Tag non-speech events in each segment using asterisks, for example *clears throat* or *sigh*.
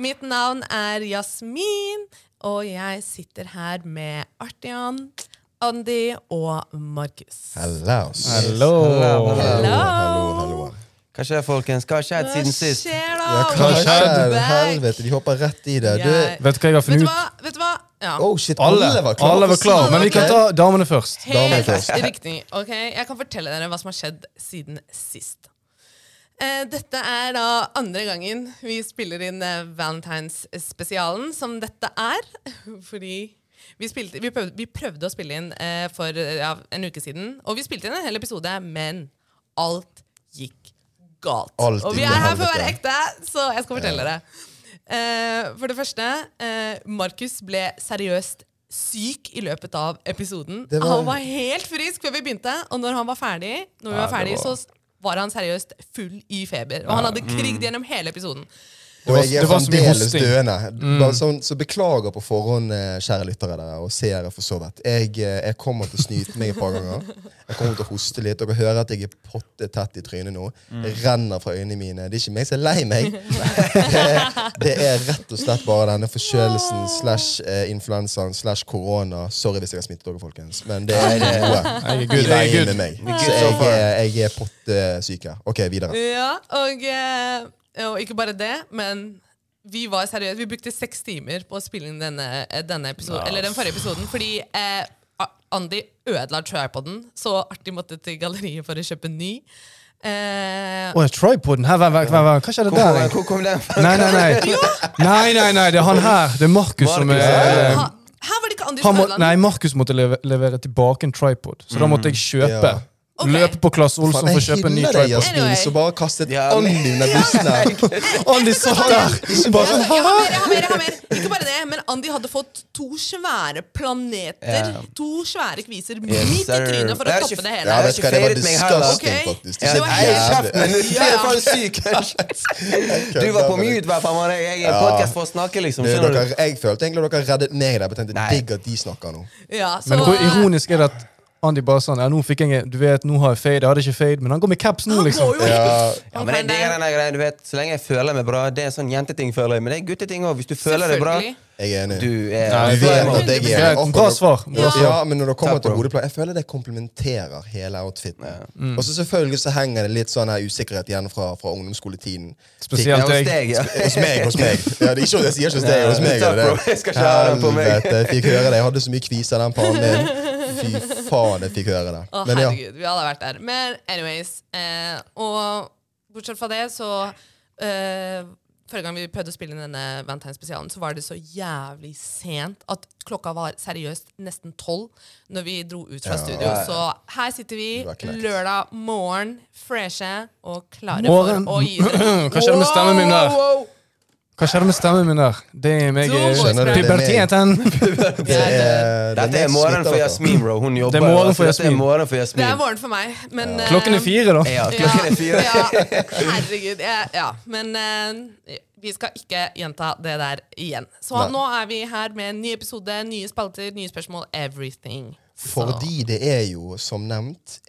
Mitt navn er Jasmin, og jeg sitter her med Artian, Andy og Markus. Hellos. Hallo! Hello. Hallo, hallo. Hva skjer, folkens? Hva har skjedd Hva siden sist? skjer da? Ja, hva Welcome skjer? back. Helvete, de hopper rett i det. Jeg- Du, Vet du hva jeg har Vet funnet du ut? hva? Vet du hva? Ja. oh shit, Alle, alle var klare. alle var klar, men vi kan Ok. ta damene først. Damer Helt først. riktig. ok? Jeg kan fortelle dere hva som har skjedd siden sist. Eh, Dette er da andre gangen vi spiller inn eh, Valentine's-spesialen, som dette er. *laughs* Fordi vi, spilte, vi, prøvde, vi prøvde å spille inn eh, for eh, ja, en uke siden, og vi spilte inn en hel episode, men alt gikk galt. Alt og vi i er her for å helvete. være ekte, så jeg skal fortelle dere. Eh, for det første, eh, Markus ble seriøst syk i løpet av episoden. Det var- Han var helt frisk før vi begynte, og når han var ferdig, når vi var ferdig det så var- s- var han seriøst full i feber. Og han hadde krigd gjennom hele episoden. Og var- jeg er det var så mye fremdeles hosting. Mm. døende. Bare sånn, så beklager på forhånd, eh, kjære lyttere dere, og seere for så vidt. Jeg, eh, jeg kommer til å snyte meg et par ganger. Jeg kommer til å hoste litt. Dere hører at jeg er potte tett i trynet nå. Mm. Det renner fra øynene mine. Det er ikke meg som er lei meg. *laughs* Det, det er rett og slett bare denne forkjølelsen slash eh, influensaen slash korona. Sorry hvis jeg har smittet dere, folkens, men det er noe Jeg er i good, jeg veien er med good. meg. Så jeg, er- jeg er pottesyk her. OK, videre. Ja, og, eh, og ikke bare det, men vi var seriøse. Vi brukte seks timer på å spille inn denne, eh, denne episoden, eller den forrige episoden fordi eh, A- Andy ødela tripoden, så artig måtte til galleriet for å kjøpe ny. Eh, Åh, tripoden her, vent, vent, vent, vent. Hva skjedde der? Hvor, egentlig? hvor kom den *laughs* fra? Nei, nei, nei. Nei, nei, nei, det er han her. Det er Markus som Markus, er ha, her var det ikke Andy Eh, han som må, ødela Nei, den. Markus måtte leve, levere tilbake en tripod, så da måtte jeg kjøpe. Ja. Ok. Løpe på Claes Olsson Faen, for å kjøpe en ny Jeg hyller deg, tripod. Jasmin, Anyway. som bare kastet Ja, ånden men- din under *laughs* bussen her. Andy satt der! Bare Jeg sånn, har haha! mer, jeg har mer, jeg har mer. Ikke bare det, men Andy hadde fått to svære planeter, Ja. to svære kviser, Yes, midt i sir. trynet for å Jeg har toppe ikke- det jeg hele. Ja, har vet du ikke hva, det var feiret meg heller. disgusting, Ok. faktisk. Ja, Det var nei, helt kjeft, men du Ja, er ja. faen syk! *laughs* Du var på mute, i hvert fall. mann. Jeg er i Ja. podcast for å snakke, liksom. Det, Skjønner Eh, dere, du? jeg følte egentlig dere reddet meg der. men Jeg tenkte Nei. digg at de snakker nå. Ja, så, Men hvor ironisk er det at Andy bare sånn ja, nå fikk jeg, Du vet, nå har jeg fade. Jeg hadde ikke fade, men han går med caps nå, Han liksom. går jo Ja, *laughs* Ja, men jeg digger den der greia, du vet. Så lenge jeg føler meg bra. Det er en sånn jenteting, føler jeg. Men det er gutteting òg. Hvis du føler deg bra, Selvfølgelig. jeg er enig. du er Nei, Du vet at jeg er Greit, akkurat- bra svar, bra svar. Ja, men når det kommer Takk, til bro. hodeplagg Jeg føler det komplementerer hele outfiten. Mm. Og så selvfølgelig så henger det litt sånn her usikkerhet igjen fra, fra ungdomsskoletiden. Eh, Ja, Spesielt hos jeg. deg, ja. Hos meg, hos *laughs* meg. Ja, det er ikke, jeg sier ikke hos deg, hos meg. er det Takk, det. bro. Jeg skal ikke ha den på meg. Helvete, jeg fikk høre det. Jeg hadde så mye kviser i den pannen *laughs* min. Fy faen, jeg fikk høre det. Å, Men ja. herregud, vi alle har vært der. Men anyways eh, Og bortsett fra det, så eh, Forrige gang vi prøvde å spille inn denne Valentine-spesialen, så var det så jævlig sent at klokka var seriøst nesten tolv når vi dro ut fra studio. Så her sitter Du var vi knekt. lørdag morgen, freshe og klare Morgen. for å *clears throat* gi dere Hva skjedde med stemmen min der? Wow, wow, wow. Hva skjedde med stemmen min der? Det er meg Don't eh, worry, Skjønner du, det er meg. Puberteten! Det er, Eh, altså. det Dette meg er som morgenen smitter for dere. Jasmin, bro. Hun jobber. Det er morgenen altså. for Dette er Jasmin. morgenen for Det er Jasmin. morgen for meg, men eh, Klokken er fire, da. Ja, klokken er fire. Ja, herregud. Ja, ja. Men eh, vi skal ikke gjenta det der igjen. Så Nei. nå er vi her med en ny episode, nye spalter, nye spørsmål, everything. Så- Fordi det er jo, som nevnt,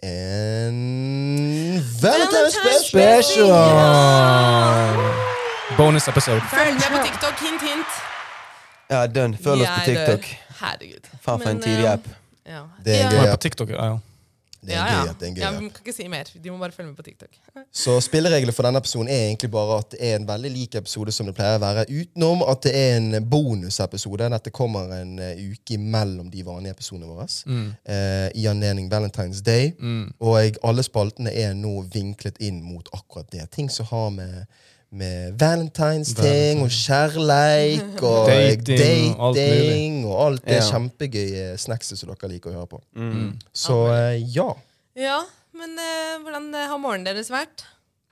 en Valentine's Valentine's Special! Special! Special! Bonus episode. Følg med på TikTok, hint, hint. Ja, done. Følg oss på Jeg dør. TikTok. Herregud. Faen, for en Men, tidlig eh, app. Ja. Det er en Nå gøy er jeg app. på TikTok, ja. ja. Det er ja, en ja. gøy app. det er en gøy ja, app. vi kan ikke si mer. De må bare følge med på TikTok. Så spillereglene for denne episoden er egentlig bare at det er en veldig lik episode som det pleier å være, utenom at det er en bonusepisode. Dette kommer en eh, uke imellom de vanlige episodene våre. Mm. Eh, I anledning Valentine's Day. Og alle spaltene er nå vinklet inn mot akkurat det. Ting som har med med valentinsting og kjærleik og eh, *laughs* Dating og alt mulig. dating og alt det Ja. kjempegøye snackset som dere liker å høre på. Mm. Så eh, ja. Ja, men eh, hvordan eh, har morgenen deres vært?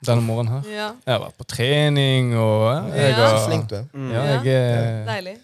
Denne morgenen her. Ja, Jeg har vært på trening og eh, jeg Ja. har, Så flink du er. Ja, jeg er Deilig.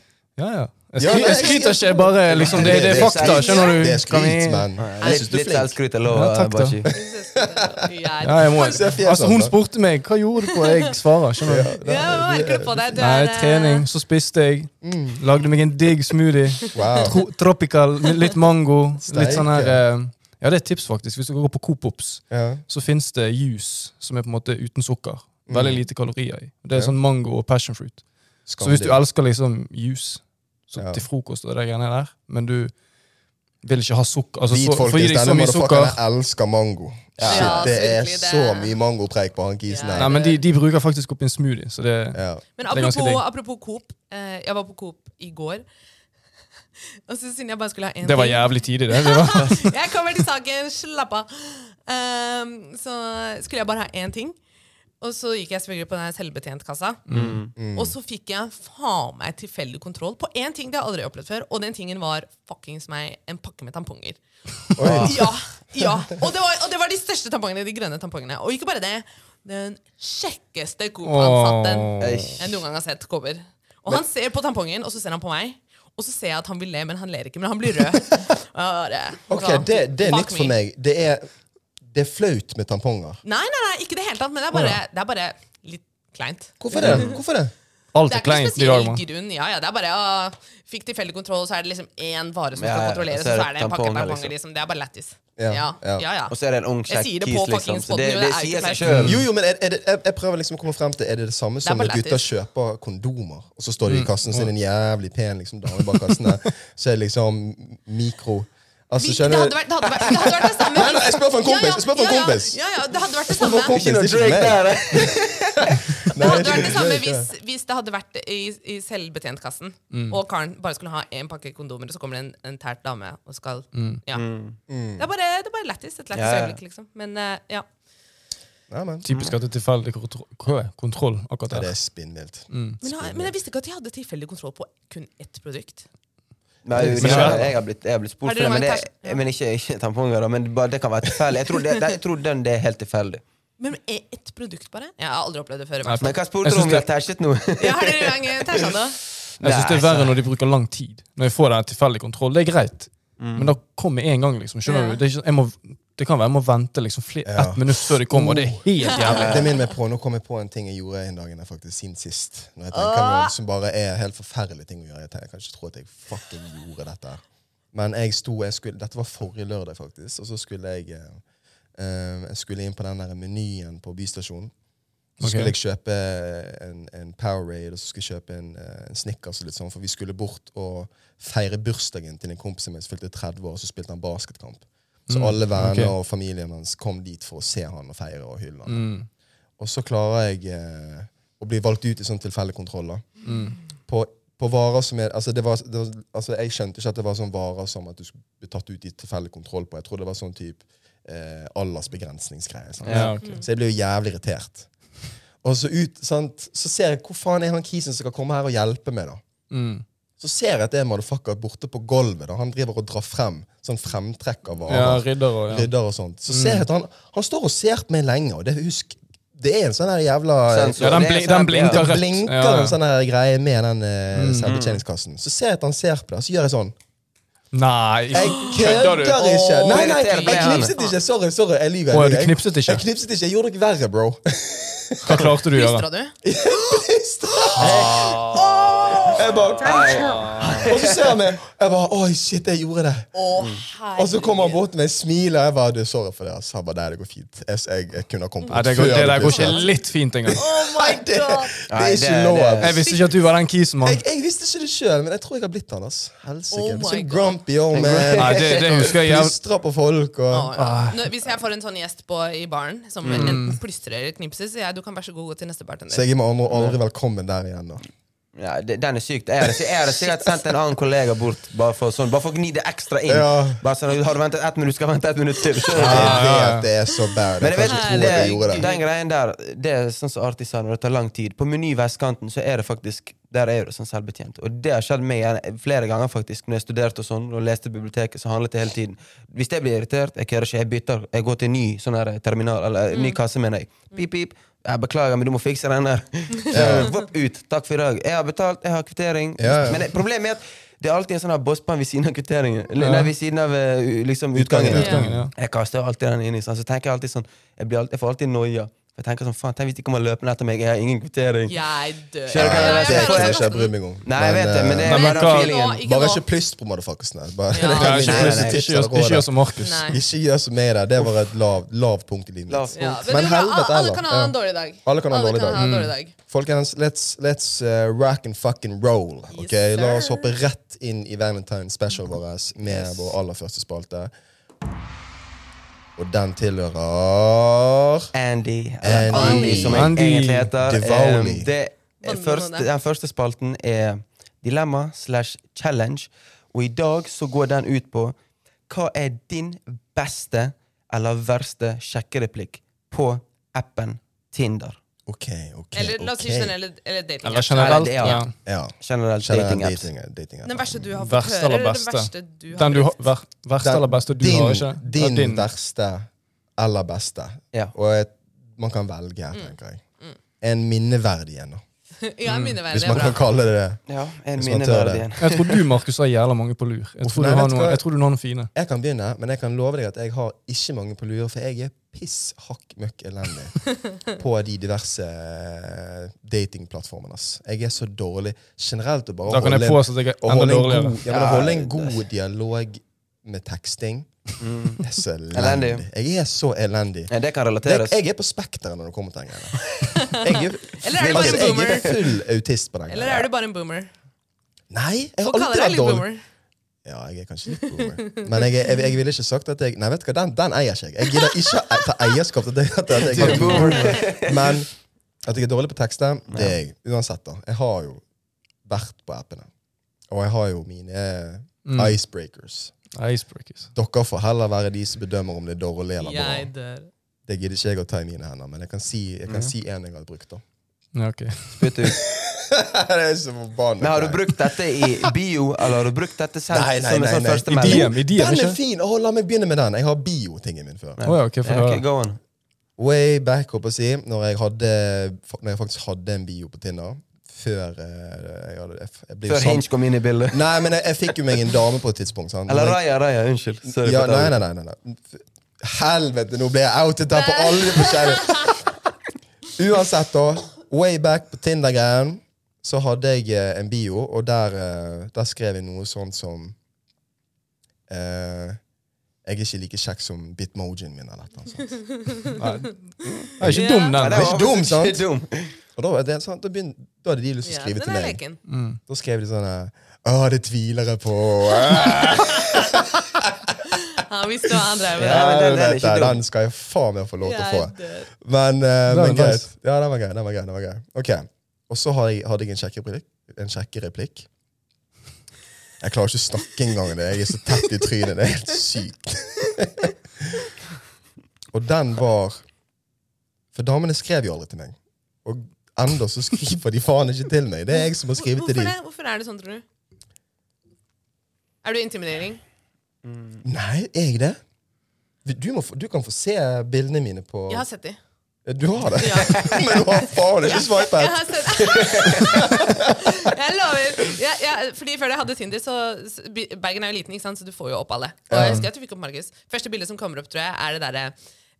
Ja, ja. Jeg Ja, skry- nei, jeg skryter ikke, jeg bare liksom Det, det er fakta, skjønner du? Det er skryt, Kan vi- men Ja, jeg Litt, syns du er litt flink. selvskryt er lov. Ja, takk, da. *laughs* Bashi. Ja, jeg må, Se fjeset altså, hun hans, sånn, da. spurte meg hva gjorde du på, jeg svarer. skjønner du? Ja, hva merker du på deg? Du Nei, er, eh, trening. Så spiste jeg. Mm. Lagde meg en digg smoothie. Wow. *laughs* Tro, tropical, li- litt mango. Litt sånn her Steike. eh, Ja, det er et tips, faktisk. Hvis du går på Coop Ops, Ja. så fins det Mm. juice som er på en måte uten sukker. Veldig lite kalorier i. Det er sånn mango og passion fruit. Så hvis du elsker liksom juice så Ja. til frokost og de greiene der, men du vil ikke ha sukker altså, så, Hvitfolk for å gi i deg så stedet, mye sukker motherfuckerne elsker mango. Ja. Shit, Ja, det er virkelig, det- så mye mangopreik på han kisen Ja. Nei, her. men de, de bruker faktisk opp i en smoothie, så det Ja. Men Det er ganske apropos, digg. apropos Coop. Eh, jeg var på Coop i går. *laughs* Og så siden jeg bare skulle ha én Det var ting- jævlig tidlig, det. det *laughs* var. Jeg kommer til saken, slapp av. Ehm, så skulle jeg bare ha én ting. Og så gikk jeg selvfølgelig på den her selvbetjentkassa. Og så fikk jeg faen meg tilfeldig kontroll på én ting det har jeg aldri opplevd før. Og den tingen var fuckings meg en pakke med tamponger. *laughs* Ja, ja. Og, det var, og det var de største tampongene. De grønne tampongene. Og ikke bare det. Den kjekkeste Coop-ansatten Åh. jeg noen gang har sett kommer. Og han ser på tampongen, og så ser han på meg. Og så ser jeg at han vil le, men han ler ikke. Men han blir *laughs* rød. Og jeg bare, Ok, det, det er fuck nytt me. for meg. Det er, det er flaut med tamponger. Nei, nei, nei, ikke det hele tatt, men det er bare, det er bare litt kleint. Hvorfor det? Hvorfor Altså, det? Alt Det er er ikke noe kleint i dag, spesiell mann. grunn. Ja, ja, det er bare å, Fikk tilfeldig kontroll, så er det liksom én vare som Ja, skal ja, kontrolleres, så er og så det er det en pakke tamponger, tamponger. liksom. Liksom. Det er bare lættis. Ja, Ja, ja. ja, ja. Og så er det en ung, Jeg kjekk sier det på kis, liksom. fuckings Så det, podden, det det er jo sier ikke seg sjøl. Jo, jo, men er, er det, jeg, jeg prøver liksom å komme frem til Er det det samme som bare når gutter lættis. kjøper kondomer, og så står de i Mm. kassen sin, en jævlig pen liksom, dame bak kassen *laughs* der, så er det liksom mikro Altså, Vi, det, hadde skjønner du? vært, det, hadde vært, det hadde vært det samme. Nei, nei, jeg spør for en kompis, jeg spør for en ja, ja, kompis. Ja, ja, det hadde vært det spør samme. for en kompis. Det Ikke noe Drake der! eh. Nei, hadde vært det samme ikke hvis, hvis det hadde vært i, i selvbetjentkassen, og karen bare skulle ha én pakke kondomer, og så kommer det en, en tært dame og skal Ja. Det er bare, det er bare lættis. Et lættis Ja, ja. øyeblikk, liksom. Men eh, ja. Nei, men, Typisk at det er tilfeldig kontro- hva er kontroll akkurat ja, det der. er spinnvilt. Men, jeg- men jeg visste ikke at de hadde tilfeldig kontroll på kun ett produkt. Nei, jo, Men ja, det- jeg har blitt, jeg har blitt Har spurt dere for det, men, mange det, ters- ja. men ikke, ikke tamponger. da, Men det, bare, det kan være tilfeldig. Jeg tror, det, det, jeg tror den det er helt tilfeldig. Men e- ett produkt, bare? Jeg har aldri opplevd det før. i Nei, hvert fall. Men hva Jeg spurte du synes om? Vi har tæsjet nå. *laughs* Ja, har dere gang eh, tæsja det? Jeg syns det er Nei, verre når de bruker lang tid. Når jeg får den tilfeldig kontroll, det er greit. Mm. Men da kommer en gang, liksom. Skjønner Ja. du? Det, er ikke, jeg må, det kan være jeg må vente liksom flere, Ja. Oh. ett minutt før det kommer, og det er helt Ja, *laughs* jævlig. det minner meg på, Nå kom jeg på en ting jeg gjorde en dag jeg faktisk siden sist. Når jeg Ah. tenker meg om, Som bare er helt forferdelige ting å gjøre. Jeg tenker- jeg kan ikke tro at jeg fucking gjorde dette. her. Men jeg sto, jeg skulle, dette var forrige lørdag, faktisk. Og så skulle jeg, eh, eh, jeg skulle inn på den der menyen på Bystasjonen. Så Ok. skulle jeg kjøpe en, en Powerade og så skulle jeg kjøpe en, eh, en Snickers. og litt sånn, For vi skulle bort og feire bursdagen til en kompis av meg som fylte 30 år, og så spilte han basketkamp. Så alle venner Mm, ok. og familien hans kom dit for å se han og feire og hylle han. Mm. Og så klarer jeg eh, å bli valgt ut i sånn tilfeldig kontroll. da. Mm. På, på varer som er, altså det var, det var, altså Jeg skjønte ikke at det var sånn varer som at du skulle bli tatt ut i tilfeldig kontroll på. Jeg trodde det var sånn type eh, aldersbegrensningsgreie. sant? Ja, ok. Så jeg ble jo jævlig irritert. Og så ut, sant? så ser jeg hvor faen er han kisen som skal komme her og hjelpe meg. da? Mm. Så ser jeg at det er en motherfucker borte på gulvet. da. Han driver og drar frem sånn fremtrekk av varer ja ridder og ja. Mm. rydder og sånt. Så ser jeg at han, han står og ser på meg lenge, og det, husk, det er en sånn her jævla Sensor. ja den, Det er bli, sant, den Det blinker rødt. blinker Ja, Mhm. ja. en sånn her greie med den eh, selvbetjeningskassen. Så ser jeg at han ser på det, så gjør jeg sånn. Nei, Jeg kødder kødder du? ikke! Nei, nei, irriterer jeg meg, han. knipset ikke! Sorry, sorry, jeg lyver. Å, jeg du lyver. Jeg- knipset ikke? Jeg knipset ikke, jeg gjorde det ikke verre, bro. *laughs* Hva klarte du å gjøre? Plystra du? Ah. Jeg bare, og så ser han meg. Jeg bare, oi, shit, jeg gjorde det. Å, Og så kommer han herregud. bort med et smil, og jeg bare, du, sorry for det. ass. Han bare, nei, det går fint. Jeg, jeg, jeg kunne ha kommet Nei, det, før går, det du der går knipset. ikke litt fint engang. Oh my Nei, det, god. det er Nei, ikke det- lov. det- ass. Jeg visste ikke at du var den kisen, mann. Jeg, jeg visste ikke det sjøl, men jeg tror jeg har blitt han. ass. Helsike. Oh Jeg blir my sånn God. grumpy old Nei, man. det, det husker jeg jævlig. Plystrer på folk og Å, ja. Nå, hvis jeg får en sånn gjest på, i baren som enten plystrer eller knipser, så jeg, du kan vær så god gå til neste Så bartender. jeg er med andre ord aldri velkommen der igjen. da. Ja, det, den er sykt. Jeg hadde, jeg hadde sikkert sendt en annen kollega bort bare for, sånn, bare for å gni det ekstra inn. Ja. Bare sånn, Har du ventet ett minutt, skal jeg vente ett minutt til. Jeg ja, ja. vet det er så bad. Men Jeg kan jeg vet, ikke det, tro at jeg gjorde det. den greien der, det er sånn som Arti sa, når det tar lang tid. På Meny Vestkanten så er det faktisk der er det sånn selvbetjent. Og det har skjedd meg igjen flere ganger faktisk når jeg studerte og sånn, og leste i biblioteket. så handlet det hele tiden. Hvis jeg blir irritert, jeg kødder ikke, jeg bytter. Jeg går til ny sånn her terminal, eller ny kasse, mener jeg. Pip, pip. Jeg beklager, men du må fikse *laughs* den der. Så, vopp, ut. Takk for i dag. Jeg har betalt, jeg har kvittering. Ja, ja. Men det, problemet er at det er alltid en sånn her bosspann ved siden av kvitteringen. Nei, ved siden av eh, u- liksom, utgangen. Utgangen, ja. Jeg kaster alltid den inn i sånn, så tenker jeg alltid sånn Jeg, blir alltid, jeg får alltid noia. For jeg tenker sånn, faen, tenk hvis de kommer løpende etter meg, jeg har ingen kvittering. Jeg dør. Skjønner du hva jeg Ja, mener? jeg det kunne føler jeg ikke sånn. jeg brydd meg om. eh, Nei, jeg vet det, men det Men- er men bare den hva- Ikke nå, feelingen. ikke Bare nå. ikke plyst på motherfuckersene. Bare- Ja. det Ja, er min ikke, nei, ikke, nei. eneste tips ikke, gjør- her og ikke gjør råd. som Markus. Nei. Ikke gjør som meg der. Det var et lavt lav punkt i livet Lav mitt. Ja, punkt. vet Men du hva? helvete alle heller. kan ha en Ja. dårlig dag. Alle kan ha en dårlig dag. en Mm. dårlig dag. Folkens, let's, let's eh, rack and fucking roll. ok? Yes, La oss sir. hoppe rett inn i Valentine's special vår med vår aller første spalte. Og den tilhører Andy. Andy. Eller Andy, som jeg Andy egentlig heter. Diwali. Em, det er Vann først, under det. den første spalten er dilemma slash challenge. Og i dag så går den ut på hva er din beste eller verste sjekkereplikk på appen Tinder? OK, OK. Eller la oss si ok. generell eller dating. Eller generelt. Nei, det er- Ja. Ja. Generell Generelt dating-apps. dating, dating Den verste du har fått Verste høre, eller eller den beste? verste du har Den du har, brukt? ver, verste eller beste du din, har, ikke? Ja, Din, verste eller beste. Ja. Og et, man kan velge, her, tenker jeg. En minneverdig en, da. Mm, *laughs* Ja, Mm. mine verre, hvis det er man bra. kan kalle det det. Ja, en Hvis man tør minneverdig det. en. Jeg tror du, Markus, har jævla mange på lur. Jeg tror, Nei, du har vet du noen, hva? jeg tror du har noen fine. Jeg kan begynne, men jeg kan love deg at jeg har ikke mange på lure, for jeg er piss hakk møkk elendig *laughs* på de diverse eh, datingplattformene. ass. Jeg er så dårlig generelt å bare Da kan jeg en- påstå at jeg å er enda holde en dårligere. god- ja, men å Ja, holde en det- god dialog med teksting. Mm. Jeg er *laughs* så Elendig. elendig. Jeg er så elendig. Ja, det kan Det, relateres. jeg er på spekteret når det kommer til den greia. Jeg, er- *laughs* altså, Eller er du bare en jeg boomer? er full autist på den Eller greia. er du bare en boomer? Nei, jeg har Folk kaller deg alltid vært litt dårlig. boomer. Ja, jeg er kanskje litt boomer. Men jeg, jeg, jeg ville ikke sagt at jeg Nei, vet du hva, den, den eier ikke jeg. Jeg gidder ikke å ta eierskap til det. At jeg, at jeg, men at jeg er dårlig på tekster, det er jeg. Uansett, da. Jeg har jo vært på appene. Og jeg har jo mine Mm. icebreakers. Icebreakers. Dere får heller være de som bedømmer om det er dårlig eller bra. Jeg dør. Det gidder ikke jeg å ta i mine hender, men jeg kan si, jeg Mm. kan si en jeg har brukt. da. *laughs* Ja, ok. Spytt ut. det er så forbannet. Men har du brukt dette i bio, eller har du brukt dette selv Nei, nei, som en nei, sånn nei. første I melding? DM, i DM, Den er ikke? fin! Å, la meg begynne med den. Jeg har biotingen min før. Å ja, ok, for Ja, da- ok, go on. Way back, håper jeg å si, når jeg, hadde, når jeg faktisk hadde en bio på Tinder. Før eh, jeg hadde jeg, jeg ble jo Før sam- Hinge kom inn i bildet. Nei, men jeg, jeg fikk jo meg en dame på et tidspunkt. Sant? Eller Men jeg- Raja, Raja, unnskyld. Sorry ja, for at nei, jeg- nei, nei, nei, nei. Helvete, nå ble jeg outet her på alle de forskjellige. Uansett, da. Way back på Tinder-greien så hadde jeg eh, en bio, og der, eh, der skrev jeg noe sånt som eh, Jeg er ikke like kjekk som bitmojien min, eller noe sånt. Nei. Jeg er ikke dum, Nei, den. det var ikke dum, faktisk sant? ikke dum. Og da, var det, sant, da, begyn- da hadde de lyst til å Ja, skrive den til er meg. leken. Mm. Da skrev de sånn eh, Å, det tviler jeg på. Ah, Han visste hva han drev med. *laughs* Ja, men den- den er vet ikke jeg, dum. den skal jeg faen meg få lov til å få. Jeg dør. Men, eh, var men nice. greit. Ja, den var grei. den var grei, den var grei. Ok, Og så hadde jeg, hadde jeg en sjekkereplikk. En sjekkereplikk. Jeg klarer ikke å snakke engang. det. Jeg er så tett i trynet. Det er helt sykt. *laughs* og den var For damene skrev jo aldri til meg. Og enda så skriver de faen ikke til meg. Det er jeg som har skrevet til Hvorfor dem. det? Hvorfor er det sånn, tror du? Er du intimidering? Nei, er jeg det? Du, må, få- du kan få se bildene mine på Jeg har sett de. Du har det? Ja. *laughs* Men du har faen ikke Jeg swipet! har sett *laughs* Jeg lover. Ja, ja, fordi Før jeg hadde Tinder, så så by- Bergen er jo liten, ikke sant? så du får jo opp alle. Og jeg husker at du fikk opp Markus. Første bildet som kommer opp, tror jeg, er det derre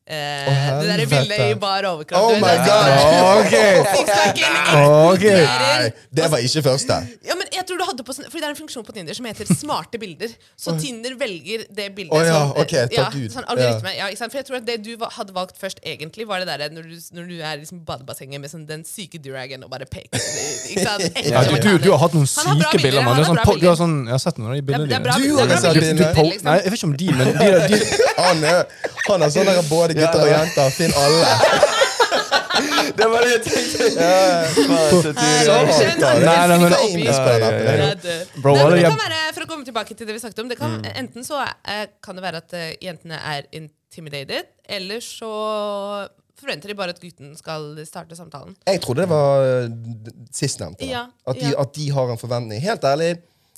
eh, Å, Det derre bildet helvete. i bar overkropp. Oh du vet, my det er god! Ok! sånn Sixpacken, Ok! Nei, det var ikke første. Ja, men jeg tror du hadde på sånn- Fordi det er en funksjon på Tinder som heter smarte bilder. Så Tinder velger det bildet Å ja, som eh, ok, takk ja, Gud. sånn algoritme. Ja. ikke sant? For jeg tror at det du va- hadde valgt først, egentlig, var det der når du, når du er liksom i badebassenget med sånn den syke dragen og bare peker. Ikke sant? Ja, du, Ekkel du, du mann. har hatt noen Han har bra syke bilder, bilder, han mann. Det er har Sånn, bra po- du har bilder. sånn, jeg har sett noen av de bildene det er dine. bra- Du det er har bra sett bilder. liksom. bilder. po- Nei, jeg vet ikke om de, men de, de, Han er, han er sånn der både gutter og jenter. Finn alle. Det var det jeg tenkte. *laughs* Faen, så Nei, tydelig. jeg skjønner, jeg Nei, skjønner, nei, jeg men- skal Nei, oppgi. Ines på den appen, Ja, det er jo- det- Bro, Nei, men alle det jeg- kan være, for å komme tilbake til det vi snakket om, det kan, enten så eh, kan det være at eh, jentene er intimidated, eller så forventer de bare at gutten skal starte samtalen. Jeg trodde det var eh, sistnevnte. da. Ja, At, de- ja. at de har en forventning. Helt ærlig,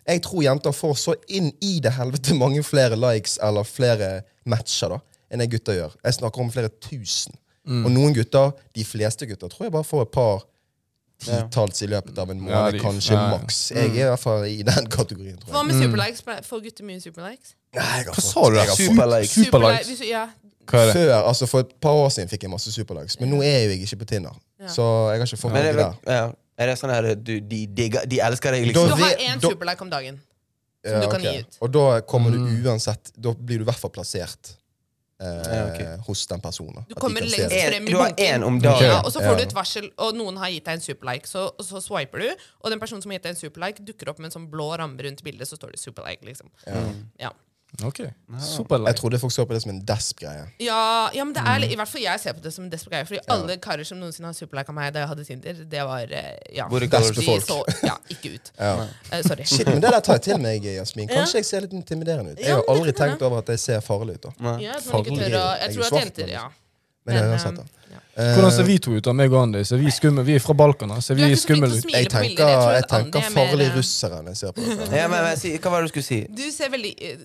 jeg tror jenter får så inn i det helvete mange flere likes eller flere matcher da, enn det gutter gjør. Jeg snakker om flere tusen. Mm. Og noen gutter, de fleste gutter, tror jeg bare får et par titalls i løpet av en måned, de- kanskje ja, Mm. ja. maks. Jeg er i hvert fall i den kategorien, tror Hva jeg. med superlikes? Ble- Får gutter mye superlikes? Nei, jeg har Hva fått- sa jeg du der? har fått- Superlikes. Superlikes. Superli- hvis- Ja, Hva er det? Før, altså For et par år siden fikk jeg masse superlikes, men nå er jo jeg ikke på Tinder. Så jeg har ikke fått Men noe er det, der. ja, er det sånn her du, de, digger, de elsker deg, Du liksom? Da- har vi- én da- superlike om dagen. som du kan ok. gi ut. Og da kommer Mm. du uansett Da blir du i hvert fall plassert eh, Ja, ok. hos den personen. At Du de kommer kan se lengst det. En- frem i du har bunken. en om dagen. Ja, og så får Ja. du et varsel, og noen har gitt deg en superlike. Så, og så swiper du, og den personen som har gitt deg en superlike, dukker opp med en sånn blå ramme rundt bildet, så står det superlike, liksom. Ja. Ok. Superlike. Jeg trodde folk så på det som en desp-greie. Ja, ja, men det er, li- i hvert fall jeg ser på det som en desperat greie. Fordi alle karer som noensinne har superlika meg da jeg hadde Tinder, det var eh, ja, Hvor det går- de folk. så *laughs* ja, ikke ut. Ja. Eh, sorry. Shit, men det der tar jeg til meg, Jasmin. Kanskje jeg ser litt intimiderende ut. Jeg Ja, har men det aldri kan tenkt over at jeg ser farlig ut. da Ja, at man ikke Farlig. tør å, jeg Jeg tror er at svart, jenter Ja. Men Men, jeg har eh, sett det. ja. Eh, Hvordan ser vi to ut, da? meg og Andy? Ser vi skummel- Vi er fra Balkan. da. Ser Du er vi ikke så flink til skumle å ut? smile jeg på tenker, bilder. Jeg tror jeg at Andy tenker er mer, farlig eh, russere når jeg ser på *laughs* dette. Ja, men, men, si, hva var det du skulle si? Du ser veldig eh,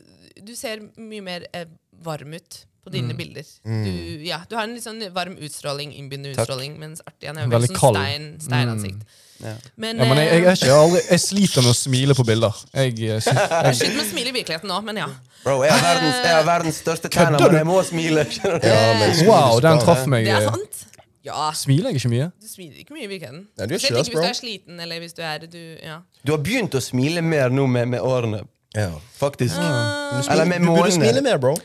Du ser mye mer eh, varm ut på dine bilder. Du, ja, du har en litt sånn varm utstråling, innbydende Takk. utstråling, mens Artian er jo veldig Veldig sånn kald. stein, steinansikt. Ja. Men, Ja, men jeg, jeg, eh, er ikke, jeg, har aldri, jeg sliter med å smile på bilder. Jeg, eh, *laughs* synes- jeg slutter med å smile i virkeligheten nå, men ja. Bro, jeg har verdens, jeg har verdens største tenner, Kødder men jeg må smile. skjønner du? Ja, men skulle wow, du den spare- traff meg. Det er eh. sant. Ja, Smiler jeg ikke mye? du smiler ikke mye i virkeligheten. Nei, du gjør ikke Selv det, ikke hvis bro. du er sliten, eller hvis du er du, ja. Du har begynt å smile mer nå med, med årene, Ja. faktisk. Men du Eller smil- med Du burde smile månene. mer, bro.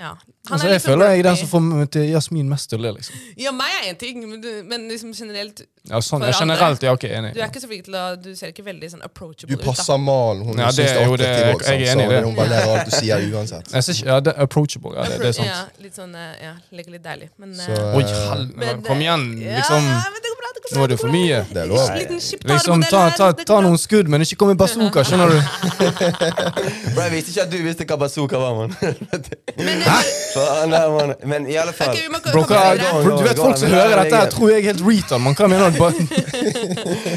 ja. Han Altså, er jeg liksom føler jeg er den quirky. som får meg til Jasmin mest til å le, liksom. Ja, meg er én ting, men, du, men liksom generelt Ja, sånn, For ja, andre. generelt, ja, ok, enig. Du er ikke så flink til å Du ser ikke veldig sånn approachable Du ut. da. passer malen. Hun Ja, synes det er jo det- attraktiv også, jeg er så enig i det. sånn. Hun bare ler av alt du sier *laughs* uansett. Jeg synes, ikke- ja, det er approachable, ja, det, det er sant. Ja, litt sånn, eh, ja, legger litt deilig. Men, Så, eh, Oi, eh, helvete, men, kom eh, igjen, ja, liksom. ja, men det går bra, det går bra, Nå er det for mye. det er lov. Liten skiptarmodell Liksom, ta, her, ta, det går ta bra. noen skudd, men ikke kom med bazooka, *laughs* skjønner du? Bro, jeg visste ikke at du visste hva bazooka var, mann. *laughs* Men, eh, Faen, nei, mann. Men i alle fall ok, vi må gå- Bro, komme hva- videre. du vet folk som hører dette, her, tror jeg er helt retard, men hva *laughs* mener du? Bare-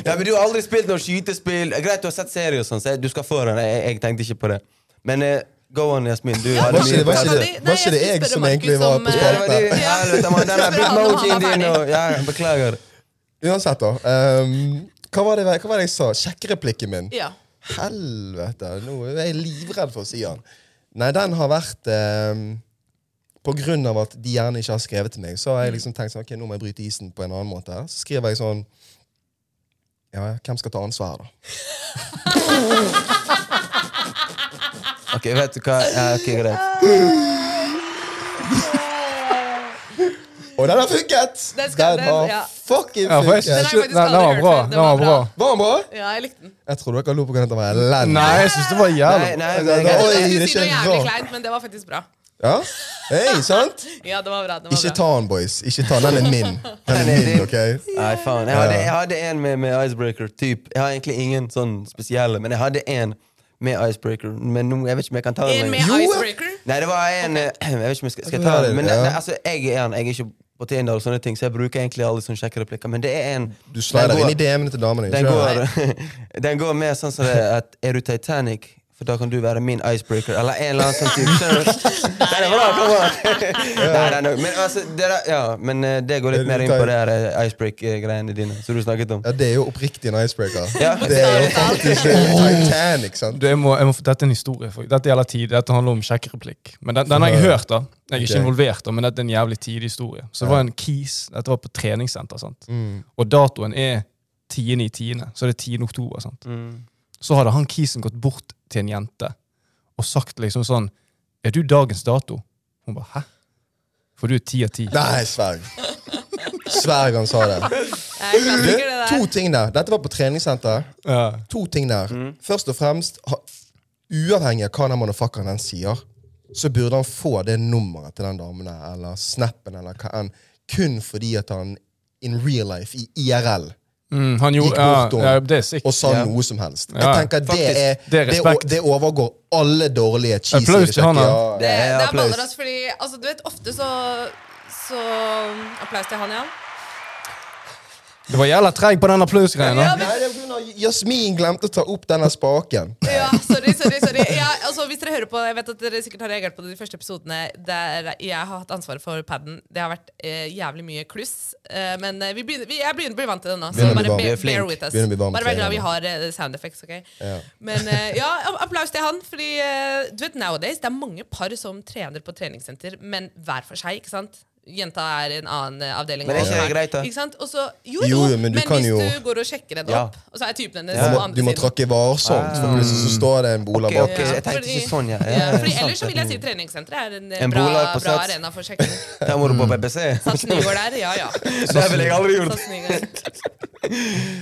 Ja, men Du har aldri spilt noe skytespill. Greit, du har sett serier, og sånn, så jeg- du skal få den. Jeg, jeg tenkte ikke på det. Men eh, go on, Jasmin. Du hadde Var ikke det, var Ja, ikke men det, det- var nei, ikke det jeg jeg skulle som spørre egentlig Markus var om, på eh, Ja, det var spalte? du. Helvete, mann. Den Spør han om bitmojien han var din ferdig. og Ja, beklager. Uansett, da. ehm, hva, var det, hva var det jeg sa? Sjekkereplikken min. Ja. Helvete, nå er jeg livredd for å si den. Nei, den har vært ehm, På grunn av at de gjerne ikke har skrevet til meg, så Mm. har jeg liksom tenkt sånn, ok, nå må jeg bryte isen på en annen måte. her. Så skriver jeg sånn Ja, ja, hvem skal ta ansvar, da? Ok, vet du hva? Ja, ok, greit. Og den har funket! Den skal- den- har ja. fucking Ja, for funket. jeg synes Den har jeg ikke- faktisk Nei, Den var aldri hørt bra. før. Den var bra. Var den bra? ja, jeg likte den. Jeg trodde dere lo på grunn av at den var elendig. Nei, jeg synes det var Nei, jævlig. nei, Altså, men da- greit. Oi, Jeg det skulle er si noe ikke jævlig bra. kleint, men det var faktisk bra. Ja? Hei, sant? *laughs* Ja, det var bra. Det var Ikke bra. ta den, boys. Ikke ta den. Den er *laughs* min. Den er Den er din. min, ok? Nei, faen. Jeg hadde, jeg hadde en med, med icebreaker. Typ. Jeg har egentlig ingen sånn spesielle, men jeg hadde en med icebreaker. Men nå, jeg vet ikke om jeg kan ta den. En med lenger. Jo, ja. icebreaker. Nei, det var en eh, *clears throat* Jeg vet ikke om jeg skal, skal jeg ta Ja, det- den. Men det, ja. nei, altså, jeg er en, jeg er ikke på Tinder og sånne ting, så jeg bruker egentlig alle sånne kjekke replikker. Men det er en Du slider den går- inn i DM-ene til damene. Den ikke sant? går, *laughs* den går mer sånn som det er at Er du Titanic? For da kan du være min icebreaker. Eller en eller annen sånn *laughs* type. Skjønner du? Den er bra, kom an! *laughs* Nei, den er- Men, altså, det, der- ja, men eh, det går Er litt du mer inn på Titan- det her eh, icebreak-greiene dine som du snakket om. Ja, det er jo oppriktig en icebreaker. Ja. Det er jo faktisk Titanic, sant? Du, jeg må, jeg må, dette er en historie. For, dette gjelder tid. Dette handler om sjekkereplikk. Men den, den har jeg hørt, da. Jeg er ikke Ok. involvert, da, men dette er en jævlig tidlig historie. Så det var en KIS. Dette var på treningssenter. sant? Og datoen er 10.10., så det er 10. oktober. sant? Så hadde han KIS-en gått bort til en jente og sagt liksom sånn Er du dagens dato? Hun bare Hæ? For du er ti av ti. Nei, sverg. Sverg han sa det. Jeg er Du, klassiker, det to der. ting der. Dette var på treningssenter. Ja. To ting der. Mm. Først og fremst, ha, uavhengig av hva den motherfuckeren den sier, så burde han få det nummeret til den damen der, eller snappen, eller hva enn, kun fordi at han in real life, i IRL, Mm, han Gikk gjorde ja, bort og- ja, Det er sikkert. og sa Ja. noe som helst. Jeg Ja, tenker det faktisk. er, Det er det, respekt. o- det overgår alle dårlige cheesy Applaus til han, replikker. ja. Det, er det er applaus. baller, altså, fordi altså, Du vet, ofte så, så Applaus til han, ja. Det var jævla treig på den applausgreia. da. Ja, men- Nei, det er på grunn av Jasmin glemte å ta opp denne spaken. Ja, sorry, sorry, sorry. Ja, altså, hvis dere hører på, Jeg vet at dere sikkert har reagert på de første episodene der jeg har hatt ansvaret for paden. Det har vært eh, jævlig mye kluss. Eh, men eh, vi begynner, vi, jeg begynner å bli vant til det nå. Så Begynner å bli bare vant. be, Vi er flink. bear with us. Begynner å bli vant Bare til vær glad det vi nå. har eh, sound effects. ok? Ja. Men eh, ja, applaus til han. Fordi eh, du vet, nowadays, det er mange par som trener på treningssenter, men hver for seg. ikke sant? Jenta er i en annen eh, avdeling. Men er og ikke han det greit, da? Ikke sant? Og så, jo, jo, Jo, jo, men, men du kan hvis jo- du går og sjekker henne Ja. opp, og så er typen hennes Du på må, andre du må siden. tråkke varsomt, for plutselig så står det en bola Ok, bak. ok, jeg tenkte ikke sånn, ja. Ja, Ja, fordi sant, ellers så vil jeg si det. treningssenteret er en, eh, En bra, bolag på bra Sats. arena for sjekking. Der må du på BBC. Sats Nygård der, ja ja. Det ville jeg aldri gjort. Sats Nygård.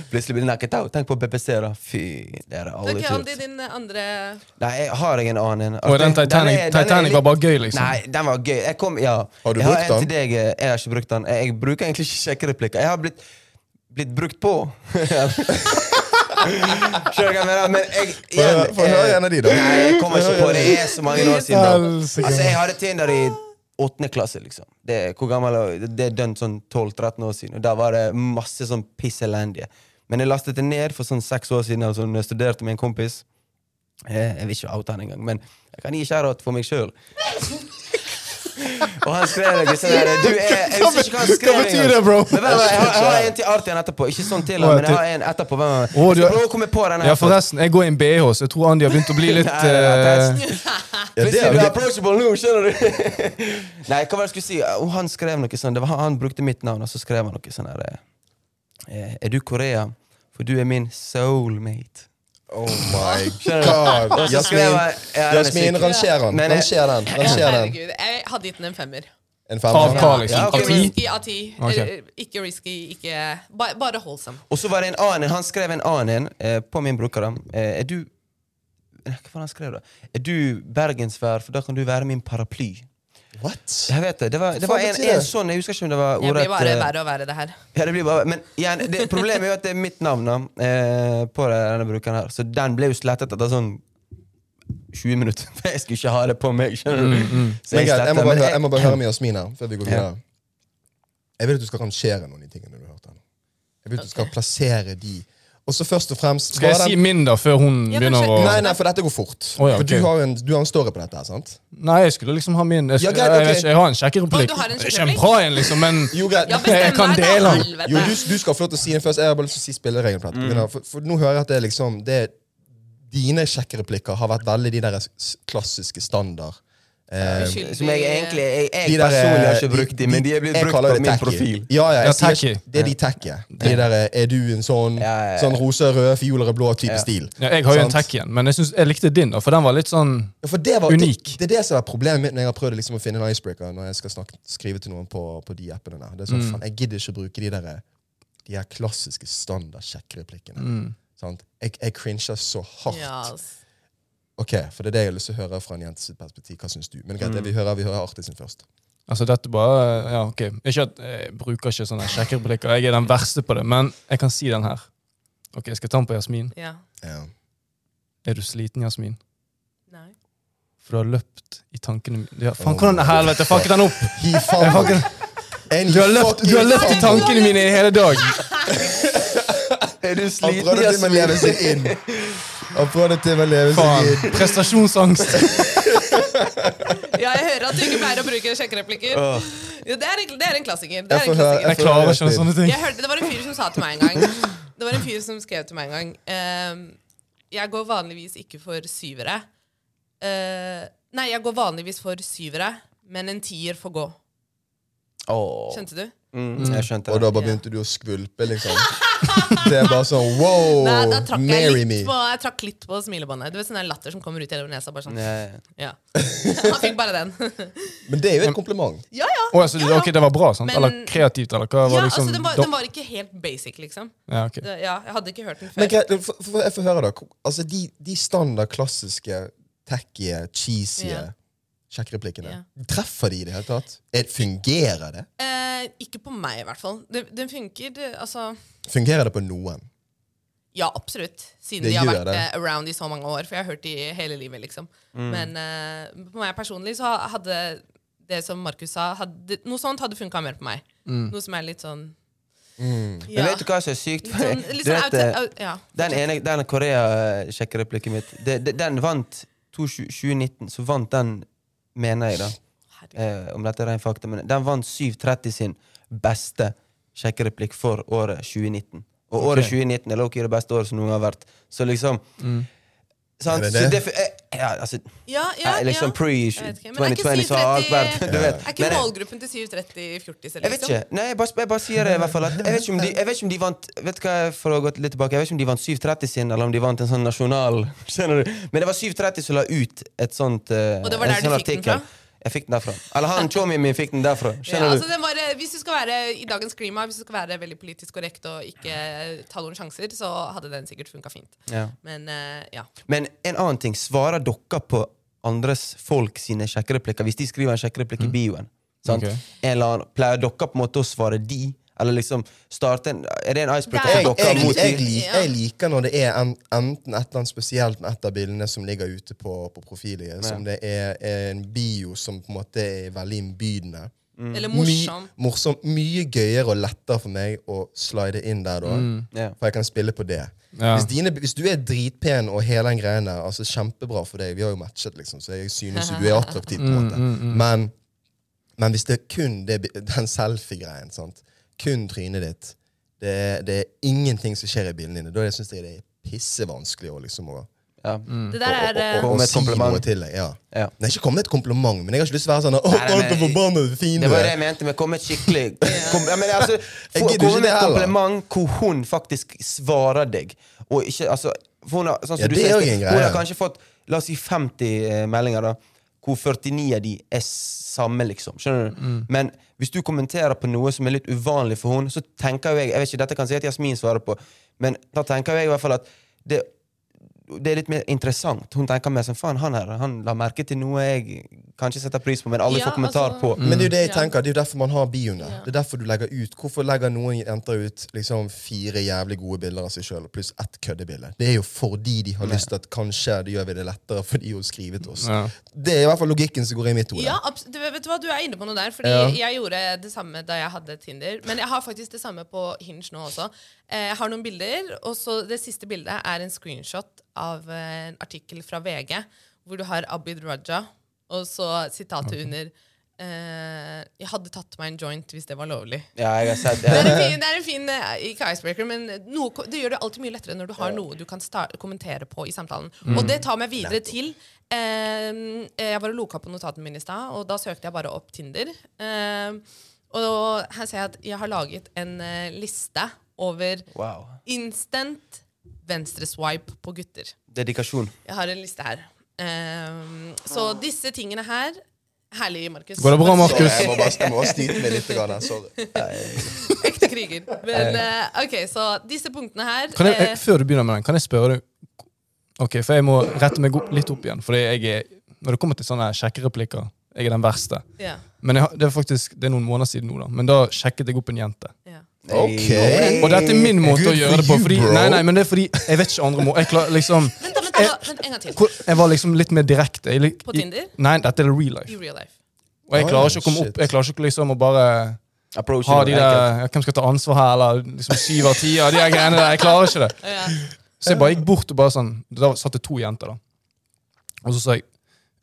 Plutselig blir det nakket out. Tenk på BBC, da. Fy, det er aldri Ok, kult. Andy, din eh, andre Nei, jeg har jeg en annen. Altså, Og den Titanic, er- er Titanic litt- var bare gøy, liksom. Nei, den var gøy. Jeg kom, ja. Har du jeg brukt har en den? Til deg. eh, Jeg har ikke brukt den. Jeg, jeg bruker egentlig ikke sjekkereplikker. Jeg har blitt, blitt brukt på. *laughs* Skjønner du hva jeg mener? Men jeg Få høre- få høre eh, en av de, da. Nei, jeg kommer ikke på det. Det er så mange år siden. da. Helsike. Altså, jeg hadde Tinder i åttende klasse, liksom. Det, er- hvor gammel, er jeg? det er dønt sånn 12-13 år siden. Og der var det masse sånn piss elendige. Men jeg lastet det ned for sånn seks år siden, altså, når jeg studerte med en kompis. Eh, Jeg vil ikke oute han engang, men jeg kan gi skjærhet for meg sjøl. Og han skrev noe sånn her du, jeg, jeg husker ikke hva han Hva skrev betyr engang. det, bro? Men vent, vent, jeg, har, jeg har en til Artian etterpå. Ikke sånn til han, men jeg har en etterpå. Vent, vent, Å, vent. du Jeg har- skal prøve å komme på den Ja, her. først. forresten, jeg går i en BH, så jeg tror Andy har begynt å bli litt Nei, nei, nei, eh, det Ja, det Plutselig er du er jo approachable nå, skjønner du? *laughs* Nei, hva var det jeg skulle si? Oh, han skrev noe sånn, det var, han- han brukte mitt navn, og så skrev han noe sånn her eh, Er du Korea? For du er min soulmate. Oh my god. Og så skrev Jasmin, jeg- ja, den er Jasmin syk. ranger den. Men- eh, Ranger den. Ranger den. Herregud, jeg hadde gitt den en femmer. En Av hva, femmer. liksom? Ja, ok, Av Ikke ti? risky av ti. Ok. Eller, Ikke risky, ikke ba- Bare holdsom. Og så var det en annen, han skrev en annen eh, på min bruker. Eh, er du Nei, Hva var det han skrev, da? Er du bergensvær, for da kan du være min paraply. What? Jeg vet det. Det var, det Hva var en, betyr det? en sånn, jeg husker ikke om det var Det ordrett blir bare eh, verre og verre, det *laughs* her. Ja, det blir bare, men igjen, det, Problemet er jo at det er mitt navn da, eh, på denne brukeren. her Så den ble jo slettet etter sånn 20 *laughs* minutter. For jeg skulle ikke ha det på meg. skjønner du Så Men greit, jeg, må jeg sletter, bare, men hø- jeg må jeg, bare høre med Jasmin her, før vi går Ja. videre. Jeg vil at du skal rangere noen av de tingene du har hørt her. nå. Jeg vil at du skal plassere de. Og så først og fremst Skal jeg bare si den- min, da, før hun Ja, begynner å kanskje- Nei, nei, for dette går fort. Å, ja, For du ok. har, en, du har en story på dette her, sant? Nei, jeg skulle liksom ha min. Jeg, Ja, jeg, greit, jeg, ok. vet ikke, jeg har en Å, sjekkereplikk. du har en Det er sjekkereplikk? kjempebra en, liksom, men Jo, greit. Ja, *laughs* Jeg bestem kan deg, dele da! den. Jo, Helvete! du, du skal få lov til å si den først. Jeg har bare lyst til å si spillereglene på Mm. dette. på grunn av- For, for nå hører jeg at det er liksom det er, Dine sjekkereplikker har vært veldig de der s- klassiske standard. Eh, Uskyldig- som jeg egentlig jeg, jeg de der, personlig har eh, ikke brukt dem, men de er blitt jeg brukt kaller på det min tacky. profil. Ja, ja, jeg Ja, sier tacky. ikke- det er de tacky. De der eh, er du en sånn, Ja, ja, ja. sånn rosa-rød, fioler er blå-type Ja. stil. ja, Jeg har jo en Sant? tech igjen, men jeg, synes, jeg likte din, da, for den var litt sånn Ja, for det, var, Unik. det, det er det som er problemet mitt når jeg har prøvd liksom å finne en icebreaker når jeg skal snakke, skrive til noen på, på de appene der. Det er Mm. sånn, faen, Jeg gidder ikke å bruke de der, eh, de her klassiske Mm. standard-sjekkereplikkene. Sant? Jeg, jeg cringer så hardt. Ja, ass. Ok, For det er det jeg har lyst til å høre fra en jentes perspektiv. Hva syns du? Men greit, Mm. vi hører, vi hører Artis sin først. Altså, dette bare Ja, OK. Ikke at jeg bruker ikke sånne sjekkereplikker, jeg er den verste på det, men jeg kan si den her. OK, jeg skal ta den på Jasmin. Ja. Ja. Er du sliten, Jasmin? Nei. For du har løpt i tankene mine ja, Faen, hvordan helvete fucket den opp? He fucking, and Du har he løpt, du fucking har løpt i fucking- tankene mine i hele dag. Er du Han prøvde til og med å leve seg inn. Han prøvde til og med å leve seg inn. Faen. Prestasjonsangst. Ja, jeg hører at du ikke pleier å bruke sjekkereplikker. Ja, det, er en, det er en klassiker. Det er Jeg en får høre- klassiker. Jeg klarer ikke noen sånne ting. Jeg hørte, det var en fyr som sa til meg en gang Det var en fyr som skrev til meg en gang ehm, Jeg går vanligvis ikke for syvere Eh, Nei, jeg går vanligvis for syvere Men en tier får gå Skjønte du? Mm, jeg skjønte Og da det. bare begynte du å skvulpe, liksom. Det er bare sånn wow, Nei, da trakk jeg marry litt, me. på, jeg trakk litt på smilebåndet Du vet sånn der latter som kommer ut gjennom nesa Bare sånn, Nei. ja Han fikk bare den Men det er jo et kompliment. *laughs* Ja, ja Å, altså, Ja, ja. ok, det var bra, sant? Men- Eller kreativt, eller hva? Ja, Var liksom, altså den var, den var ikke helt basic liksom ja, ok. Det- Ja, jeg hadde ikke hørt den Men før greit, for, for, jeg får høre, da. Altså, de, de standard klassiske, tacky, cheesy Ja. sjekkereplikkene, Ja. treffer de i det hele tatt? Er, fungerer det? eh, Ikke på meg i hvert fall Den, den funker, det- altså Fungerer det på noen? Ja, absolutt. Siden Det de har gjør vært det. eh, around i så mange år. For jeg har hørt de hele livet, liksom. Mm. Men eh, på meg personlig så hadde det som Markus sa, hadde, noe sånt hadde funka mer på meg. Noe som er litt sånn Mm. Men vet du hva som er sykt? Sånn, *laughs* Du litt sånn vet, eh, auto- au- ja. Den ene den Korea-sjekkereplikken mitt, det- det- den vant 20- 2019, så vant den, mener jeg, da. Herregud. Eh, om dette er en fakta, men den vant 730 sin beste sjekkereplikk for året 2019. Og året 2019 er lowkey det beste året som noen gang har vært. Så liksom sant? Mm. Er det Så det? det- eh, ja, altså, Ja, ja, eh, liksom ja. Jeg vet ikke, men er ikke pre-2020 så har alt vært 730 du vet. Er ikke Men jeg- målgruppen til 730 fjortiser, jeg vet liksom? ikke. Nei, jeg bare, jeg bare sier det i hvert fall. At, jeg, vet ikke om de, jeg vet ikke om de vant Vet du hva, for å gå litt tilbake Jeg vet ikke om de vant 730 sin, eller om de vant en sånn nasjonal *laughs* Skjønner du? Men det var 730 som la ut et sånt eh, Og det var en der du sånn fikk den fra? Jeg fikk den derfra. Eller han chomien min fikk den derfra. *laughs* Ja, Skjønner du? altså den var, eh, hvis du skal være I dagens klima, hvis du skal være veldig politisk korrekt og ikke eh, ta noen sjanser, så hadde den sikkert funka fint. Ja. Men eh, ja. Men en annen ting, svarer dere på andres folk sine sjekkereplikker hvis de skriver en sjekkereplikk Mm. i bioen? Sant? Ok. En eller annen, pleier dere på en måte å svare de? Eller liksom starte en, Er det en icebreaker Nei, Jeg, for jeg, dere mot jeg, de? liker, jeg liker når det er en, enten et eller annet spesielt med et av bildene som ligger ute på, på profilet, som det er, er en bio som på en måte er veldig innbydende. Mm. Eller My, morsom. morsom. Mye gøyere og lettere for meg å slide inn der da. Ja. For jeg kan spille på det. Ja. Hvis, dine, hvis du er dritpen og hele den greien der, altså kjempebra for deg. Vi har jo matchet, liksom, så jeg synes jo du er attraktiv. på en *laughs* måte. Mm, Men, men hvis det er kun det, bi- *laughs* den selfie-greien, sant? kun trynet ditt det, er- det er ingenting som skjer i bildene dine. Da syns jeg det er pissevanskelig å liksom å, Ja. Det der er å, eh, å, Komme med å et si kompliment. noe til deg. Ja. Ja. Nei, ikke komme med et kompliment, men jeg har ikke lyst til å være sånn Å, Nei, nei, alt er men- forbannet fin Det du var det er. jeg mente med komme et skikkelig kom, ja, men *laughs* altså, gidder få- Komme ikke med det et heller. kompliment hvor hun faktisk svarer deg. Og ikke, altså, for hun har, sånn som Ja, du det er sier, jo en greie. Hun har kanskje fått la oss si 50 eh, meldinger, da, hvor 49 av de er samme, liksom. Skjønner du? Mm. Men hvis du kommenterer på noe som er litt uvanlig for hun, så tenker jo jeg Jeg vet ikke, Dette kan si at Jasmin svarer på, men da tenker jeg i hvert fall at det det er litt mer interessant. Hun tenker mer sånn Faen, han her han la merke til noe jeg kanskje setter pris på, men aldri Ja, får kommentar altså- på. Men Mm. det er jo det jeg Ja. tenker, det er jo derfor man har bioen der. Det er derfor du legger ut. Hvorfor legger noen jenter ut liksom fire jævlig gode bilder av seg sjøl pluss ett køddebilde? Det er jo fordi de har lyst til at kanskje det gjør vi det lettere for de å skrive til oss. Ja. Det er i hvert fall logikken som går i mitt hode. Ja, abs- du, vet du hva, du er inne på noe der. Fordi Jeg gjorde det samme da jeg hadde Tinder. Men jeg har faktisk det samme på Hinge nå også. Eh, Jeg har noen bilder, og så det siste bildet er en screenshot av eh, en artikkel fra VG hvor du har Abid Raja, og så sitatet under eh, 'Jeg hadde tatt meg en joint hvis det var lovlig'. Ja, jeg har sett Det er *laughs* ja. en fin, det er en fin eh, ikke icebreaker, men noe, ko- det gjør det alltid mye lettere når du har noe du kan sta- kommentere på i samtalen. Mm. Og det tar meg videre til eh, Jeg var og loka på notatene mine i stad, og da søkte jeg bare opp Tinder. Eh, og her ser jeg at jeg har laget en eh, liste over Wow. instant venstreswipe på gutter. Dedikasjon. Jeg har en liste her. Eh, så disse tingene her Herlig, Markus. Går det bra, Markus? Sorry, jeg må bare, jeg må bare snyte meg litt. Grann, her, sorry. Ekte kriger. Men eh, ok, så disse punktene her Kan jeg, eh, jeg, før du begynner med den, kan jeg spørre deg Ok, for jeg må rette meg opp, litt opp igjen. Fordi jeg er, når det kommer til sånne sjekkereplikker, jeg er den verste. Ja, Men jeg, har- det er faktisk, det er noen måneder siden nå, da. Men da sjekket jeg opp en jente. ja. Ok. Og dette er min måte å Good gjøre for det på. you, Fordi, bro. nei, nei, men det er fordi jeg vet ikke andre må Jeg klar, liksom Vent, da, vent, da, vent en gang til. hvor, Jeg var liksom litt mer direkte. Jeg, lik- På Tinder? Nei, dette er real I life. real life. Og jeg klarer ikke å komme Shit. opp. Jeg klarer ikke liksom å bare Approach ha de der ja, Hvem skal ta ansvar her, eller liksom syv av ti av de der greiene der. Jeg klarer ikke det. Ja. Så jeg bare gikk bort og bare sånn Da satt det to jenter, da. Og så sa jeg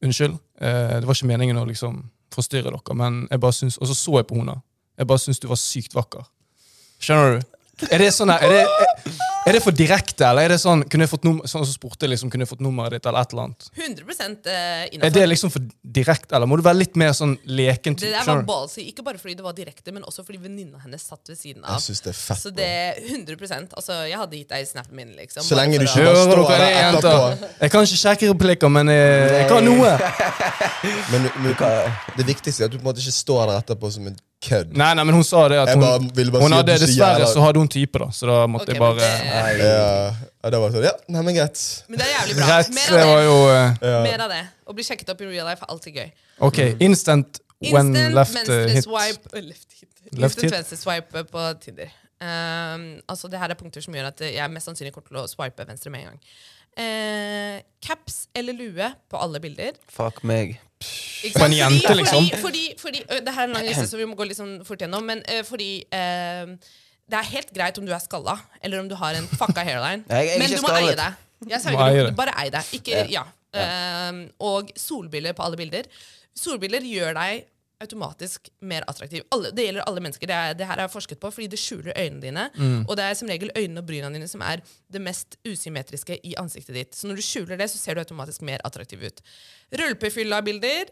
unnskyld, eh, det var ikke meningen å liksom forstyrre dere, men jeg bare syns Og så så jeg på henne. Jeg bare syns du var sykt vakker. Skjønner du? Er det sånn her, er det, er, er det for direkte, eller er det sånn Kunne jeg fått nummer, sånn som spurte jeg liksom, kunne jeg fått nummeret ditt, eller et eller annet? 100 eh, Er det innafor. liksom for direkte, eller må du være litt mer sånn leken? Det typ, der var skjønner du? ballsy, ikke bare fordi det var direkte, men også fordi venninna hennes satt ved siden av. Jeg syns det er fett. Så bro. det er 100 Altså, jeg hadde gitt deg snappen min, liksom. Så bare lenge for å- du ikke- Hører Bare stå dere det, der jenter? etterpå. Jeg kan ikke sjekke replikker, men jeg, jeg kan noe. Men du- du- det viktigste er at du på en måte ikke står der etterpå som en kødd. Nei, nei, men hun sa det at Jeg hun, bare ville bare hun si at hadde du sier dessverre jævla- så hadde hun type, da. Så da måtte Ok, jeg bare men, det, Ja, og da var det sånn, ja, nei, men greit. men det er jævlig bra. Rett, Mer det av var det. jo eh, Mer av det. Å bli sjekket opp i real life er alltid gøy. OK, instant when Instant left eh, hit. venstreswipe eh, left hit. Instant hit. venstreswipe på Tinder. Um, altså Det her er punkter som gjør at eh, jeg mest sannsynlig kommer til å swipe venstre med en gang. Eh, caps eller lue på alle bilder. Fuck meg. Ikke På en sant? jente, liksom. Fordi, fordi, fordi, ø, det her er en lang liste, så vi må gå litt sånn fort gjennom. Men ø, fordi eh, Det er helt greit om du er skalla, eller om du har en fucka hairline, Nei, jeg er men ikke du må skallet. eie deg. Jeg Du må eie sverger, det. du bare ei deg. Ikke, ja. Ehm, og solbriller på alle bilder. Solbriller gjør deg automatisk mer attraktiv. Alle, det gjelder alle mennesker. Det, er, det her er forsket på, fordi det skjuler øynene dine. Mm. Og det er som regel øynene og bryna dine som er det mest usymmetriske i ansiktet ditt. Så når du skjuler det, så ser du automatisk mer attraktiv ut. Rølpefylla bilder.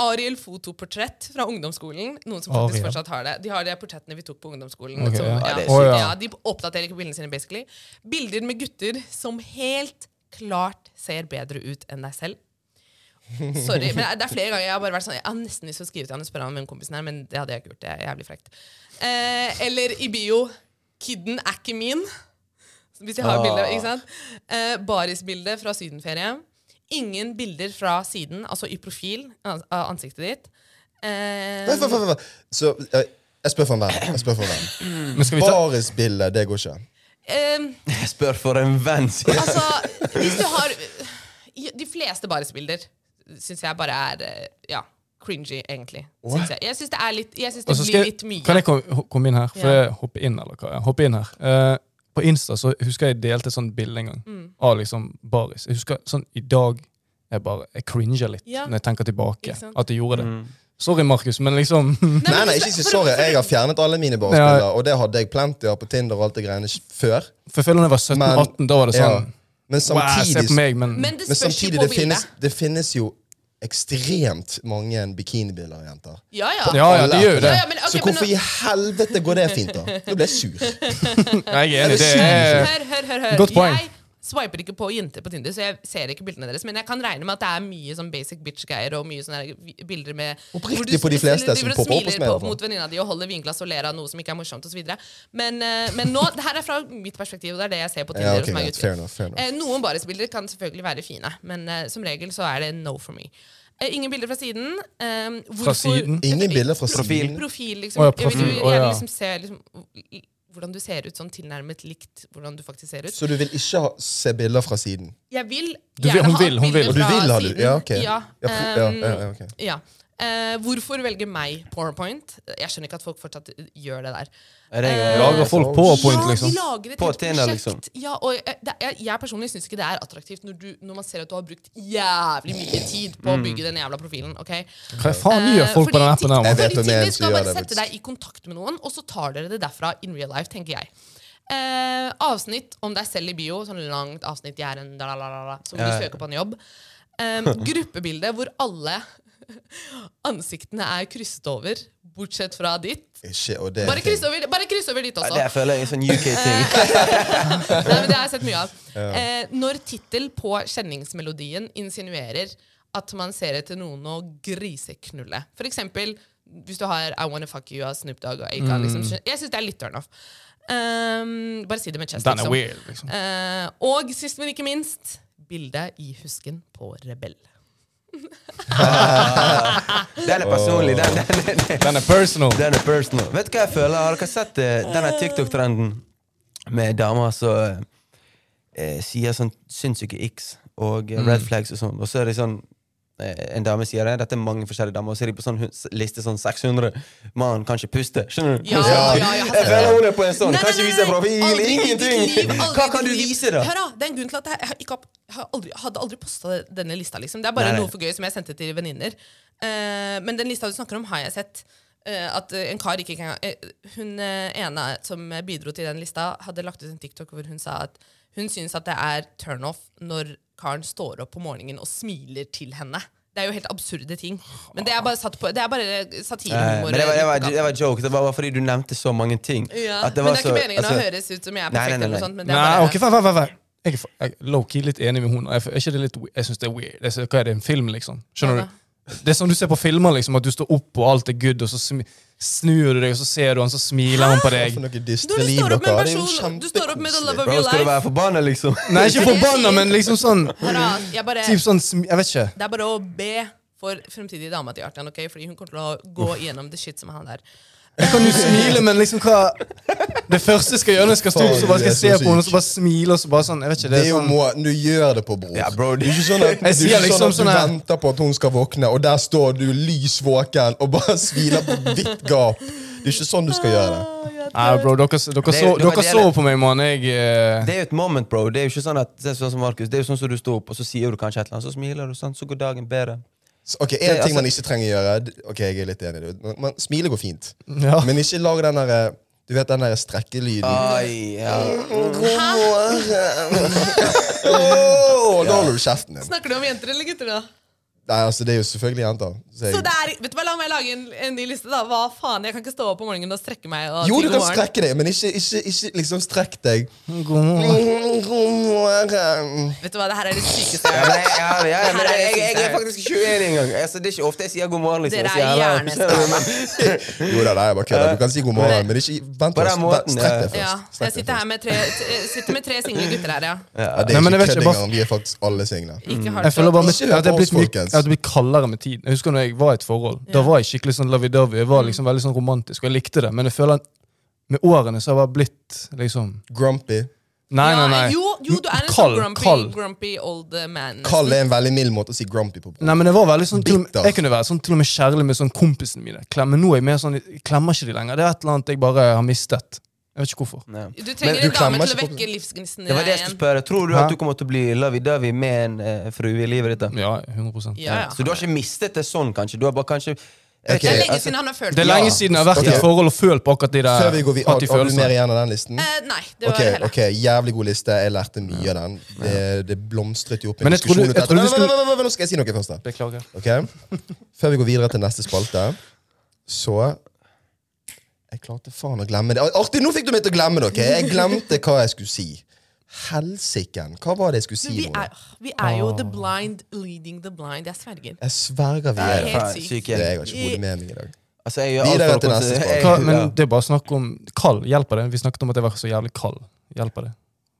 Ariel fotoportrett fra ungdomsskolen. Noen som faktisk Ariel. fortsatt har det. De har de portrettene vi tok på ungdomsskolen. Ok, som, ja. ja. Ja, det er sykt. Ja, Å, ja. De oppdaterer ikke bildene sine, basically. Bilder med gutter som helt klart ser bedre ut enn deg selv. Sorry, men det er flere ganger jeg har bare vært sånn Jeg har nesten lyst til å skrive til han og spørre han hvem kompisen er, men det hadde jeg ikke gjort. Det er jævlig frekt. Eh, eller i bio 'Kidden er ikke min'. Hvis jeg har Ah. bilde, ikke sant? Eh, Barisbilde fra sydenferie. Ingen bilder fra siden, altså i profil av av ansiktet ditt. Eh, Vent, vent, vent, vent. Så eh, jeg spør for en venn. Jeg spør for en venn. Men skal vi ta Barisbilde, det går ikke. eh, Jeg spør for en venn, sier jeg. Altså, hvis du har De fleste barisbilder syns jeg bare er eh, Ja, cringy, egentlig. Syns jeg jeg syns det, er litt, jeg synes det Og så skal blir jeg- litt mye. Kan jeg komme komme inn her? For Ja. jeg hopper inn, eller hva? Jeg hopper inn her. Eh, på Insta så husker jeg delte et sånt bilde en gang Mm. av liksom baris. Jeg husker sånn i dag jeg bare jeg cringer litt Ja. når jeg tenker tilbake Ikke sant? at jeg gjorde det. Sorry, Markus, men liksom *laughs* men Nei, nei, hvis du- ikke si for- sorry. for- Jeg har fjernet alle mine barisbilder, og det hadde jeg plenty av på Tinder og alt det greiene før. For jeg føler når jeg var 17-18, da var det Ja. sånn Men Wow, se samtidig på meg, men, Men det Men spørs samtidig, jo på det finnes, bildet. det finnes jo ekstremt mange bikinibilder av jenter. Ja, ja. Ja, ja, det gjør jo det. Ja, ja, men ok, så men hvorfor nå- i helvete går det fint, da? Nå ble jeg *laughs* sur. Nei, jeg er Hør, enig. Det er hør, hør. hør, hør. Godt poeng. Jeg swiper ikke på jenter på Tinder, så jeg ser ikke bildene deres. Men jeg kan regne med at det er mye sånn basic bitch-greier og mye sånne her bilder med Oppriktig hvor du på de stiller- fleste altså, som driver og popper opp hos smiler meg, i på- hvert fall. Mot venninna di og holder vinglass og ler av noe som ikke er morsomt osv. Men, eh, men nå, det her er fra mitt perspektiv, og det er det jeg ser på Tinder. Ja, og ok, som er greit. gutter. Fair enough. fair enough. Eh, noen barisbilder kan selvfølgelig være fine, men eh, som regel så er det no for me. Eh, ingen bilder fra siden. Eh, hvorfor- siden? Ingen bilder fra Profil. siden. profil, liksom. Å ja, Jeg vil profil, jo å gjerne ja. liksom se liksom, i- hvordan du ser ut, sånn tilnærmet likt hvordan du faktisk ser ut. Så du vil ikke ha, se bilder fra siden? Jeg vil Du vil- gjerne hun ha vil, hun vil. bilder Og du fra vil ha du? siden. Ja, ok. Ja, Ja, pro- ja, ehm, ja, ja, ok. ja. Eh, hvorfor velge meg PowerPoint? Jeg skjønner ikke at folk fortsatt gjør det der. Er det en gang? Eh, Lager folk på point, liksom. Ja, de lager et På helt Tinder, prosjekt. liksom. Ja, og jeg, det, jeg, jeg personlig syns ikke det er attraktivt når, du, når man ser at du har brukt jævlig mye tid på å Mm. bygge den jævla profilen. ok? Hva faen gjør Eh, folk på fordi den appen TikTok- her? Jeg vet om fordi en Tinder som skal gjør bare det, sette faktisk. deg i kontakt med noen, og så tar dere det derfra in real life, tenker jeg. Eh, avsnitt om deg selv i bio, sånn langt avsnitt jeg er en da, da, da, da, så hvor Ja, ja. du søker på en jobb. *laughs* Um, gruppebilde hvor alle *laughs* ansiktene er krysset over, bortsett fra ditt. Ikke, og det er Bare ting. kryss over, bare kryss over ditt også. Det føler jeg er en sånn Eh. UK-ting. Nei, men det har jeg sett mye av. Eh, når tittel på kjenningsmelodien insinuerer at man ser etter noen å griseknulle. For eksempel hvis du har I Wanna Fuck You av Snoop Dogg og Aka. Liksom, jeg syns det er litt turn off. Um, bare si det med chest, Den er liksom. weird, liksom. Eh, og sist, men ikke minst, bildet i husken på Rebell. Den er personlig. Den, den, den, den. Den er personal. Den er personal. Vet du hva jeg føler? Har dere sett eh, denne TikTok-trenden med damer som eh, sier sånn sinnssyke x og eh, Mm. red flags og sånn, og så er det sånn eh, en dame sier det, dette er mange forskjellige damer, og så er de på sånn hun- liste sånn 600 Mann kan ikke puste. Skjønner du? Ja, ja, ja, jeg har jeg sett det. føler hun er på en sånn. Nei, Kan nei, ikke nei, vise nei. profil. Aldri i ditt liv, Ingenting. aldri Hva i kan du ditt liv. vise, da? Hør da, Det er en grunn til at jeg, ikke har- jeg har aldri, hadde aldri posta denne lista. liksom. Det er bare Nei, nei. noe for gøy som jeg sendte til venninner. Eh, men den lista du snakker om, har jeg sett. Eh, at eh, en kar ikke engang eh, Hun eh, ene som eh, bidro til den lista, hadde lagt ut en TikTok hvor hun sa at hun syns at det er turnoff når karen står opp på morgenen og smiler til henne. Det er jo helt absurde ting. Men det er bare, satt på, det er bare Eh, satirehumor. Men det var, det, var, i det var joke. Det var bare fordi du nevnte så mange ting. ja. at det men var det er ikke så- meningen altså- å høres ut som jeg er Nei, perfekt. nei, nei, eller noe nei. sånt, men det er Nei, bare- ok, vent, vent, vent, vent. Jeg er fa- jeg er low-key litt enig med hun. Jeg, er ikke det litt, we- jeg synes det er weird. Det er, så- hva er det, en film, liksom? Skjønner Ja, du? Det er som du ser på filmer, liksom, at du står opp og alt er good, og så smi- snur du deg, og så ser du han, så smiler han Hva på for deg. noe Når dystre du liv står dere opp med en har. Det er jo person Du står opp med the love kjempekoselig. of Bro, your skal du være life. forbanna, *laughs* liksom? Nei, ikke forbanna, men liksom sånn Hør da, jeg bare, Typ sånn, smi- jeg vet ikke. det er bare å be for fremtidige dama til Artian, ok? fordi hun kommer til å gå igjennom the shit som han der. Du kan jo smile, men liksom hva Det første jeg skal gjøre når jeg skal stå opp, så bare skal jeg se på henne, og så bare smile, og så bare sånn Jeg vet Det ikke, det er er jo sånn må, Du gjør det på bror. Ja, bro, det er ikke sånn at, det er sier ikke liksom sånn at du sånn *laughs* her- venter på at hun skal våkne, og der står du lys våken og bare sviler på vidt gap. Det er ikke sånn du skal gjøre det. Nei, bro, dere, dere, Det- så, det var dere det- så på meg, mann. Jeg eh, Det er jo et moment, bro. Det er jo ikke sånn at, det er sånn som Markus, det er jo sånn som du står opp, og så sier du kanskje et eller annet, så smiler du, sant? så går dagen bedre. Så, ok, En altså- ting man ikke trenger å gjøre d- Ok, jeg er litt enig i det. Man, man, smile går fint. ja. Men ikke lag den derre Du vet den derre strekkelyden. Ai, ja. God morgen. Åh, Da holder du kjeften din. Snakker du om jenter eller gutter, da? Nei, altså, det er jo selvfølgelig jenter. Så jeg- Så det er, vet du hva, La meg lage en, en ny liste, da. Hva faen, Jeg kan ikke stå opp om morgenen og strekke meg. Og jo, si du god kan morgen. strekke deg, men ikke, ikke, ikke liksom strekk deg. God morgen. God morgen. Vet du hva, det her er det sykeste Ja, jeg har hørt. men, ja, ja, ja, men Det her er jeg, jeg, jeg jeg er synes faktisk ikke uenig engang. Altså, det er ikke ofte jeg sier god morgen. liksom. Dere Jeg er sier, sånn. «Hallo». hjerneskada. Jo da, nei, jeg bare Eh, kødder. Du kan si god morgen, men ikke vent. På den først. måten, Strekk ja. deg først. Ja, jeg Strekk deg sitter her med tre, t- sitter med *laughs* tre single gutter her, ja. Ja, det er Nei, men jeg ikke kødd vet ikke, bare- engang. Vi er faktisk alle single. Ikke har Mm. Jeg det føler så- bare Ikke hør mitt- at det på oss, er blitt mye- folkens. at det blir kaldere med tiden. Jeg husker når jeg var i et forhold. Da Ja. var jeg skikkelig sånn lovey-dovey. Jeg var liksom veldig sånn romantisk, og jeg likte det. Men jeg føler at med årene så har jeg bare blitt liksom Grumpy. Nei, nei, nei. Ja, Jo, jo, du er en Kald, sånn grumpy, kald. grumpy old man. Kall er en veldig mild måte å si grumpy på. Nei, men jeg var veldig sånn til og med, Bitter. Jeg kunne være sånn til og med kjærlig med sånn kompisene mine. Klem- Men nå er jeg mer sånn Jeg klemmer ikke de lenger. Det er et eller annet jeg bare har mistet. Jeg vet ikke hvorfor. Ja. Du trenger du en dame klemmer til å ikke på- vekke livsgnisten i Det var deg det jeg skulle igjen. spørre. Tror du Hæ? at du kommer til å bli lovey-dovey med en eh, frue i livet ditt? da? Ja, 100 Ja, ja. Så du har ikke mistet det sånn, kanskje? Du har bare kanskje Ok. Det er lenge altså, siden han har følt Det er meg. lenge siden jeg har vært i Ok. et forhold og følt på akkurat de der Før vi går vi akkurat har, de har du mer følelsene. igjen av den listen? Eh, nei, det var Ok, det hele. ok, Jævlig god liste. Jeg lærte mye av den. Det, det blomstret jo opp Men en jeg tror du- diskusjon. ut jeg av tror du dette. Vent, skulle- vent, vent, vent, Nå skal jeg si noe først. da Beklager. Ok? Før vi går videre til neste spalte, så Jeg klarte faen å glemme det. Artig, nå fikk du meg til å glemme det! ok? Jeg glemte hva jeg skulle si. Helsiken! Hva var det jeg skulle Men si vi, nå? er, da? vi er jo the blind leading the blind. Jeg sverger. Jeg sverger vi er det. Helt faen, sykt. syk Det igjen. er jeg har ikke hodet med meg i dag. Altså, jeg gjør alt Videre for å til komme neste til- spørsmål. Hva, Jeg- men ja. det er bare snakk om Kald, hjelper det? Vi snakket om at jeg var så jævlig kald. Hjelper det?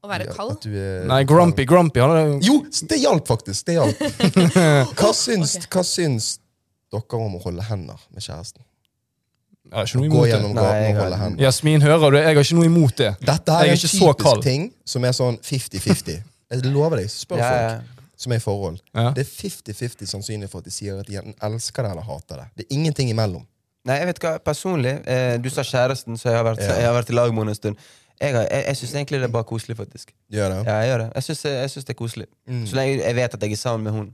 Å være Ja, at kald. du er- Nei, grumpy, grumpy. Han er, Jo, det hjalp faktisk. Det *laughs* hjalp. Hva syns, hva syns dere om å holde hender med kjæresten? jeg har ikke noe Gå imot det. gjennom Nei, gaten jeg og har- holde hender. Jasmin, hører du? Jeg har ikke noe imot det. Dette her Jeg er er en ikke så kald. typisk ting som er sånn 50-50. Jeg lover deg, spør Ja, ja. folk som er i forhold. Ja. Det er 50-50 sannsynlig for at de sier at de enten elsker det eller hater det. Det er ingenting imellom. Nei, jeg vet hva, personlig eh, Du sa kjæresten, så jeg har vært, jeg har vært i lag med henne en stund. Jeg, har- jeg, jeg syns egentlig det er bare koselig, faktisk. Gjør det? Mm. Ja, jeg gjør det. Jeg syns, jeg synes det er koselig. Så lenge jeg vet at jeg er sammen med hun.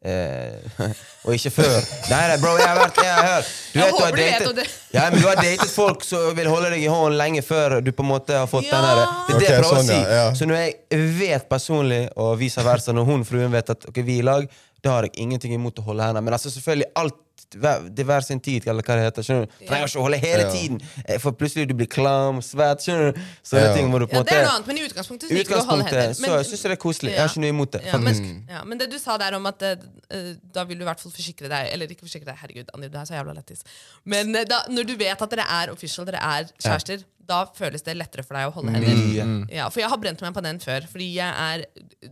Eh, *laughs* og ikke før. Nei, nei, bro, jeg har vært Jeg, har hørt. Jeg har håper du vet datet- at det- Ja, men du har datet folk som vil holde deg i hånden lenge før du på en måte har fått Ja. den der Det er det jeg Ok, prøver sånn, å si. ja, ja. Så når jeg vet personlig, og vice versa, når hun fruen vet at ok, vi er i lag, da har jeg ingenting imot å holde henne. Men altså selvfølgelig alt hver- det er hver sin tid, eller hva det heter. skjønner du? Trenger ikke å holde hele Ja. tiden, eh, for plutselig du blir klam, svett, skjønner du. Sånne Ja. ting må du på en Ja, det er måte noe annet, men i utgangspunktet så i liker vi å holde hender. utgangspunktet så Men- jeg syns det er koselig. Jeg har ikke noe imot det. Mm. Ja, men, ja, men det du sa der om at eh, eh, da vil du i hvert fall forsikre deg Eller ikke forsikre deg, herregud, Anir, du er så jævla lættis. Men eh, da, når du vet at dere er official, dere er kjærester, da føles det lettere for deg å holde hender. Mye. Mm. Ja, for jeg har brent meg på den før, fordi jeg er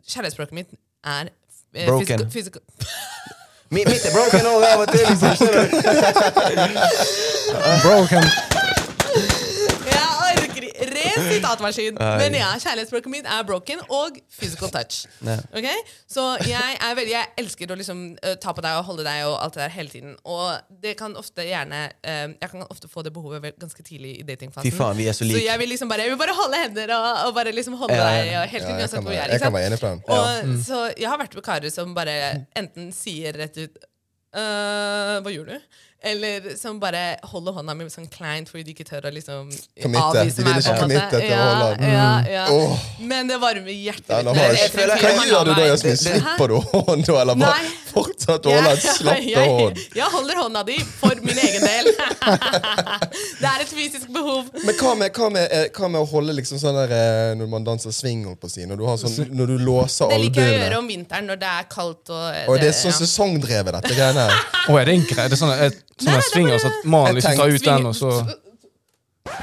Kjærlighetsspråket mitt er eh, Broken. physical- physical- Mi- Mitt er broken over av og til. liksom, skjønner du? Broken. Jeg orker ikke. Ren sitatmaskin. Men ja, kjærlighetsspråket mitt er broken og physical touch. Ja. Ok? Så jeg, er veldig, jeg elsker å liksom eh, ta på deg og holde deg og alt det der hele tiden. Og det kan ofte gjerne eh, Jeg kan ofte få det behovet vel- ganske tidlig i datingfasen. *laughs* Fy faen, vi er så like. jeg vil liksom bare, jeg vil bare holde hender og, og bare liksom holde Ja, ja, deg ja. og hele Ja, tiden jeg, uansett kan hvor vi være, er. jeg ikke kan sant? være enig på den. Og, Mm. Så jeg har vært med karer som bare enten sier rett ut «Øh, Hva gjorde du? Eller som bare holder hånda mi sånn kleint fordi de ikke tør å liksom Committe. De på en vil ikke måte. committe til å ja, holde. Mm. ja, ja. Åh. Men det varmer hjertet Den mitt. er harsh. jeg føler- Hva jeg- gjør du da, Jasmin? Hæ? Slipper du hånden da, eller bare Nei. fortsatt å holde en *laughs* Jeg- slapp jeg- hånd? Jeg holder hånda di for min egen *laughs* del. *laughs* det er et fysisk behov. Men hva med, hva, med, eh, hva med å holde liksom sånn der eh, når man danser swing, holdt på å si, når du, har sånn, når du låser Det liker jeg å albuene? gjøre om vinteren når det er kaldt. Og, Og det er sånn så ja. sesongdrevet, dette greiene her. Å, er det en greie? Det er sånn at Nei, sånn det er swingers bare- at mannen Jeg liksom tar tenkte- ut den, og så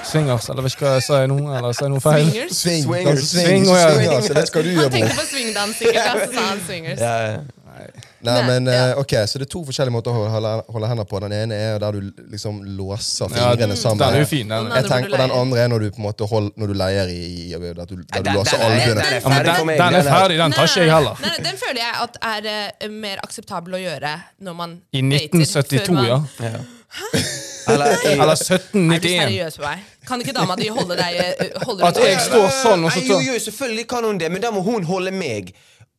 Swingers, eller vet ikke hva jeg sa jeg nå? Eller sa jeg noe feil? *laughs* Swingers. Swing, Swingers. danser swing, Swing, å, ja. swing, altså. Det skal du Han gjøre, bror. tenkte på swingdans, sikkert. da, Så sa han swingers. Ja, ja. Nei, Nei, men ja. eh, ok, Så det er to forskjellige måter å holde, holde hender på. Den ene er der du liksom låser Ja, fingrene sammen. den er jo fin, den. Den Jeg andre tenker burde på den leie. andre er når du på en måte hold, når du leier i, i der du, der du Den- låser den er- albuene. den er Ja, men ferdig den, for meg, den den er er- ferdig, den tar ikke jeg heller. Nei, nei, den føler jeg at er eh, mer akseptabel å gjøre når man I dater. 1972, før man- ja. Eller, Er Eller du 1791. seriøs på meg? Kan ikke dama di holde deg eh, holde At jeg *laughs* står sånn, og så Nei, tar Jo, jo, selvfølgelig kan hun det, men da må hun holde meg.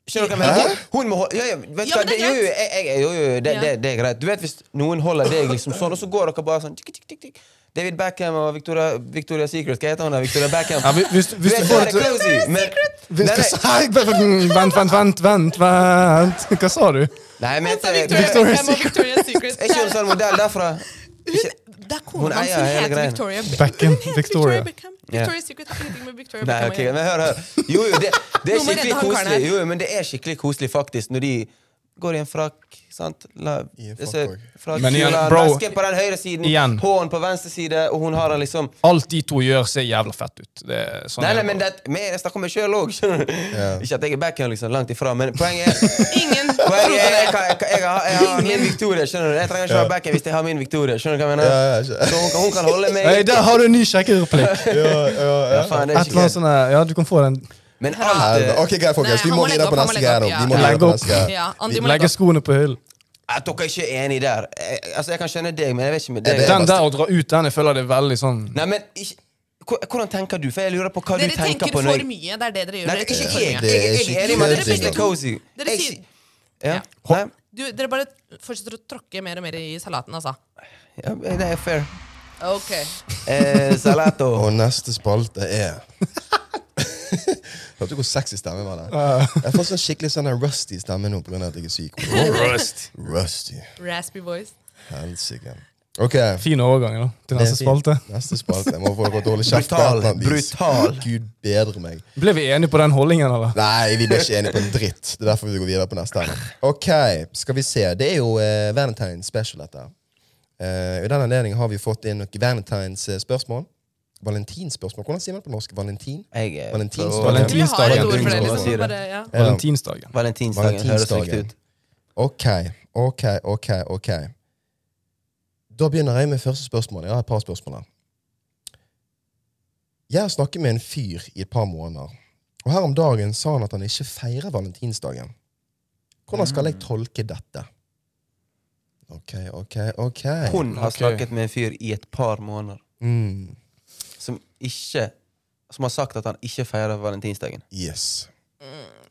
Skjønner du hva jeg mener? Hun må holde, ja, ja, vet du Ja, hva, men det, det er jo, jo, greit. jeg, jeg, jo, jo, det, Ja. det, det er greit. Du vet hvis noen holder deg liksom sånn, og så går dere bare sånn tikk, tikk, tikk, tikk. David Beckham og Victoria, Victoria Secret. Hva heter hun der? Victoria Beckham. ja, hvis, hvis, Du hvis vet, du får det det til er cozy, men, Hvis Nei, du nei, sa- Vent, vent, vent, vent, vent. Hva sa du? nei, men Så jeg Victoria mente Victoria's Beckham og Victoria's Secret. Er ikke hun sånn modell derfra? Hun, det er Hun kona hans eier som hele heter greien. Victoria Beckham. Beckham, Hun heter Victoria. Beckham. Ja. Victoria's Secret har ingenting med Victoria Nei, Beckham ok, å gjøre. men hør, hør. Jo, jo, det, det er Nå må jeg redde skikkelig han karen her. koselig. Jo, jo, men det er skikkelig koselig, faktisk, når de går i en frakk. sant? La, I en det frakk ser- også. frakk, Men igjen, kjolen, bro, veske på den høyre siden, igjen. Sånn, hånden på venstre side, og hun har den liksom Alt de to gjør, ser jævla fett ut. Det er sånn Nei, er nei, det men bare. det, men jeg snakker om meg sjøl òg. *laughs* Ikke at jeg er backhand, liksom, langt ifra, men poenget er *laughs* Ingen Poenget er, jeg, trodde det. kan- jeg, kan- jeg, har- jeg har min Victoria, skjønner du. Jeg trenger ikke ha backhand hvis jeg har min Victoria. skjønner du hva jeg mener? Ja, ja, skjønner. Så hun, kan- hun kan holde meg Hei, der har du en ny sjekkereplikk! Ja, ja, *laughs* Ja, ja. faen, det er Et eller annet skikkelig. sånn eh, Ja, du kan få den. Men alt Helvete. eh, Ok, greit, folkens. Nei, Vi han må må legge videre opp, på han må neste legge greie nå. opp, Vi ja. må Legge videre på opp. neste greie. Ja, Andi må legge Legge opp. skoene på hyllen. At dere ikke er enige der. Jeg, altså, jeg kan skjønne deg, men jeg vet ikke med Ja, deg. det er- Den der å dra ut den, jeg føler det er veldig sånn Nei, men ikke, hvor- Hvordan tenker du? For jeg lurer på hva Dere du tenker tenker på. for mye. Det er det dere gjør. Nei, Dere ikke tenker jeg. for Jeg, mye. Det er jeg, er enig ikke med at det er det. litt cozy. Dere Jeg sier sier- Ja. Ja. Nei, du, Dere bare fortsetter å tråkke mer og mer i salaten, altså. ja, det er fair. Ok. Eh, *laughs* salato. Og neste spalte er *laughs* Hørte du hvor sexy stemmen var der? Jeg får sånn skikkelig sånn der rusty stemme nå pga. at jeg er syk. Rusty. Raspy voice. Helsike. OK. Fin overgang da, til neste Det er fint. spalte. Neste spalte. Jeg må få dere til å holde kjeft. på et Brutal, eller annet vis. brutal. Gud bedre meg. Ble vi enige på den holdningen, eller? Nei, vi ble ikke enige på en dritt. Det er derfor vi går videre på neste. her. Ok, skal vi se. Det er jo eh, Valentine Special, dette. Eh, I den anledning har vi fått inn noen Valentines eh, spørsmål. Valentinspørsmål. Hvordan sier man det på norsk? Valentin? Jeg, eh, Valentins- prøver- Valentins- Vi har et ord for det, Valentinsdagen. liksom. Bare, ja. Valentinsdagen. Valentinsdagen høres riktig ut. Ok, ok, ok, ok. Da begynner jeg med første spørsmål. Jeg har et par spørsmål her. Jeg har snakket med en fyr i et par måneder, og her om dagen sa han at han ikke feirer valentinsdagen. Hvordan skal Mm. jeg tolke dette? Ok, ok, ok. Hun har Ok. snakket med en fyr i et par måneder Mm, som ikke Som har sagt at han ikke feirer valentinsdagen. yes.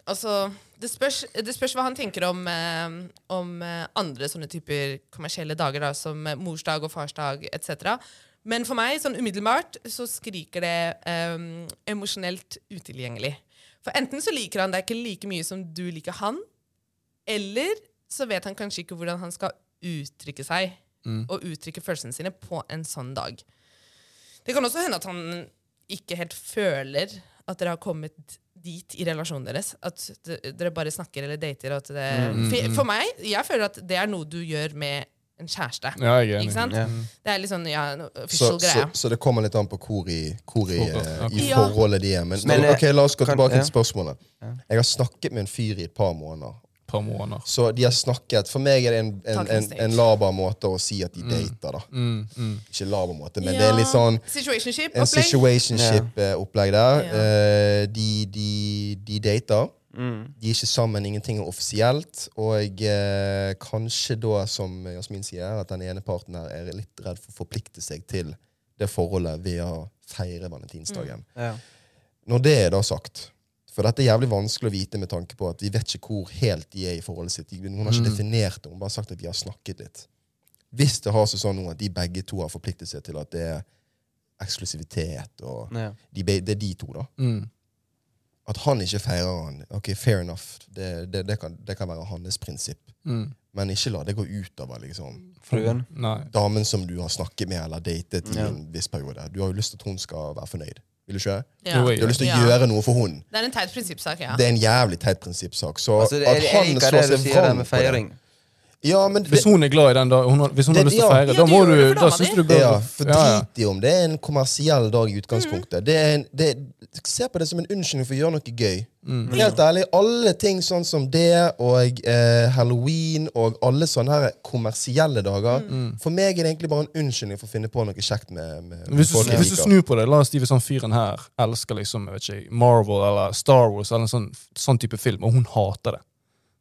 Altså, det spørs, det spørs hva han tenker om, eh, om eh, andre sånne typer kommersielle dager, da, som eh, morsdag og farsdag etc. Men for meg, sånn umiddelbart, så skriker det eh, emosjonelt utilgjengelig. For enten så liker han deg ikke like mye som du liker han, eller så vet han kanskje ikke hvordan han skal uttrykke seg Mm. og uttrykke følelsene sine på en sånn dag. Det kan også hende at han ikke helt føler at dere har kommet dit i relasjonen deres. At d- dere bare snakker eller dater. og At det, Mm, for, for meg, jeg føler at det er noe du gjør med en kjæreste. Ja, jeg er Ikke sant? enig. Ja. Det er litt sånn ja, en official Så, så, greie. så det kommer litt an på hvor i, hvor i, Hvor- eh, i Ja. forholdet de er. Men, Men, eh, ok, la oss gå kan- tilbake ja. til spørsmålet. Jeg har snakket med en fyr i et par måneder. Et par måneder. Så de har snakket For meg er det en, en, Talking en, stage. en laber måte å si at de dater, da. Mm, mm. Ikke laber måte, men Ja. det er litt sånn en Situationship-opplegg. situationship-opplegg der. Ja. Eh, de, de, de dater. Mm. De er ikke sammen, ingenting er offisielt. Og eh, kanskje da, som Jasmin sier, at den ene parten her er litt redd for å forplikte seg til det forholdet ved å feire Mm. valentinsdagen. Ja. Når det er da sagt For dette er jævlig vanskelig å vite med tanke på at vi vet ikke hvor helt de er i forholdet sitt. De- Hun har ikke definert det, hun har bare sagt at vi har snakket litt. Hvis det har seg sånn nå at de begge to har forpliktet seg til at det er eksklusivitet og Ja. de, be- Det er de to, da. Mm. At han ikke feirer han, ok, fair enough. Det, det, det, kan, det kan være hans prinsipp. Mm. Men ikke la det gå utover liksom, Fruen. Nei. damen som du har snakket med eller datet i Ja. en viss periode. Du har jo lyst til at hun skal være fornøyd. Vil du ikke? Ja. Jo, jeg- Du har lyst til å Ja. gjøre noe for hun. Det er en teit prinsippsak, ja. Det er en jævlig teit prinsippsak. Så Altså, det, jeg, at jeg han liker slår det du seg sier der vrang med på det feiring. Ja, men det, Hvis hun er glad i den, da, hun har, hvis hun har Det- lyst til å ja. feire, Ja, da du må gjør du, det for da dama syns di. du du bør ja, for ja, ja. drit i om det er en kommersiell dag Mm. i utgangspunktet. Det er en, det, se på det som en unnskyldning for å gjøre noe gøy. Mm. Mm. Helt ærlig, alle ting sånn som det og eh, halloween og alle sånne her kommersielle Mm. dager Mm. For meg er det egentlig bare en unnskyldning for å finne på noe kjekt med, med Hvis du, folk jeg hvis du liker. snur på det, la oss si hvis han fyren her elsker liksom, jeg vet ikke, Marvel eller Star Wars eller en sånn, sånn type film, og hun hater det,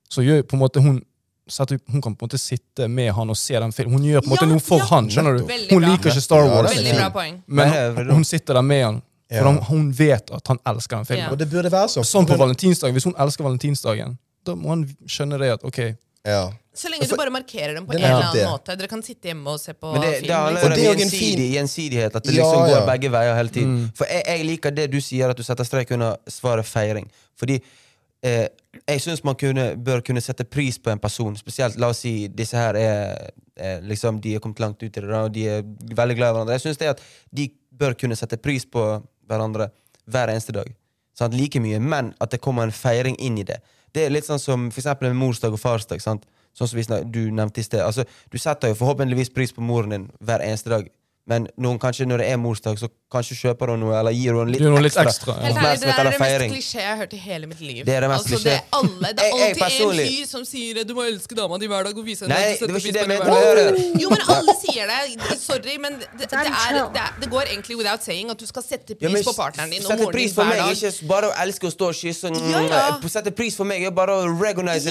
så gjør på en måte hun så at hun kan på en måte sitte med han og se den filmen. Hun gjør på en måte Ja, noe for ja. han. skjønner du? Veldig Hun bra. liker ikke Star Ja, Wars, det Veldig bra poeng. men Nei, jeg er hun sitter der med han. For Ja. han, hun vet at han elsker den Ja. filmen. Og det burde være sånn. Sånn på valentinsdagen, Hvis hun elsker valentinsdagen, da må han skjønne det at ok, Ja. Så lenge du For- bare markerer dem på Altså, Det en er eller nettopp annen måte. det. Dere kan sitte hjemme og se på Men det, film. liksom. det er Og allerede det er jo en fin- gjensidig, gjensidighet. At det Ja, liksom ja. Mm. går begge veier hele tiden. For jeg, jeg liker det du sier, at du setter strek under svaret feiring. Fordi eh, jeg syns man kunne, bør kunne sette pris på en person. Spesielt, la oss si disse her er eh, liksom, De er kommet langt ut i det, da, og de er veldig glad i hverandre. Jeg synes det at de bør kunne sette pris på hverandre hver eneste dag. Sant? Like mye, men at det kommer en feiring inn i det. Det er litt sånn som for eksempel med morsdag og farsdag. Sant? Sånn som vi snak, du nevnte i sted. Altså, du setter jo forhåpentligvis pris på moren din hver eneste dag. Men noen kanskje når det er morsdag, så kanskje kjøper hun noe eller gir hun litt Gir hun litt ekstra, ekstra. ja. Helt ærlig, det der oppmerksomhet er det eller mest feiring. klisjé jeg har hørt i hele mitt liv. Det er det mest altså, det, er klisjé. alle, det Jeg- er jeg alltid en personlig- fyr som sier 'du må elske dama di hver dag' og vise henne Nei, at du det var ikke setter det jeg pris mente på henne å hver dag». gjøre. Jo, men alle sier det. Sorry, men det, det, er, det, er, det går egentlig without saying at du skal sette pris på partneren din og Sette moren din pris på hver meg, dag. ikke bare å elske å stå og kysse. Mm, Ja, ja. eh, Sette pris på meg er bare å recognize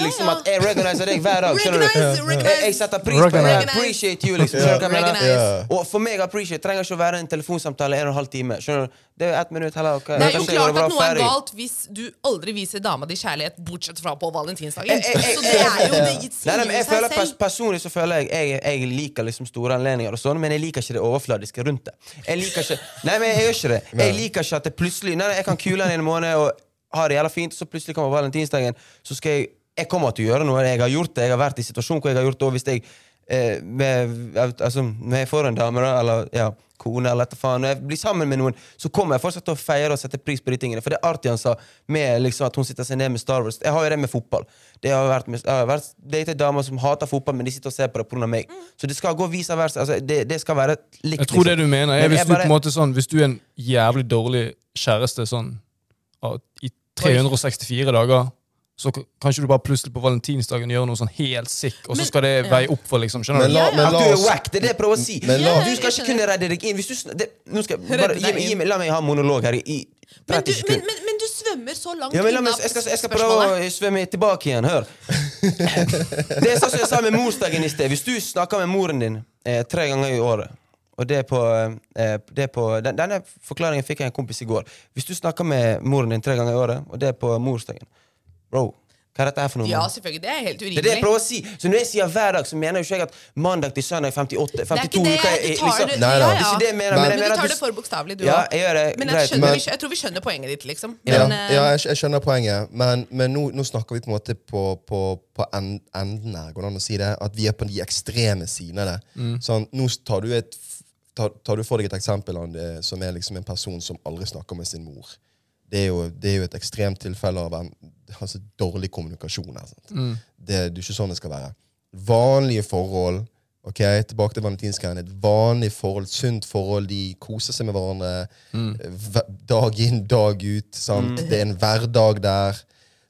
Ja, liksom ja. at jeg recognizer deg hver dag. skjønner du? Recognize, Jeg, jeg recognize. setter pris på deg. Recognize. Jeg appreciate you, liksom. Ja. skjønner du hva jeg mener? Recognize. Ja. Og for meg appreciate trenger ikke å være en telefonsamtale en og en halv time. skjønner du? Det er jo ett minutt heller. Okay. Det er jo kanskje går klart bra, at noe er ferdig. galt hvis du aldri viser dama di kjærlighet, bortsett fra på valentinsdagen. Jeg- jeg- jeg- Så det er jo det Nei, sier nei, jo men jeg seg føler pers selv. Personlig så føler jeg jeg, jeg liker liksom store anledninger, og sånn men jeg liker ikke det overfladiske rundt det. Jeg liker ikke Nei, men jeg gjør ikke det. Jeg liker ikke at det plutselig Nei, nei Jeg kan kule den i en måned og ha det jævla fint, og så plutselig kommer valentinsdagen, så skal jeg Jeg kommer til å gjøre noe. Jeg har gjort det. Jeg har vært i situasjon hvor jeg har gjort det. Og hvis jeg eh, med, altså, Når jeg får en dame, da, eller ja, kone, eller etter faen, når jeg blir sammen med noen, så kommer jeg fortsatt til å feire og sette pris på de tingene. For det Artie han sa, med liksom at hun sitter seg ned med Star Wars Jeg har jo det med fotball. Det har vært, med- jeg har vært datet damer som hater fotball, men de sitter og ser på det pga. meg. Mm. Så det skal gå vice versa. Altså, det, det skal være likt. Jeg tror det liksom. du mener er Men hvis jeg du på bare- en måte sånn Hvis du er en jævlig dårlig kjæreste sånn ah, i 364 dager, så k- kan ikke du bare plutselig på valentinsdagen gjøre noe sånn helt sick, og så Men- skal det veie opp for, liksom. Skjønner Men du? la, men At la du er oss wack, det er det jeg prøver å si. Men la- du skal ikke kunne redde deg inn. Hvis du, sn- det, nå skal jeg bare, Redde deg gi, meg- gi, inn. meg- la meg ha monolog her i i Men du, 30 men, sekunder. men, men du svømmer så langt Ja, men la unna meg, jeg, skal, jeg skal prøve å svømme tilbake igjen. Hør. Det er sånn som jeg sa med morsdagen i sted. Hvis du snakker med moren din eh, tre ganger i året og det er på, eh, det er på den, Denne forklaringen fikk jeg av en kompis i går. Hvis du snakker med moren din tre ganger i året, og det er på morsdagen Bro, hva er dette her for noe? Ja, mann? selvfølgelig. Det er helt det er det jeg urimelig. prøver å si. Så når jeg sier hver dag, så mener jo ikke jeg at mandag til søndag er 58 Det er 52 ikke det. uker. er- Du tar det liksom- Nei, ja, nei. Det er ja. ikke det jeg mener, Men- men jeg Men du mener tar at det du for bokstavelig, du Ja, òg. jeg gjør det. Men jeg, Greit. skjønner, Men- vi skjø- jeg tror vi skjønner poenget ditt, liksom. Ja, Men, eh, ja jeg, skj- jeg skjønner poenget, men, men nå, nå snakker vi på en måte på, på, på en- enden her, går det an å si det? At vi er på de ekstreme sidene av det. Sånn, nå tar du, et, f- tar, tar du for deg et eksempel av det, som er liksom en person som aldri snakker med sin mor. Det er jo, det er jo et ekstremt tilfelle av en, altså, dårlig kommunikasjon. Her, sant? Det, det er ikke sånn det skal være. Vanlige forhold ok, Tilbake til valentinsgreiene. Et vanlig forhold, sunt forhold. De koser seg med hverandre Mm. hver- dag inn, dag ut. Sant? Det er en hverdag der.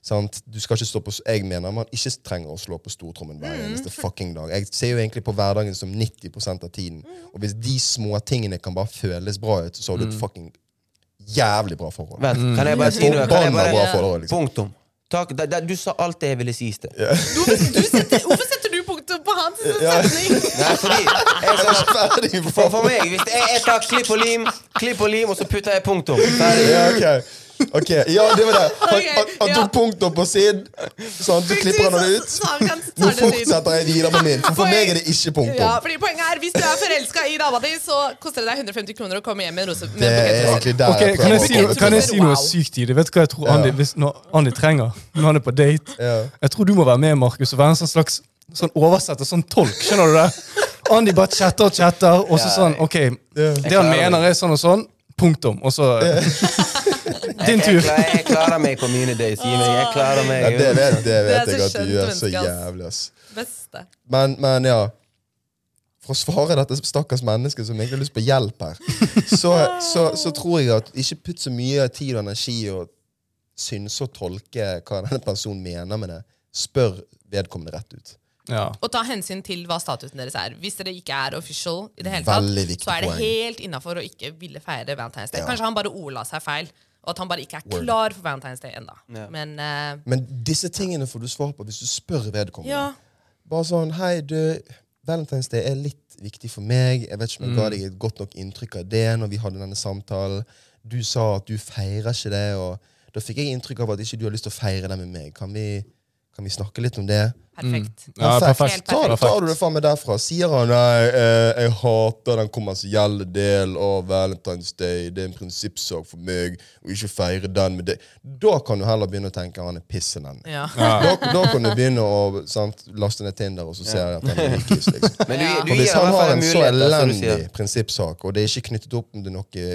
Sant? Du skal ikke stå på, s- jeg mener man ikke trenger å slå på stortrommen hver Mm. eneste fucking dag. Jeg ser jo egentlig på hverdagen som 90 av tiden. Mm. Og hvis de små tingene kan bare føles bra ut, så har du et fucking jævlig bra forhold. Vent, kan jeg bare si noe? Kan jeg Forbanna bare, bra forhold. liksom. Punktum. Takk, da, da, du sa alt det jeg ville si i sted. hvorfor, du setter, hvorfor setter du punktum på hans *laughs* setning? Nei, fordi jeg, sa- *laughs* Ferdig, for, bra. for meg, hvis jeg, jeg tar klipp og lim, klipp og lim, og så putter jeg punktum. Ferdig. Ja, ok. Ok, Ja, det var det. Han, *laughs* Ok, han, han tok ja. punktum på sin, sånn, så klipper han det ut. Så han kan ta Nå det dit. fortsetter jeg videre med min, for for meg er det ikke Ja, punktum. fordi poenget er, Hvis du er forelska i dama di, så koster det deg 150 kroner å komme hjem med en rose. Med Det er en bukett roser. egentlig der Ok, jeg kan, jeg prøver si, å noe- kan jeg si Wow. noe sykt tidlig? Vet du hva jeg tror Andi, hvis, når Andi trenger når han er på date? Ja. Jeg tror du må være med, Markus, og være en sånn slags sånn oversetter, sånn tolk. Skjønner du *laughs* det? Andi bare chatter og chatter, og så sånn OK, det han mener er sånn og sånn. Punktum. Og så *laughs* Din Jeg, tur. klarer, jeg klarer meg på mine dates. Gi meg, jeg klarer Ja, meg. det vet, det vet Det er jeg så at du skjønt gjør så menneske, ass. jævlig, ass. Beste. Men, men ja. For å svare dette stakkars mennesket som egentlig har lyst på hjelp her, så, så, så tror jeg at ikke putt så mye tid og energi i å synse og tolke hva denne personen mener med det. Spør vedkommende rett ut. Ja. Og ta hensyn til hva statusen deres er. Hvis dere ikke er official, i det hele Veldig tatt, viktig så er det poeng. helt innafor å ikke ville feire Valentine's Day. Ja. Kanskje han bare ordla seg feil, og at han bare ikke er Word. klar for Valentine's Day ennå. Ja. Men eh, Men disse tingene får du svar på hvis du spør vedkommende. ja, Bare sånn Hei, du, Valentine's Day er litt viktig for meg. Jeg vet ikke om jeg ga Mm. deg et godt nok inntrykk av det når vi hadde denne samtalen. Du sa at du feirer ikke det, og da fikk jeg inntrykk av at ikke du har lyst til å feire det med meg. Kan vi, kan vi snakke litt om det? Perfekt. Mm. Ja, Perfekt. perfekt. Tar, Perfekt. tar du det faen meg derfra? Sier han nei, eh, jeg hater den kommersielle del av Valentine's Day, det er en prinsippsak for meg å ikke feire den med deg. Da kan du heller begynne å tenke han er pissen enn. Ja. Da, da kan du begynne å sant, laste ned Tinder, og så ser jeg at han er likis. Liksom. Men du, Ja. du For gir i hvis hvert han fall har en så mulighet, da, som du elendig sier. prinsippsak, og det er ikke knyttet opp med noe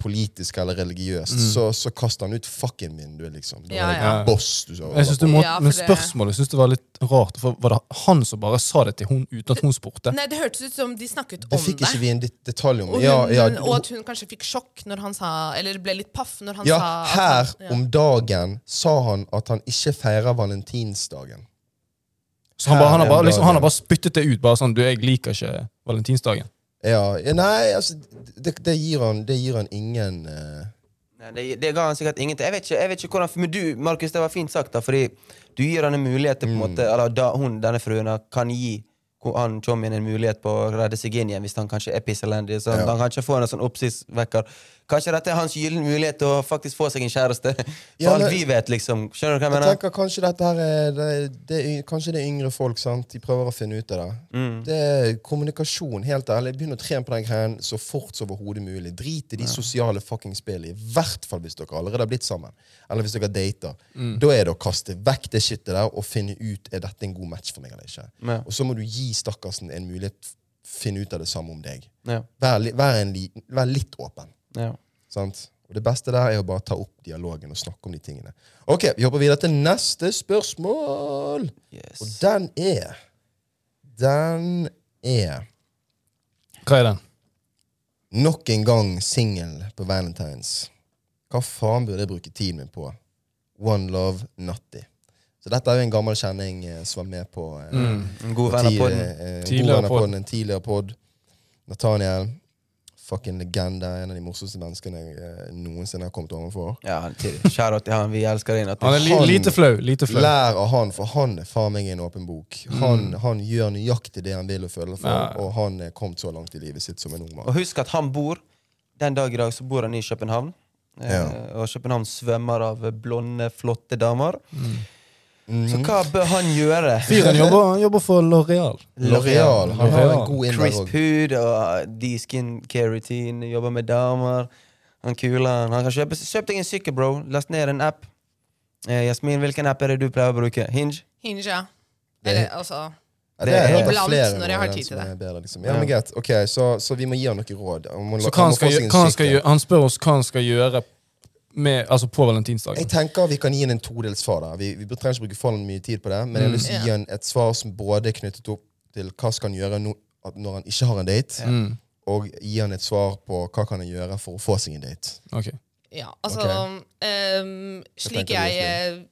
politisk eller religiøst, Mm. så, så kaster han ut 'fucken min', du, liksom. Da Ja, er ja. jeg boss, du. Så, Jeg synes du må, Ja, for men det- spørsmålet synes det var litt rart. For var det han som bare sa det til hun uten at hun spurte? Nei, det hørtes ut som de snakket det om fikk det. ikke vi en det- detalj om. Og, hun, Ja, ja, og at hun kanskje fikk sjokk når han sa Eller ble litt paff når han Ja, sa at her han- om dagen sa han at han ikke feirer valentinsdagen. Så han, bare, han, har Her bare, er liksom, han har dagen. bare spyttet det ut. Bare sånn, du, jeg liker ikke valentinsdagen. Ja, ja, nei, altså Det, det, gir, han, det gir han ingen eh, Nei, det, det ga han sikkert ingenting. Jeg vet ikke, jeg vet ikke hvordan, Men du, Markus, det var fint sagt, da, fordi du gir han en mulighet til på en måte, Mm. eller da, hun, denne fruen da, kan gi ko- han Tjommin en mulighet på å redde seg inn igjen hvis han kanskje er pisselendig. Så Ja. han kan ikke få en sånn oppsiktsvekker. Kanskje dette er hans gyllen mulighet til å faktisk få seg en kjæreste. For Ja, men- alt vi vet, liksom. Skjønner du hva jeg Jeg mener? tenker kanskje dette her er det, det, er yng- Kanskje det er yngre folk. sant? De prøver å finne ut av det. Det er kommunikasjon. helt ærlig. Begynn å trene på den greien så fort som overhodet mulig. Drit i de sosiale fucking spillene. I hvert fall hvis dere allerede har blitt sammen. Eller hvis dere dater. Da er det å kaste vekk det shitet der og finne ut er dette en god match for meg eller ikke. Ja. Og så må du gi stakkarsen en mulighet f- finne ut av det samme om deg. Ja, Vær, li, vær, en liten- vær litt åpen. ja. Sant? Og Det beste der er å bare ta opp dialogen og snakke om de tingene. Ok, Vi hopper videre til neste spørsmål. Yes. Og den er Den er Hva er den? nok en gang singel på Valentines. Hva faen burde jeg bruke tiden min på? One Love Natti. Så dette er jo en gammel kjenning eh, som var med på eh, En god venn av Tidlig- podden. eh, en god Tidligere venn av podden. podden, En tidligere podd. Nathaniel. Fucking legende. En av de morsomste menneskene jeg eh, noensinne har kommet overfor. Ja, han er tidlig. Kjære til han. Vi elsker deg. Han er li Han- lite flau. Lite flau. Lær av han, for han er faen meg en åpen bok. Han, han gjør nøyaktig det han vil og føler for, Mm. Ja. og han er kommet så langt i livet sitt som en ung mann. Og husk at han bor Den dag i dag så bor han i København. Eh, Ja. Og København svømmer av blonde, flotte damer. Mm. Så hva bør han gjøre? Fyren jobber, han jobber for Loreal. L'Oreal. Han har en L'Oreal. god innvær Crisp òg. hud og de skincare routine, jobber med damer. Han kule han. Han kan kjøpe Kjøp deg en sykkel, bro. Last ned en app. Eh, Jasmin, hvilken app er det du pleier å bruke? Hinge? Hinge, ja. Eller altså Ja, det er Det er- helt av Iblant, flere når nå, jeg har den tid som til er det. bedre, liksom. Ja, men greit. Ok, så, så vi må gi han noe råd. Han må, Så han hva han, må skal, få seg gjø- en hva han, skal skikkelig- gjø- han spør oss hva han skal gjøre med, altså på Jeg valentinsdagen. tenker vi kan gi han en todelsfar. da. Vi, vi trenger ikke bruke for mye tid på det, men jeg Mm. har lyst til å gi Ja. han et svar som både er knyttet opp til hva skal han gjøre no, at når han ikke har en date, Mm, og gi han et svar på hva kan han gjøre for å få seg en date. ok. Ja, altså Ok. ehm, Slik tenker jeg du, eh,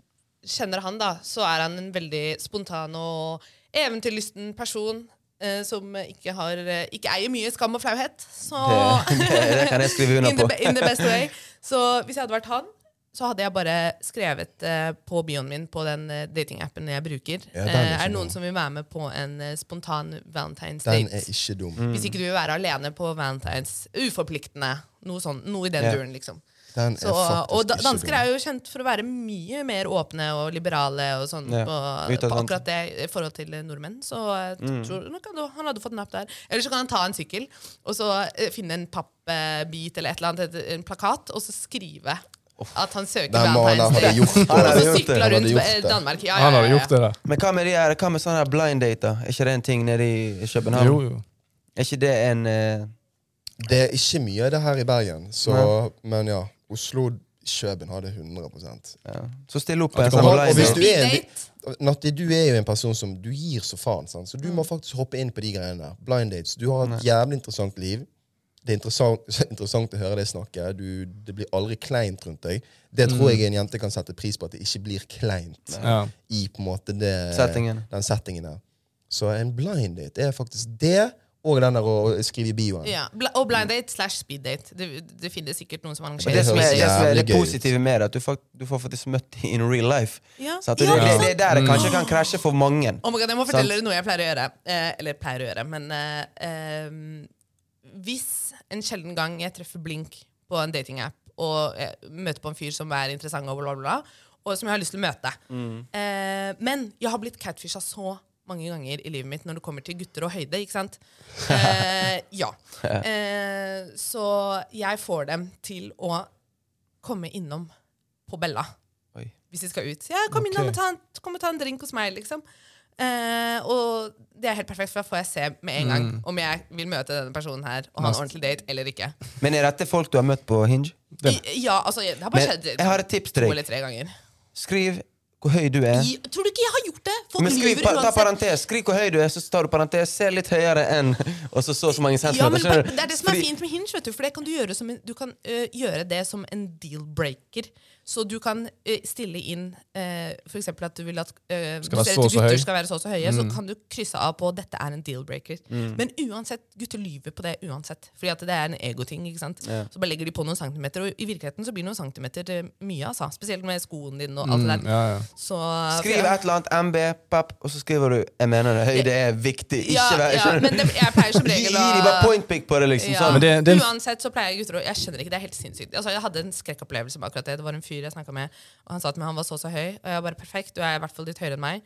kjenner han, da, så er han en veldig spontan og eventyrlysten person. eh, som ikke, har, eh, ikke eier mye skam og flauhet. Så Det, *laughs* *laughs* det, det kan jeg skrive under in, the, på. be- in the best way. Så hvis jeg hadde vært han, så hadde jeg bare skrevet eh, på bioen min på den eh, datingappen jeg bruker. Ja, den er eh, er ikke det dum. noen som vil være med på en eh, spontan Valentine's Den date? er ikke dum. Mm. Hvis ikke du vil være alene på Valentine's. Uforpliktende. Noe sånn, noe i den Ja. duren, liksom. Den er Så, faktisk og da, ikke dansker dum. er jo kjent for å være mye mer åpne og liberale og sånn Ja, på, utadvendt. på akkurat det i forhold til eh, nordmenn. Så jeg Mm. tror nok han, han hadde fått en app der. Eller så kan han ta en sykkel og så eh, finne en pappbit eller et eller annet, et- en plakat, og så skrive at han søker Den mannen Valentine's hadde Day. gjort det. *laughs* Han Og hadde så gjort det, sykle han hadde rundt gjort eh, det. Danmark. Ja, ja, Han hadde ja, gjort ja. det der. Men hva med, de her, hva med sånne her blind date? da? Er ikke det en ting nede i København? Jo, jo. Er ikke det en eh, Det er ikke mye av det her i Bergen, så, Nei. men ja. Oslo Kjøben har det 100 ja. Så still opp på en du kan sånn ha- og blind hvis date. du er en, Speeddate? Natti, du er jo en person som du gir så faen, sant? så du Mm. må faktisk hoppe inn på de greiene der. Blind dates. Du har et jævlig interessant liv. Det er interessant, *laughs* interessant å høre deg snakke. Du, det blir aldri kleint rundt deg. Det Mm. tror jeg en jente kan sette pris på, at det ikke blir kleint Ja. i på en måte det, Settingen. den settingen der. Så en blind date er faktisk det, Og den der å å skrive i bioen. Ja. Bla- Og blind date slash speed date. Det, det finnes sikkert noen som Og arrangerer det Det som er, høres det, som er det jævlig gøy ut. positive med det, at du, fakt, du får faktisk møtt dem in real life. Ja. Så at Ja, det, det, ikke det er der det Mm. kanskje kan krasje for mange. Oh my God, jeg må Sant. fortelle dere noe jeg pleier å gjøre. Eh, eller pleier å gjøre, men eh, ehm, Hvis en sjelden gang jeg treffer blink på en datingapp og eh, møter på en fyr som er interessant, og, bla, bla, bla, og som jeg har lyst til å møte eh, Men jeg har blitt catfisha så mange ganger i livet mitt når det kommer til gutter og høyde. ikke sant? Eh, ja. Eh, så jeg får dem til å komme innom på Bella Oi. hvis de skal ut. Ja, kom inn og Ok. ta en, kom og ta en drink hos meg, liksom. Eh, og det er helt perfekt, for da får jeg se med en gang Mm. om jeg vil møte denne personen her og ha en Mest- ordentlig date eller ikke. Men er dette folk du har møtt på Hinge? Det. I, ja, altså, jeg- det har bare Men skjedd jeg har et tips to til eller deg. tre ganger. Skriv hvor høy du er. I, tror du ikke jeg har gjort det? Folk Men skriv, lyver pa, ta uansett. parentes. skriv hvor høy du er, så tar du parentes. Se litt høyere enn Og så så og så mange Ja, centimeter. men skjønner du? det er det som er Fordi- fint med Hinge, vet du, for det kan du gjøre som en, du kan, øh, gjøre det som en deal-breaker. Så du kan øh, stille inn øh, for f.eks. at du vil at øh, Skal hvis være dere så og så gutter høy. skal være så og så høye, så Mm. kan du krysse av på 'dette er en deal-breaker'. Men uansett, gutter lyver på det uansett, fordi at det er en egoting. ikke sant? Så bare legger de på noen centimeter, og i virkeligheten så blir noen centimeter det er mye, altså. Spesielt med skoen din og alt det der. Ja, ja. Så, Mm. Skriv et eller annet MB, papp, og så skriver du 'Jeg mener det, høyde er viktig'. Ikke ja, vær, ja, *laughs* skjønner du? men det, jeg pleier som Gi, regel gi de bare point pick på det, liksom. Ja. Sånn. Men det- det er en- Uansett så pleier gutter å Jeg skjønner ikke, det er helt sinnssykt. Altså, jeg hadde en skrekkopplevelse med akkurat det. Det var en fyr jeg snakka med, og han sa til meg han var så så høy. Og jeg bare perfekt, du er i hvert fall litt høyere enn meg.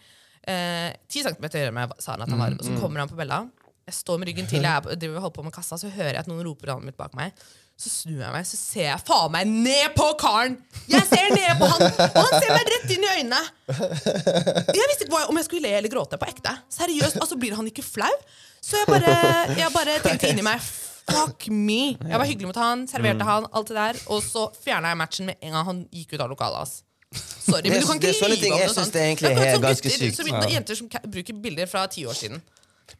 Eh, 10 centimeter høyere enn meg, sa han at han var. Mm, Og så kommer han på Bella. Jeg står med ryggen til, jeg er på- driver og holder på med kassa, så hører jeg at noen roper navnet mitt bak meg. Så snur jeg meg, så ser jeg faen meg ned på karen! Jeg ser ned på han, og han ser meg rett inn i øynene! Jeg visste ikke hva- om jeg skulle le eller gråte på ekte. Seriøst, altså Blir han ikke flau? Så jeg bare, jeg bare tenkte inni meg Fuck me! Jeg var hyggelig mot han, serverte han, alt det der. Og så fjerna jeg matchen med en gang han gikk ut av lokalet. ass. Sorry, men Det- du kan det er ikke sånne lyve ting om jeg noe synes sånt. det egentlig akkurat er som ganske gutter- sykt. Som jenter som ka- bruker bilder fra ti år siden.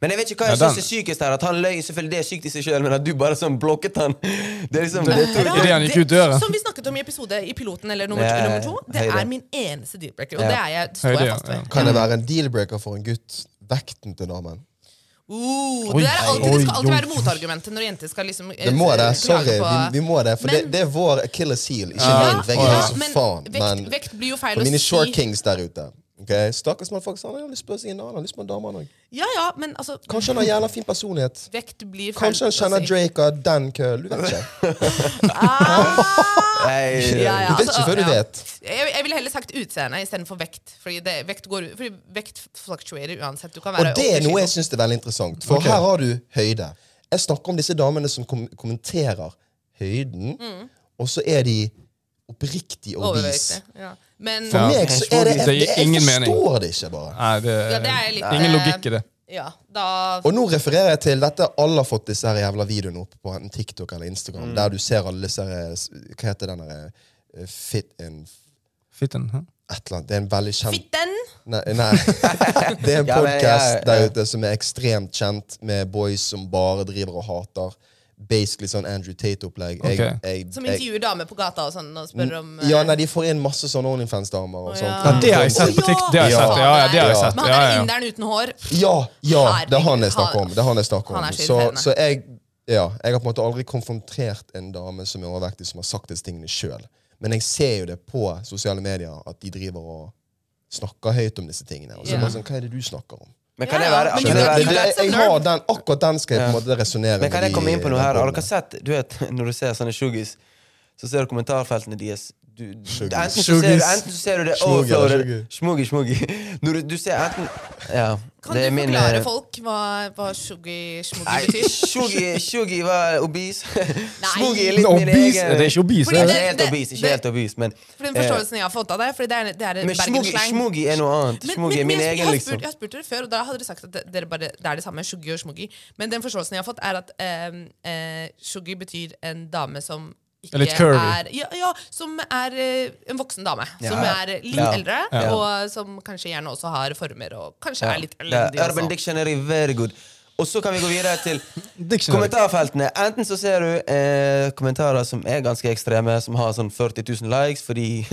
Men jeg vet ikke hva jeg Ja, synes den- er sykest her. At han løy, selvfølgelig det er sykt i seg selv, men at du bare sånn blokket han *laughs* Det er liksom det, er to- Idet han gikk ut døra. Som vi snakket om i episode i piloten eller nummer, Ja, ja, ja. nummer to. Det Høyde. er min eneste deal-breaker, og Ja. det, er jeg, det står Høyde, jeg ja, fast ved. ja. Kan det være en deal-breaker for en gutt? Vekten til damen? Oh, Oi, det, der er alltid, det skal oi, alltid oi. være motargumentet når jenter skal liksom eh, Det må det. klage Sorry, på- vi, vi må det. For det, Men- det er vår killer seal. Ikke Ja, min vegg. ja, som men faen. vekt, Men vekt blir jo feil for å mine short si. kings der ute okay? Stakkars mann, faktisk. Han har lyst på sin annen. Han har lyst på en dame. han også. Ja, ja, men altså Kanskje han har jævla fin personlighet. Vekt blir feil Kanskje han kjenner Drake og Dan Køhl. *laughs* Du vet ikke. Ah! Nei, Ja, ja, Du vet ikke før du ja. vet. Jeg, jeg ville heller sagt utseende istedenfor vekt. Fordi, det, vekt går, fordi vekt fluktuerer uansett. Du kan Og være det 80 er noe kilo. jeg syns er veldig interessant. For her har du høyde. Jeg snakker om disse damene som kom kommenterer høyden, og så er de oppriktig obese. Mm. Overvektig, Ja. Men For Ja. meg så er det, Det gir jeg, jeg ingen mening. forstår det ikke, bare. Nei, det, ja, det er litt ingen eh, logikk i det. Ja, da Og nå refererer jeg til dette alle har fått disse her jævla videoene opp på enten TikTok eller Instagram, Mm. der du ser alle disse her, s- Hva heter den derre eh, Fit in Fitten, hæ? et eller annet. Det er en veldig kjent Fitten! Nei. *laughs* nei. Det er en Ja, men, ja, podkast ja. der ute som er ekstremt kjent, med boys som bare driver og hater. Basically sånn Andrew Tate-opplegg. Jeg- Ok. jeg- Som jeg- intervjuer damer på gata og sånn og spør om eh, Ja, nei, de får inn masse sånne Onlyfans-damer og Å, sånt. ja. Ja, det har Å, jeg sett på TikTok. Det har jeg Ja. sett, ja, ja, det har jeg Ja. sett. Men han Ja, er ja. inderen uten hår. Ja, ja, det er han jeg snakker om. Herregud, Det er han jeg snakker han er om. så Så, irriterende. så jeg, ja, jeg har på en måte aldri konfrontert en dame som er overvektig, som har sagt disse tingene sjøl. Men jeg ser jo det på sosiale medier, at de driver og snakker høyt om disse tingene. Og så er det bare sånn, hva er det du snakker om? Men kan Ja, det ja, være, men kan du vet- det være Jeg, du vet- jeg, jeg har den, akkurat den skal jeg på en måte resonnere Men kan med jeg komme de- inn på noe her? Har den dere sett, du vet, *laughs* Når du ser sånne shuggies, så ser du kommentarfeltene deres. Du, Shuggies. enten, så ser, du- Shuggies. enten så ser du det Shmuggy eller overflowed Smuggy, smuggy. Når du, du ser enten Ja. Kan det du er min, forklare eh, folk hva, hva shuggy-smuggy Nei, betyr? shuggy, shuggy var obese. *laughs* Nei. Smuggy er litt min Obese? egen Det er ikke obese. Fordi det er- Ikke det- helt obese, ikke det- helt obese, men For den eh, forståelsen jeg har fått av deg. Fordi det er, det er en Men smuggy, bergensslang. smuggy er noe annet. Men- Smuggy er men- men min jeg- egen, jeg, har spurt, liksom. jeg har spurt dere før, og da hadde dere sagt at det- dere bare, det er det samme. Shuggy og smuggy. Men den forståelsen jeg har fått, er at eh, eh, shuggy betyr en dame som ikke Er litt curvy. er ja, ja, som er eh, en voksen dame. Ja. Som er litt Ja. eldre, Ja. og som kanskje gjerne også har former, og kanskje Ja. er litt Det elendig altså. er Urban også. Dictionary, very good. Og så kan vi gå videre til Dictionary. kommentarfeltene. Enten så ser du eh, kommentarer som er ganske ekstreme, som *laughs* Mm. har sånn 40 000 likes fordi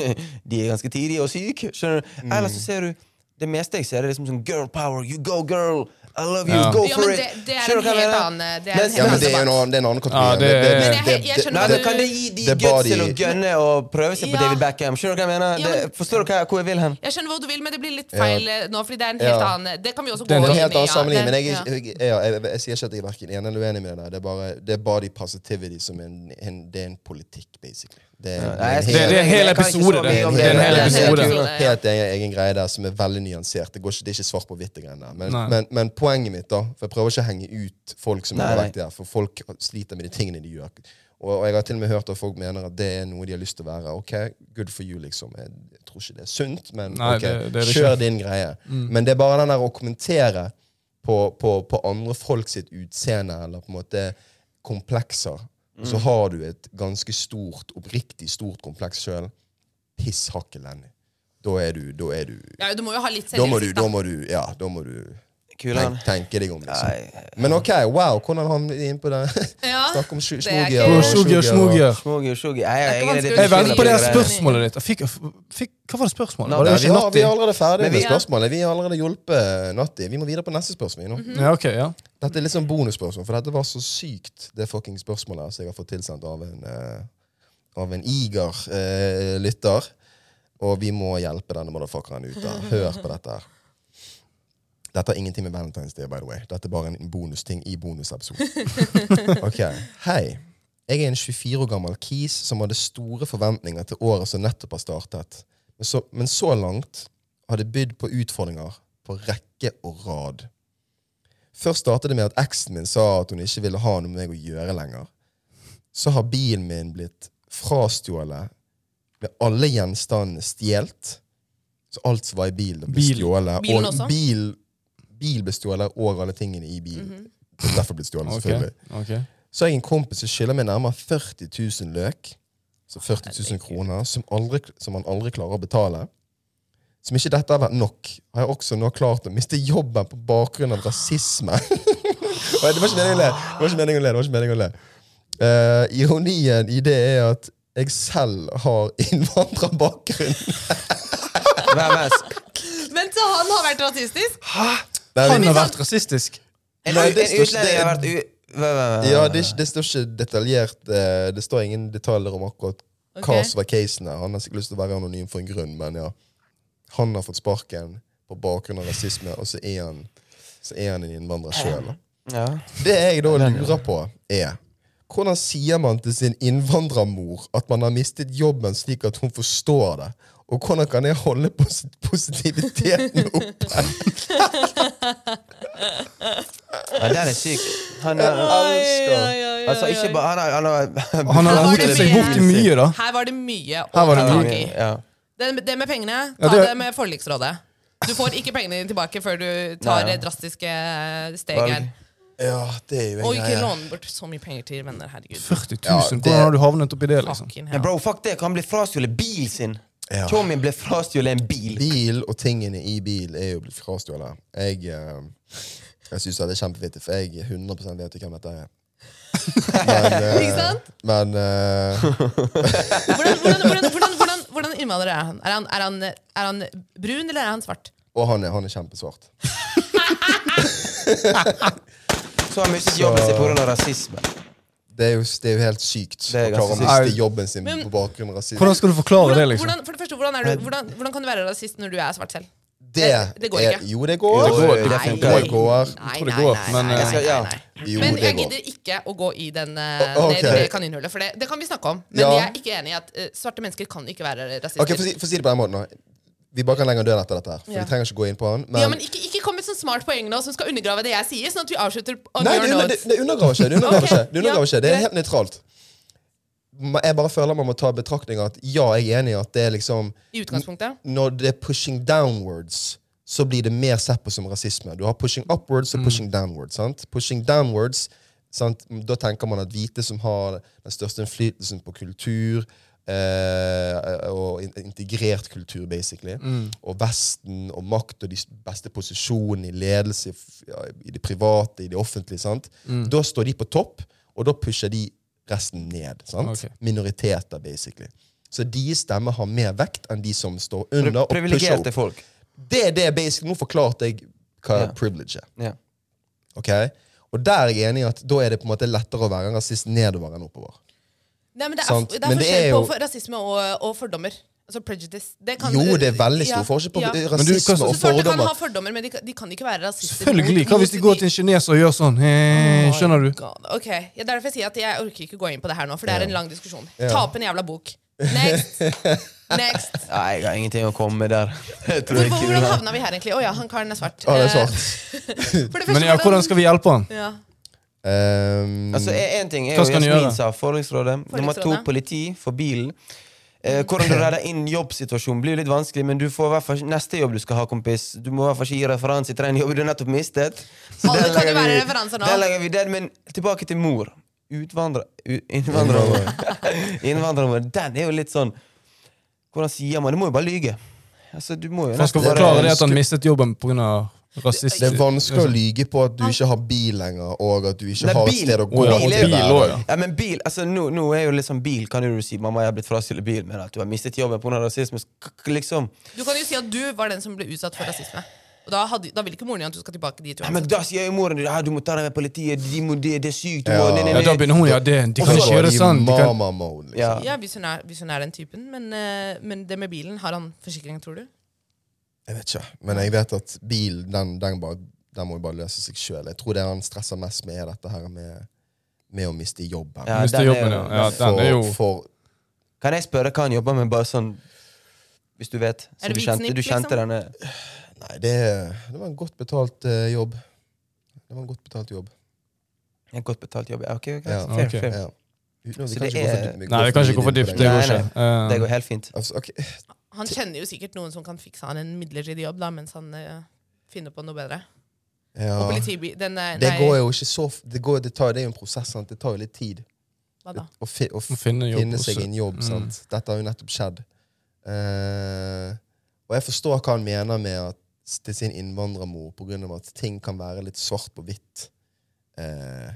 de er ganske tidlige og syke, skjønner du? Eller så ser du det meste jeg ser, er liksom sånn girl power, you go girl, I love you, Ja. go Ja, for men it. det- det er Skjønner en du hva jeg helt mener? annen- det er en Mens- helt Ja, men annen det er debatt. en annen, det er en annen kategori. Ja, det Det- det- er- Men jeg- jeg det- det- skjønner Nei, hva da du- kan det gi de Det er guts body- til å gønne og prøve seg på Ja. David Beckham. Skjønner du hva jeg mener? Ja, men- det, forstår du hva, hvor jeg vil hen? Jeg skjønner hvor du vil, men det blir litt feil eh, nå, fordi det er en helt Ja. annen Det kan vi også gå Det er en inn Det i. er en helt annen ja. sammenligning, Det- men jeg, er ja. ikke- jeg, jeg, jeg, jeg, jeg sier ikke at jeg er hverken enig eller uenig med det der. Det er bare det er body positivity som en, en, det er en politikk, basically. Det er, Nei, jeg- Det- det er en hel jeg kan ikke episode, så det. mye om Det er en hel men- episode. helt, helt egen, egen greie der som er veldig nyansert. Det, går ikke, det er ikke svart på hvitt. det greiene der. Men, Nei. men, men poenget mitt, da For jeg prøver ikke å henge ut folk som har Nei, vært der, for folk sliter med de tingene de gjør. Og, og jeg har til og med hørt at folk mener at det er noe de har lyst til å være. Ok, good for you, liksom. Jeg, jeg tror ikke det er sunt, men Nei, ok, det- det er det kjør ikke. Mm. din greie. Men det er bare den der å kommentere på, på, på andre folk sitt utseende, eller på en måte komplekser. Og Mm. så har du et ganske stort, oppriktig stort kompleks sjøl. Piss hakket Lenny. Da er du, da er du ja, du må jo ha litt da må du, selvinnsikt. da da. må du, ja, da må du Kulen. tenk, tenke deg om, liksom. Nei, Men OK, wow, hvordan han er inne på det? *laughs* Ja. Snakke om sju- Det er smogier. ikke- og Å, Sjoger, sjogier og- smoger. smogi og sjogi. Det Nei, er ikke jeg er vanskelig å litt eh, Jeg venter på det her skjønner. spørsmålet ditt. Jeg Fikk, fikk, hva var det spørsmålet? Var Nei, det vi, ikke har, vi Natti? er allerede ferdig Men med vi- spørsmålet. Vi har allerede hjulpet Natti. Vi må videre på neste spørsmål. nå. Mhm. Ja, ok, ja. Dette er litt sånn bonusspørsmål, for dette var så sykt, det fucking spørsmålet som jeg har fått tilsendt av en, eh, av en iger eh, lytter. Og vi må hjelpe denne motherfuckeren ut der. Hør på dette her. Dette har ingenting med Valentine's Day, by the way. Dette er bare en bonusting i bonusepisoden. Ok. Hei. Jeg er en 24 år gammel kis som hadde store forventninger til året som nettopp har startet. Men så, men så langt har det bydd på utfordringer på rekke og rad. Først startet det med at eksen min sa at hun ikke ville ha noe med meg å gjøre lenger. Så har bilen min blitt frastjålet med alle gjenstandene stjålet. Så alt som var i bilen, ble Bil. stjålet. Bilen og også? bil, bil ble stjålet, og alle tingene i bilen. Mhm. Derfor ble stjålet, Ok, selvfølgelig. ok. Så har jeg en kompis som skylder meg nærmere 40 000 løk. Så 40 000 kroner som, aldri, som han aldri klarer å betale. Som ikke dette har vært nok, har jeg også nå klart å miste jobben på bakgrunn av rasisme. *laughs* Og det var ikke meningen å le. Det var ikke meningen å le. det var ikke meningen å le. Eh, ironien i det er at jeg selv har innvandrerbakgrunn. Hvem er s- Men så han har vært rasistisk? Nei, Han men- har vært rasistisk. En Nei, det en står ikke- utlending har vært u... Hva- hva- hva- Ja, det, er ikke- det står ikke detaljert. eh, Det står ingen detaljer om akkurat hva Ok. som var casen her. Han har sikkert lyst til å være anonym for en grunn, men ja. Han har fått sparken på bakgrunn av rasisme, og så er han, så er han en innvandrer sjøl. Eh. Ja. Det jeg da lurer på, er hvordan sier man til sin innvandrermor at man har mistet jobben slik at hun forstår det? Og hvordan kan jeg holde posi- positiviteten *laughs* oppe? ja, den er syk. Han er Oi, oi, oi, oi, Altså, ikke oi. bare Han har- han har Han har Her var rotet det seg mye. bort i mye, da. Her var det mye å Her ta var det tak i. mye. Ja. Det, det med pengene, Ja, ta det- det med forliksrådet. Du får ikke pengene dine tilbake før du tar Nei, ja. det drastiske steg Valg. her. Ja, det er jo Og en ikke greie. låne bort så mye penger til venner. Herregud. 40 000, Ja, det- hvordan har du havnet oppi det? liksom? Fucking Men hell. bro, fuck det. Han ble frastjålet bilen sin. Ja. Kjøren min ble frastjålet en bil. Bil og tingene i bil er jo blitt frastjålet. Jeg, eh, jeg syns det er kjempevittig, for jeg 100 vet jo hvem dette er. Men, eh, Ikke sant? men eh, Hvordan, hvordan, hvordan, hvordan, hvordan, hvordan innvandrer er han? Er han, er, han, er han brun, eller er han svart? Og han er, han er kjempesvart. Så han mistet jobben sin pga. rasisme. Det er jo, det er jo helt sykt Det er å klare å ganske miste sykt. jobben sin Men- på bakgrunn av rasisme. Hvordan skal du forklare det, Hvordan, liksom? hvordan, for det første, hvordan, er du, hvordan, hvordan kan du være rasist når du er svart selv? Det, det går er- ikke. Jo, det går. Jo, det går. Nei. Definitivt. Det går. Nei, tror det nei, går, nei, men, nei, eh, nei, nei, ja. nei. Jo, Men det jeg går. gidder ikke å gå i den, eh, O- ok. ned i det kaninhullet, for det, det kan vi snakke om. Men Ja. jeg er ikke enig i at eh, svarte mennesker kan ikke være rasister. Ok, for, å si, for å si det på den måten nå. Vi bare kan legge en død etter dette. her For Ja. Vi trenger ikke gå inn på han. Men, ja, men ikke, ikke kom med et sånt smart poeng nå som skal undergrave det jeg sier. Sånn at vi avslutter on Nei, your det, under, det, notes. det undergraver ikke. Det undergraver *laughs* Ok, ikke. Det, undergraver ja, ikke. det er greit. helt nøytralt. Ma- Jeg bare føler man må ta i betraktning at ja, jeg er enig i at det er liksom I utgangspunktet. Når det er pushing downwards, så blir det mer sett på som rasisme. Du har pushing upwards og pushing downwards. sant? Pushing downwards, sant? Da tenker man at hvite som har den største innflytelsen på kultur eh, og in- integrert kultur, basically, og Vesten og makt og de s- beste posisjonene i ledelse, i f- ja, i det private, i det offentlige, sant? da står de på topp, og da pusher de resten ned. sant? Ok. Minoriteter, basically. Så de stemmer har mer vekt enn de som står under. og pusher opp. Privilegerte folk. Det er det basic. Nå forklarte jeg hva Ja. privilege er. Ja. ok? Og der er jeg enig i at da er det på en måte lettere å være en rasist nedover enn oppover. Nei, men det er, Sant. det er Men det forskjell er jo- på rasisme og, og fordommer. Altså prejudice. Det kan- Jo, det er veldig Ja, stor forskjell på ja. Men du, hva- rasisme Så og Så svarte kan ha fordommer. fordommer, men de kan, de kan ikke være rasister. Selvfølgelig! mot- Hva hvis de mot går til en kineser og gjør sånn? Eh, skjønner du? Oh God. Ok, ja, derfor jeg sier at jeg orker ikke gå inn på det her nå, for det er en lang diskusjon. Ja. Ta opp en jævla bok. *laughs* Next! Next! Nei, jeg har ingenting å komme med der. *laughs* Jeg tror Hvor, ikke hvordan du har- havna vi her, egentlig? Å ja, han karen er svart. Ja, det Eh, er svart. For det Men ja, hvordan skal vi hjelpe han? ja. Eh. Mm. Um, Altså, en ting er Hva jo skal han Jasmin gjøre? sa, forliksrådet. Nummer to, Forliksrådet. politi for bilen. Eh, hvordan *clears throat* du redder inn jobbsituasjonen blir jo litt vanskelig, men du får i hvert fall neste jobb du skal ha, kompis. Du må i hvert fall ikke gi referanse til den jobben du nettopp mistet. Så Alle den kan jo legger vi- være referanser nå. Den legger vi den, men tilbake til mor. Utvandrer... u- Innvandrermor. *laughs* Innvandrermor. Den er jo litt sånn Hvordan sier man? Du må jo bare lyge. Altså, du må jo For han skal nesten bare- forklare det at han mistet jobben pga. rasist... det er vanskelig Altså- å lyge på at du ikke har bil lenger, og at du ikke Nei, har et bil. sted å Å gå. ja, til bil er hver jo- bil også, dag. ja. Ja, men bil, altså nå, nå er jo liksom bil, kan jo du si Mamma, jeg har blitt frastjålet bil, men at du har mistet jobben pga. rasisme så k- k- liksom. Du kan jo si at du var den som ble utsatt for rasisme. Og da, hadde, da vil ikke moren din at du skal tilbake dit. Nei, men uansett. da sier jo moren din ah, du må ta deg med politiet, de må, det, det er sykt du Ja. må, ne, ne, Ja, ne. da begynner hun ja, det, de kan Og så ikke er gjøre de det sånn. De kan, Mama mode, liksom. ja. Ja, hvis hun, er, hvis hun er den typen. Men, eh, men det med bilen, har han forsikring, tror du? Jeg vet ikke, men jeg vet at bil, den, den, bare, den må jo bare løse seg sjøl. Jeg tror det han stresser mest med, er dette her med, med å miste jobben. Ja, Mister den er jobben, jo- ja. ja den for, er jo for, Kan jeg spørre hva han jobber med, bare sånn Hvis du vet? Er Så det du kjente, hvitsnipp, du kjente liksom? denne Nei, det, det var en godt betalt eh, jobb. Det var en godt betalt jobb. En godt betalt jobb? Ja, ok, ok, Ja. fair, Ok. fair. Ja. Vi, nå, vi Så kan det ikke gå for er- dypt- vi Nei, vi kan ikke gå for dypt. Det inn på går Nei, ikke. Eh, Det går helt fint. det. Altså, ok, Han kjenner jo sikkert noen som kan fikse han en midlertidig jobb, da, mens han eh, finner på noe bedre. Og ja. politibi... Den, eh, Det nei, går jo ikke så f- Det, går, det, tar, det er jo en prosess. Sant? Det tar jo litt tid hva da? å, fi, å Å finne jobb finne seg også. en jobb. Mm. Sant? Dette har jo nettopp skjedd. Eh, og jeg forstår hva han mener med at s- til sin innvandrermor pga. at ting kan være litt svart på hvitt. Eh,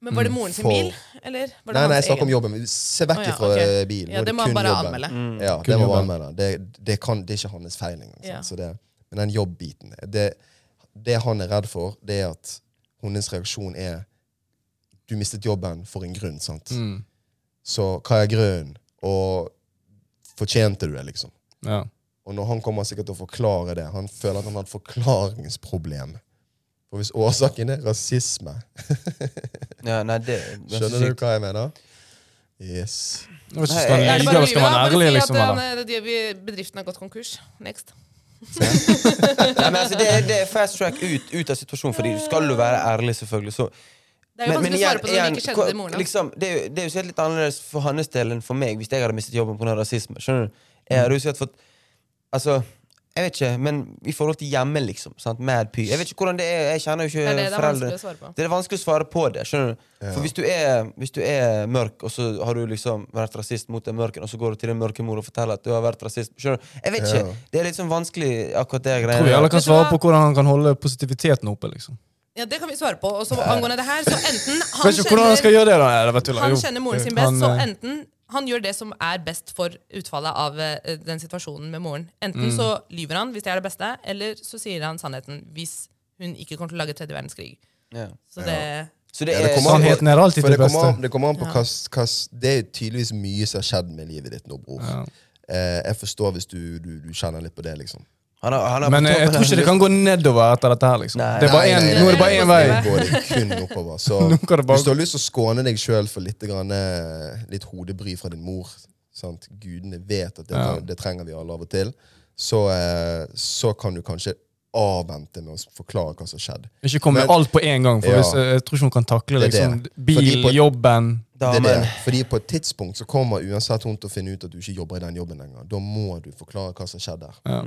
Men var det moren sin for- bil? Eller var det nei, hans nei, jeg snakker egen? om jobben. Se vekk Å ja, ifra ok. eh, bilen. Nå Ja, er det må han kun bare jobben. anmelde. Mm. Ja, Kun det må jobben. man mene. Det, det, kan, det er ikke hans feil engang. sant? Ja. Så det, men den jobbbiten det, det han er redd for, det er at hennes reaksjon er Du mistet jobben for en grunn, sant? mm, Så hva er grunnen? Og fortjente du det, liksom? ja. Og når han kommer sikkert til å forklare det Han føler at han har et forklaringsproblem. For hvis årsaken er rasisme Ja, nei, det er ganske Skjønner du sykt. hva jeg mener? Yes. Jeg vet ikke, skal Nei, Da er han det lyve, bare å eller lyve. skal han Ja, være bare ærlig, si liksom? at Eller? eh, de- vi- Bedriften har gått konkurs. Next. Nei, men altså, det, er- det er fast track ut, ut av situasjonen, Fordi du skal jo være ærlig, selvfølgelig. Så Det er jo vanskelig å svare på det når du ikke hva- kjenner moren hans. liksom, det, er jo- det er jo sikkert litt annerledes for hans del enn for meg hvis jeg hadde mistet jobben pga. rasisme. Skjønner du? Jeg hadde jo sikkert fått Altså, jeg vet ikke, men i forhold til hjemme, liksom. Sant? Mad py. Jeg vet ikke hvordan det er, jeg kjenner jo Det ikke er det det er foreldre. vanskelig å svare på. Det er vanskelig å svare på det. skjønner du? For hvis du, er, hvis du er mørk, og så har du liksom vært rasist mot den mørken, og så går du til din mørke mor og forteller at du har vært rasist skjønner du? Jeg vet ikke. Ja. Det er litt sånn vanskelig, akkurat det Jeg tror vi alle greiene. eh, Vet kan du svare hva? på hvordan han kan holde positiviteten oppe. liksom. Ja, Det kan vi svare på. Og så angående det her, så enten han Vet ikke hvordan han skal gjøre det, da. Nei, det var tull. han Jo. kjenner moren sin best, Han, så eh, enten han gjør det som er best for utfallet av eh, den situasjonen med moren. Enten Mm. så lyver han hvis det er det beste, eller så sier han sannheten hvis hun ikke kommer til å lage tredje verdenskrig. Ja. Så det, Så det Ja, det er sånn- kommer an på- Sannheten er alltid for det det kommer beste. an- Det kommer an på Ja. hva, s- hva s- Det er tydeligvis mye som har skjedd med livet ditt nå, bror. Ja. Eh, jeg forstår hvis du, du, du kjenner litt på det, liksom. han har, han har Men eh, jeg, jeg tror ikke det kan gå nedover etter dette her. liksom. Nei. Det er bare Nei, en, nei, nei, nå er det bare nei, én nei, vei. nei. Det går det kun oppover. Så *laughs* Nå kan det bare- hvis du har lyst til å skåne deg sjøl for litt, grann, eh, litt hodebry fra din mor sant? Gudene vet at det, Ja. kan- det trenger vi alle av og til. Så, eh, så kan du kanskje avvente med å s- forklare hva som skjedde. Ikke kom med Men- alt på en gang. for Ja. hvis, eh, Jeg tror ikke hun kan takle Det er det. liksom, bil, Fordi på- jobben Det da, er men, det. Fordi på et tidspunkt så kommer uansett hun til å finne ut at du ikke jobber i den jobben lenger. Da må du forklare hva som skjedde der.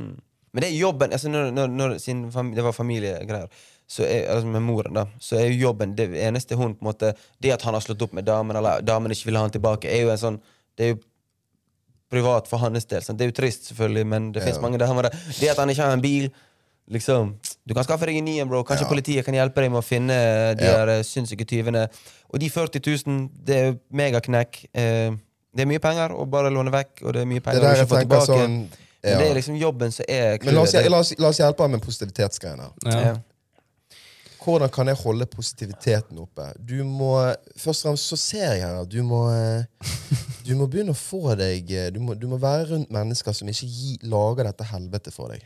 Men det er jobben altså når, når, når sin fam, Det var familiegreier. Så er, altså med moren, da. Så er jo jobben det eneste hun på en måte Det at han har slått opp med damen, eller damen ikke vil ha han tilbake, er jo en sånn Det er jo privat for hans del. Sant? Det er jo trist, selvfølgelig, men det fins mange damer der. Det at han ikke har en bil liksom, Du kan skaffe deg en ny en, bro. Kanskje politiet kan hjelpe deg med å finne de Ja. her eh, sinnssyke tyvene. Og de 40 000, det er jo megaknekk. Eh, det er mye penger å bare låne vekk, og det er mye Det penger å der ikke jeg få tenker tilbake. sånn Men Ja. det er liksom jobben som er Men la oss, clouet. la, oss, la oss hjelpe ham med positivitetsgreiene. her. Ja. Ja. Hvordan kan jeg holde positiviteten oppe? Du må, Først og fremst så ser jeg her at du må eh, Du må begynne å få deg eh, Du må, du må være rundt mennesker som ikke gi, lager dette helvete for deg.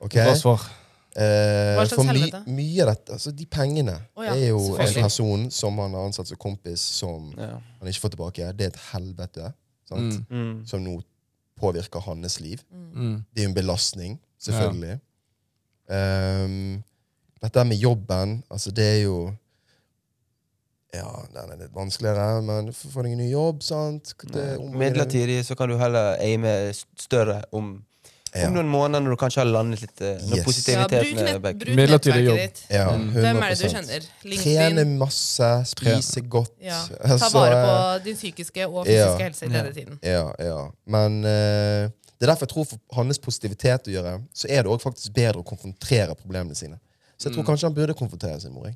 Ok? Bra svar. Eh, Hva slags for helvete? mye av dette, altså De pengene Å ja, er jo en selvfølgelig. person som han har ansatt som kompis, som Ja. han ikke får tilbake. Det er et helvete sant? Mm. Mm. som nå påvirker hans liv. Mm. Det er jo en belastning, selvfølgelig. Ehm, dette med jobben, altså det er jo Ja, den er litt vanskeligere, men få få deg en ny jobb, sant? Det- om- Midlertidig så kan du heller aime st- større om, om Ja, noen måneder når du kanskje har landet litt eh, Når Yes. Ja, bruk, positiviteten er nett, back. bruk Midlertidig jobb. nettverket ditt. ja, Mm. 100 Hvem er det du kjenner? Trene LinkedIn. masse, spise godt. Ja. Ta *laughs* altså, vare på din psykiske og fysiske Ja. helse i denne tiden. Ja, ja. Men eh, det er derfor jeg tror for hans positivitet å gjøre, så er det også faktisk bedre å konfrontere problemene sine. Så jeg tror kanskje han burde konfrontere sin mor. jeg.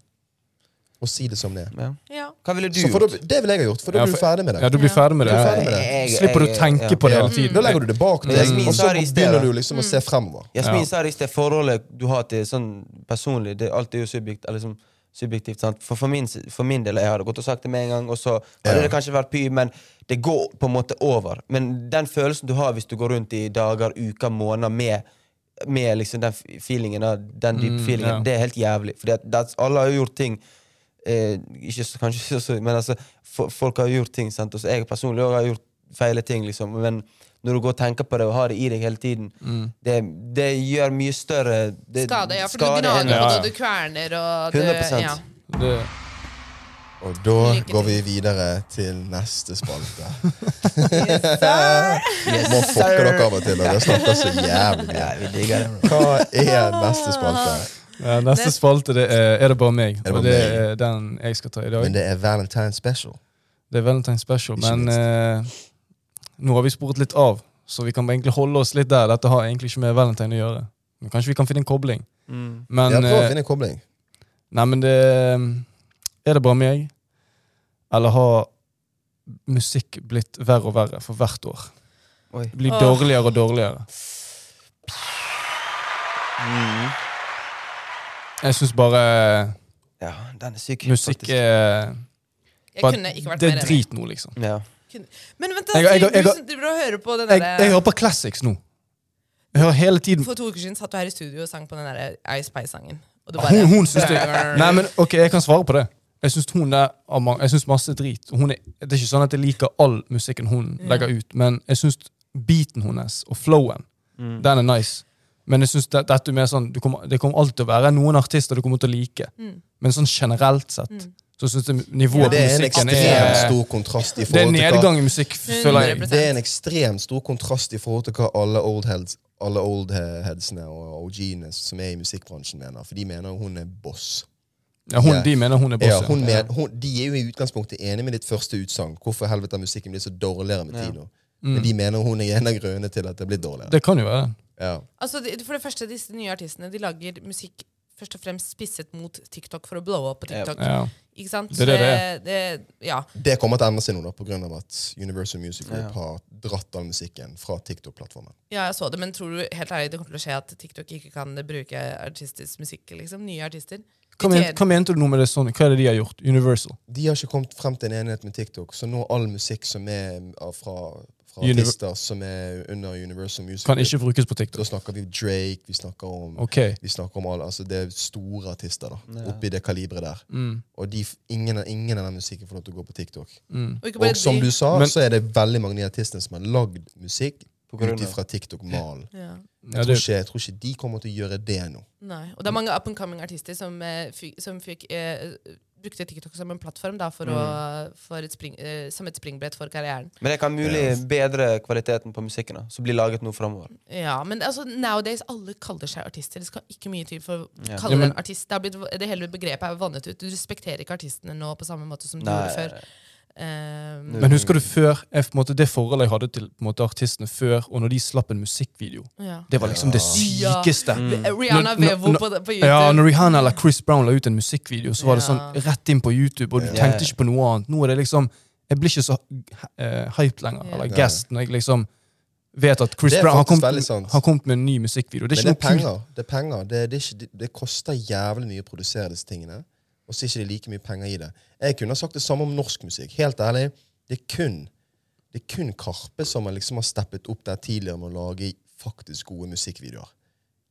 Og si det som det er. Ja. Ja. Hva ville du Så for gjort? da, det vil jeg ha gjort, for da Ja, blir du for- ferdig med Ja, det. du blir ferdig med det. Du er ferdig med det. Jeg- jeg- Slipper du å jeg- tenke ja. på det Mm. Ja. hele tiden. Da legger du det bak Men deg, Jasmin og sa så det i sted, da. begynner du liksom Mm. å se fremover. Jasmin Ja. sa det i sted, forholdet du har til sånn personlig det, Alt er jo subjekt, eller liksom, subjektivt. sant? For, for, min, s- for min del jeg hadde gått og sagt det med en gang, og så Ja. hadde det kanskje vært py, men det går på en måte over. Men den følelsen du har hvis du går rundt i dager, uker, måneder med, med liksom den f- feelingen, av- den dype Mm, feelingen, ja. det er helt jævlig. For alle har jo gjort ting eh, ikke, så- Kanskje ikke så men altså, fo- folk har gjort ting, sant? og så jeg personlig også har gjort feile ting, liksom. Men når du går og tenker på det og har det i deg hele tiden, Mm. det, det gjør mye større det, Skade, ja. For skade du gnager enn- Ja, på ja. det, du kverner og du, 100%. ja. Det, Og da Lykke til. går vi videre til neste spalte. Må Yes, fucke sir. dere av og til, og dere snakker så jævlig Ja, mye. vi digger det. Hva er neste spalte? ja, neste spalte det er, er det bare meg. det bare Og det meg? er den jeg skal ta i dag. Men det er Valentine Special. Det er Valentine Special, Ikke men eh, nå har vi sporet litt av, så vi kan egentlig holde oss litt der. Dette har egentlig ikke med Valentine å gjøre. Men kanskje vi kan finne en kobling. Mm. Men, Ja, prøv å eh, finne en kobling. nei, men det eh, Er det bare meg? Eller har musikk blitt verre og verre for hvert år? Oi. Det blir Åh. dårligere og dårligere. Mm. Jeg syns bare eh, Ja, den er syk. musikk eh, faktisk. er Jeg bare- kunne ikke vært Det mer er enig. drit nå, liksom. Ja. Men vent, da, Jeg- jeg- Sigrid, jeg- du som driver og hører på den Jeg, jeg derre hører på classics nå. Jeg hører hele tiden For to uker siden satt du her i studio og sang på den der eh, Ice Pie-sangen. Og du Ah, Hun, hun syns det Nei, men, men ok, jeg kan svare på det. Jeg syns hun der har ma- Jeg syns masse drit. Hun er, det er ikke sånn at jeg liker all musikken hun Ja. legger ut, men jeg syns beaten hennes og flowen, Mm. den er nice. Men jeg synes det, dette er mer sånn, du kommer, det kommer alltid til å være noen artister du kommer til å like. Men sånn generelt sett så syns jeg Mm. nivået Det er på en musikken ekstremt er stor kontrast i Det er forhold til hva nedgang i musikk, føler jeg. 100%. Det er en ekstremt stor kontrast i forhold til hva alle old heads alle old headsene og OG-ene som er i musikkbransjen, mener. For de mener jo hun er boss. Ja, hun, Ja. de mener hun er boss. Ja, hun ja. men, hun, de er jo i utgangspunktet enig med ditt første utsagn. Hvorfor helvete har musikken blitt så dårligere med Ja. tida? Men de mener hun er en av grunnene til at det er blitt dårligere. Mm. Det kan jo være. Ja. altså, de- for det første, disse nye artistene De lager musikk først og fremst spisset mot TikTok for å blowe opp på Ja. TikTok. Ja. Ikke sant? Eh, Det er det det er. Ja. Det kommer til å endre seg nå, da, pga. at Universal Music Group Ja. har dratt all musikken fra TikTok-plattformen. Ja, jeg så det, men tror du helt ærlig det kommer til å skje at TikTok ikke kan bruke artistisk musikk? liksom? Nye artister? Hva, men, hva mente du nå med det sånn? Hva er det de har gjort? Universal? De har ikke kommet frem til en enighet med TikTok, så nå all musikk som er av- fra, fra Univer- artister som er under Universal Music Kan Group, ikke brukes på Da TikTok. snakker vi Drake, vi snakker om Ok. vi snakker om alle, altså Det er store artister da, Ja. oppi det kaliberet der. Mm, Og de, f- ingen, av- ingen av den musikken får lov til å gå på TikTok. mm. Og ikke bare Og som de- du sa, Men- så er det veldig mange av de artistene som har lagd musikk På grunn ut av ifra TikTok-malen. ja. Ja, Jeg, det, tror ikke- jeg tror ikke de kommer til å gjøre det nå. Nei. Og det er mange up and coming artister som, eh, fy- som fikk, eh, brukte TikTok som en plattform da, for å, for et spring, eh, som et springbrett for karrieren. Men det kan mulig bedre kvaliteten på musikken da, som blir laget nå framover. Ja, Men det- altså, nowadays alle kaller seg artister. Det skal ikke mye til for å Ja. kalle Ja, deg men- en artist. Det, har blitt, det hele begrepet er vannet ut. Du respekterer ikke artistene nå på samme måte som du gjorde før. Eh, Men husker du før jeg, på en måte, det forholdet jeg hadde til på en måte, artistene før, og når de slapp en musikkvideo? ja. Det var liksom det Ja. sykeste. Rihanna Når- når- Vevo når- på, på YouTube. Ja, når Rihanna eller Chris Brown la ut en musikkvideo, så var det Ja. sånn rett inn på YouTube, og du Ja. tenkte ikke på noe annet. Nå er det liksom Jeg blir ikke så eh, hyped lenger, Ja. eller Nei. gassed, når jeg liksom vet at Chris Det er Brown har faktisk kommet, veldig sant. har kommet med en ny musikkvideo. Det er Men det er ikke noe kult. penger. Det, er penger. Det, det, er ikke, det, det koster jævlig mye å produsere disse tingene. Og så er ikke det like mye penger i det. Jeg kunne ha sagt det samme om norsk musikk. Helt ærlig, det er kun, det er kun Karpe som har liksom har steppet opp der tidligere med å lage faktisk gode musikkvideoer.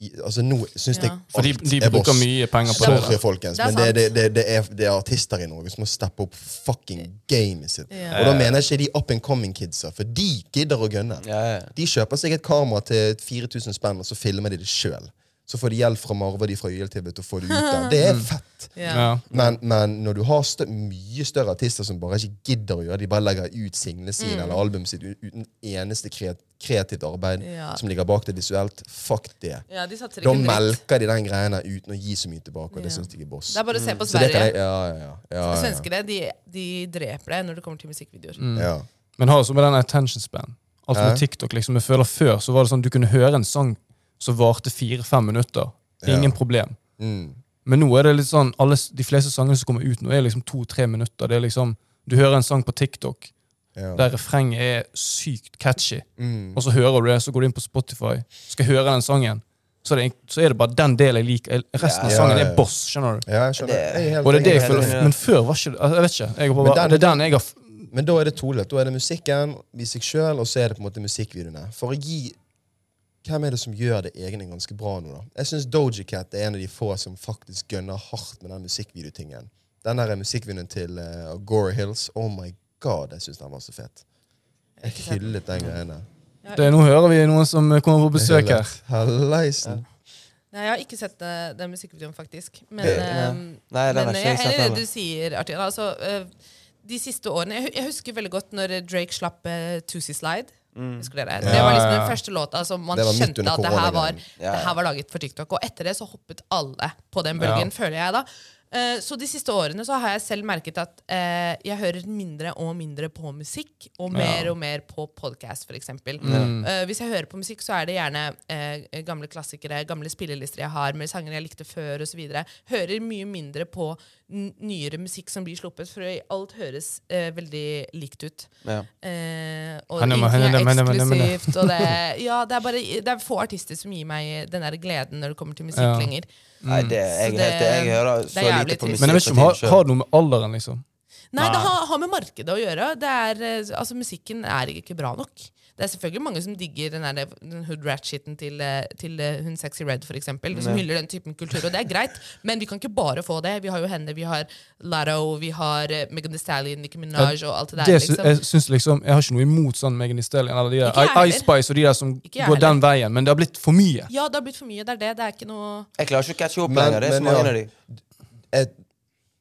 I, altså nå syns Ja. jeg alt For de, de er bruker boss. mye penger på det. Sorry, folkens, Det er men det, sant. det, det, det, er, det er artister i Norge som må steppe opp fucking gamet sitt. Ja. Og da mener jeg ikke de up and coming kidsa, for de gidder å gunne. Ja, ja. De kjøper seg et kamera til 4000 spenn, og så filmer de det sjøl. Så får de hjelp fra Marve og de fra YLTV til å få det ut der. Det er fett. Ja. Ja. Men, men når du har stø mye større artister som bare ikke gidder å gjøre det, de bare legger ut singlene sine eller albumet sitt u- uten eneste kre kreativt arbeid Ja. som ligger bak det visuelt, fuck det. ja, de satser Da ikke dritt. melker de den greia der uten å gi så mye tilbake, og Ja. det syns jeg er boss. Det er bare å se på Så det kan Sverige. jeg, ja, ja, ja, ja, ja, ja. Svenskene de, de dreper deg når det kommer til musikkvideoer. ja. Men har også med den attention span. Alt med Ja. TikTok, liksom. Jeg føler Før så var det sånn du kunne høre en sang som varte fire-fem minutter. Ingen problem. Mm. Men nå er det litt sånn, alle, s- de fleste sangene som kommer ut nå, er liksom to-tre minutter. Det er liksom, Du hører en sang på TikTok Ja. der refrenget er sykt catchy, Mm. og så hører du det, så går du inn på Spotify, skal høre den sangen, så er det, en- så er det bare den delen jeg liker. Resten av Ja, sangen ja, ja. er boss, skjønner du. ja, jeg skjønner. Jeg er helt Og det er det jeg enig. føler, enig. Men før var ikke det altså, Jeg vet ikke. Jeg har Men bare, den- det er den jeg har f- Men da er det tolet. Da er det musikken i seg sjøl, og så er det på en måte musikkvideoene. For å gi Hvem er det som gjør det egentlig ganske bra nå, da? Jeg syns Doji Cat er en av de få som faktisk gønner hardt med den musikkvideotingen. Den der musikkvideoen til eh, Agora Hills, oh my god, jeg syns den var så fet. Jeg Ikke sant? hyllet den greiene. det, Nå hører vi noen som eh, kommer på besøk her. Hallaisen. Nei, jeg har ikke sett eh, den musikkvideoen, faktisk. Men, Det- ehm, Nei, den har men ikke jeg jeg er sett enig i det heller. du sier, Artin. Altså, eh, de siste årene jeg, hu- jeg husker veldig godt når eh, Drake slapp eh, Tusi Slide. Husker dere? Det Ja, var liksom ja, den ja. første låta som man Det var midt skjønte under at det her, var, koronagreien. Ja, det ja. her var laget for TikTok. Og etter det så hoppet alle på den bølgen, føler jeg da. Eh, Så de siste årene så har jeg selv merket at eh, jeg hører mindre og mindre på musikk, og mer Ja. og mer på podkast, f.eks. eksempel Eh, hvis jeg hører på musikk, så er det gjerne eh, gamle klassikere, gamle spillelister jeg har, med sanger jeg likte før osv. Hører mye mindre på n nyere musikk som blir sluppet, for alt høres eh, veldig likt ut. Ja. Eh, og Henne, ingenting henne, er henne, henne, henne, henne. eksklusivt. Og det, *laughs* ja, det, er bare, det er få artister som gir meg den der gleden når det kommer til musikk Ja. lenger. Nei, det, jeg, Så er helt- jeg det- hører det er så lite jævlig på trist. musikk. Mm. Men jeg vet ikke om for har, tiden har selv. det noe med alderen, liksom. Nei, det Nei. har, har med markedet å gjøre. Det er, eh, altså, musikken er ikke bra nok. Det er selvfølgelig mange som digger den, der, den hood rat-shiten til, eh, til eh, hun Sexy Red, for eksempel, som hyller den typen kultur, og det er greit, men vi kan ikke bare få det. Vi har jo henne, vi har Latto, vi har eh, Megan Thee Stallion, Nicki Minaj og alt det der. Det sy- liksom. jeg, syns liksom, jeg har ikke noe imot sånn Megan Thee Stallion eller de Ikke jeg der heller. Ice Spice og de der som jeg går den veien, men det har blitt for mye. Ja, det har blitt for mye. Det er det. Det er ikke noe Jeg klarer ikke å catche opp Men- lenger. Det er så men mange ja. av de. Jeg-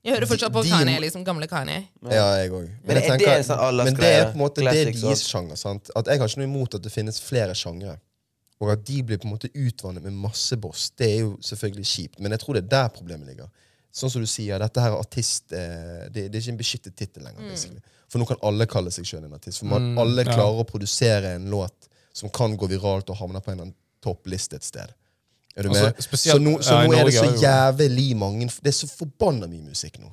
Jeg hører fortsatt på De- Kanye, liksom gamle Kanye. Ja, jeg òg. Men er det en sånn men det er på en måte det er aldersgreie? Classics deres sjanger. sant? At Jeg har ikke noe imot at det finnes flere sjangre. Og at de blir på en måte utvannet med masse boss, det er jo selvfølgelig kjipt. Men jeg tror det er der problemet ligger. Sånn som du sier, dette her er artist eh, det, det er ikke en beskyttet tittel Mm. lenger. basically. For nå kan alle kalle seg sjøl en artist. For man, Mm, alle ja. klarer å produsere en låt som kan gå viralt og havne på en eller annen toppliste et sted. Er du Altså, med? spesielt- så nå, så ja, i nå er det så Norge jævlig mange Det er så forbanna mye musikk nå.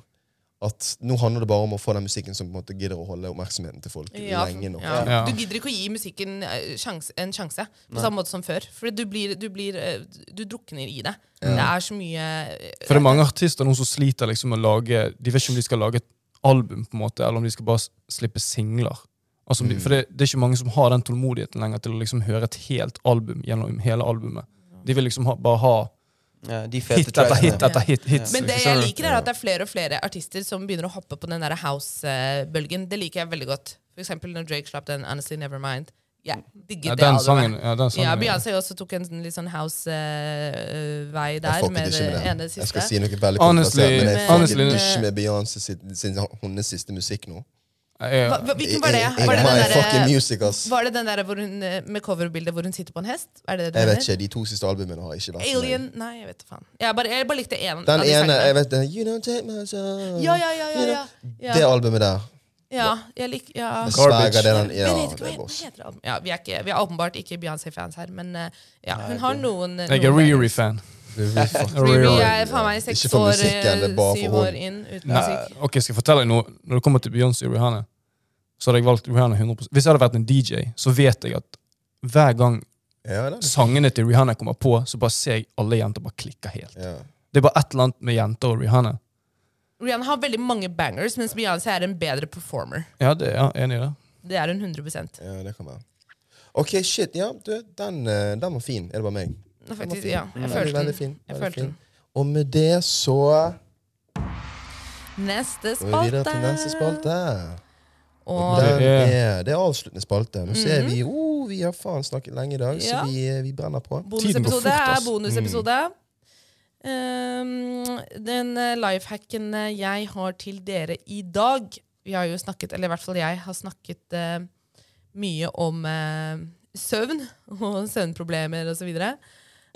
At nå handler det bare om å få den musikken som på en måte gidder å holde oppmerksomheten til folk Ja, for- lenge nok. ja. Ja. Du gidder ikke å gi musikken eh, sjans, en sjanse på samme måte som før. For du, blir, du, blir, eh, du drukner i det. Det er så mye eh, For det er mange artister nå som sliter liksom med å lage De vet ikke om de skal lage et album, på en måte, eller om de skal bare s- slippe singler. Altså, Mm. om de- For det, det er ikke mange som har den tålmodigheten lenger til å liksom høre et helt album gjennom hele albumet. De vil liksom ha, bare ha Ja, de fete hit etter tracksene. hit etter hit. hits, Men det liksom, jeg skjønner du? liker, er at det er flere og flere artister som begynner å hoppe på den der house-bølgen. Det liker jeg veldig godt. For eksempel når Drake slapp den Honestly Nevermind. Jeg digget ja, det den albumet. sangen, ja, den sangen Ja, Beyoncé også tok en sånn litt sånn house-vei der. Jeg fucket med ikke med det ene den. siste. Jeg skal si noe veldig Honestly- kontroversielt, men jeg honestly- fucket ikke med Beyoncé sin, sin, hennes siste musikk nå. Hva, Ja, hva- hvilken var det? I- I- Var det my den derre- fucking music, ass. Var det den der hvor hun, eh, med coverbildet hvor hun sitter på en hest? Er det det du Jeg vet mener? ikke, De to siste albumene har ikke vært for meg. Alien? Nei, jeg vet da faen. Jeg bare, jeg bare likte én av Den de ene sangene. jeg vet, den, You don't take my soul. Ja, ja, ja. ja, ja. You know, Det ja. Ah. albumet der. ja jeg lik, ja. Jeg sverger Garbage. det er den, ja, jeg vet ikke det hva er het- boss. hva heter det. Ja, vi, er ikke, vi er åpenbart ikke Beyoncé-fans her, men eh, ja, hun har noen jeg er Riri-fan. Riri er faen meg seks Ikke for år, musikken, det er bare eh, syv for år hun. inn uten Nei, musikk. ok, skal jeg fortelle deg noe? Når det kommer til Beyoncé og Rihanna, så hadde jeg valgt Rihanna 100 Hvis jeg hadde vært en DJ, så vet jeg at hver gang Ja, det er det. sangene til Rihanna kommer på, så bare ser jeg alle jenter bare klikker helt. Ja. Det er bare et eller annet med jenter og Rihanna. Rihanna har veldig mange bangers, mens Beyoncé er en bedre performer. Ja, det, ja enig i det. Det er hun 100 ja, det kan være. OK, shit. Ja, du, den, eh, den var fin. Er det bare meg? Faktisk, ja, jeg Mm, Veldig, følte veldig den. fin. Jeg veldig følte den. Og med det så Neste går vi videre til neste spalte. spalte. Og Det Den er- er, det er avsluttende spalte. Nå ser vi oh, vi har faen snakket lenge i dag, så Mhm. Ja. vi, eh, vi brenner på. Tiden går fort, Bonusepisode er ass. bonusepisode. Um, den eh, lifehacken eh, jeg har til dere i dag Vi har jo snakket, eller i hvert fall jeg har snakket eh, mye om eh, søvn *laughs* og søvnproblemer osv. Så,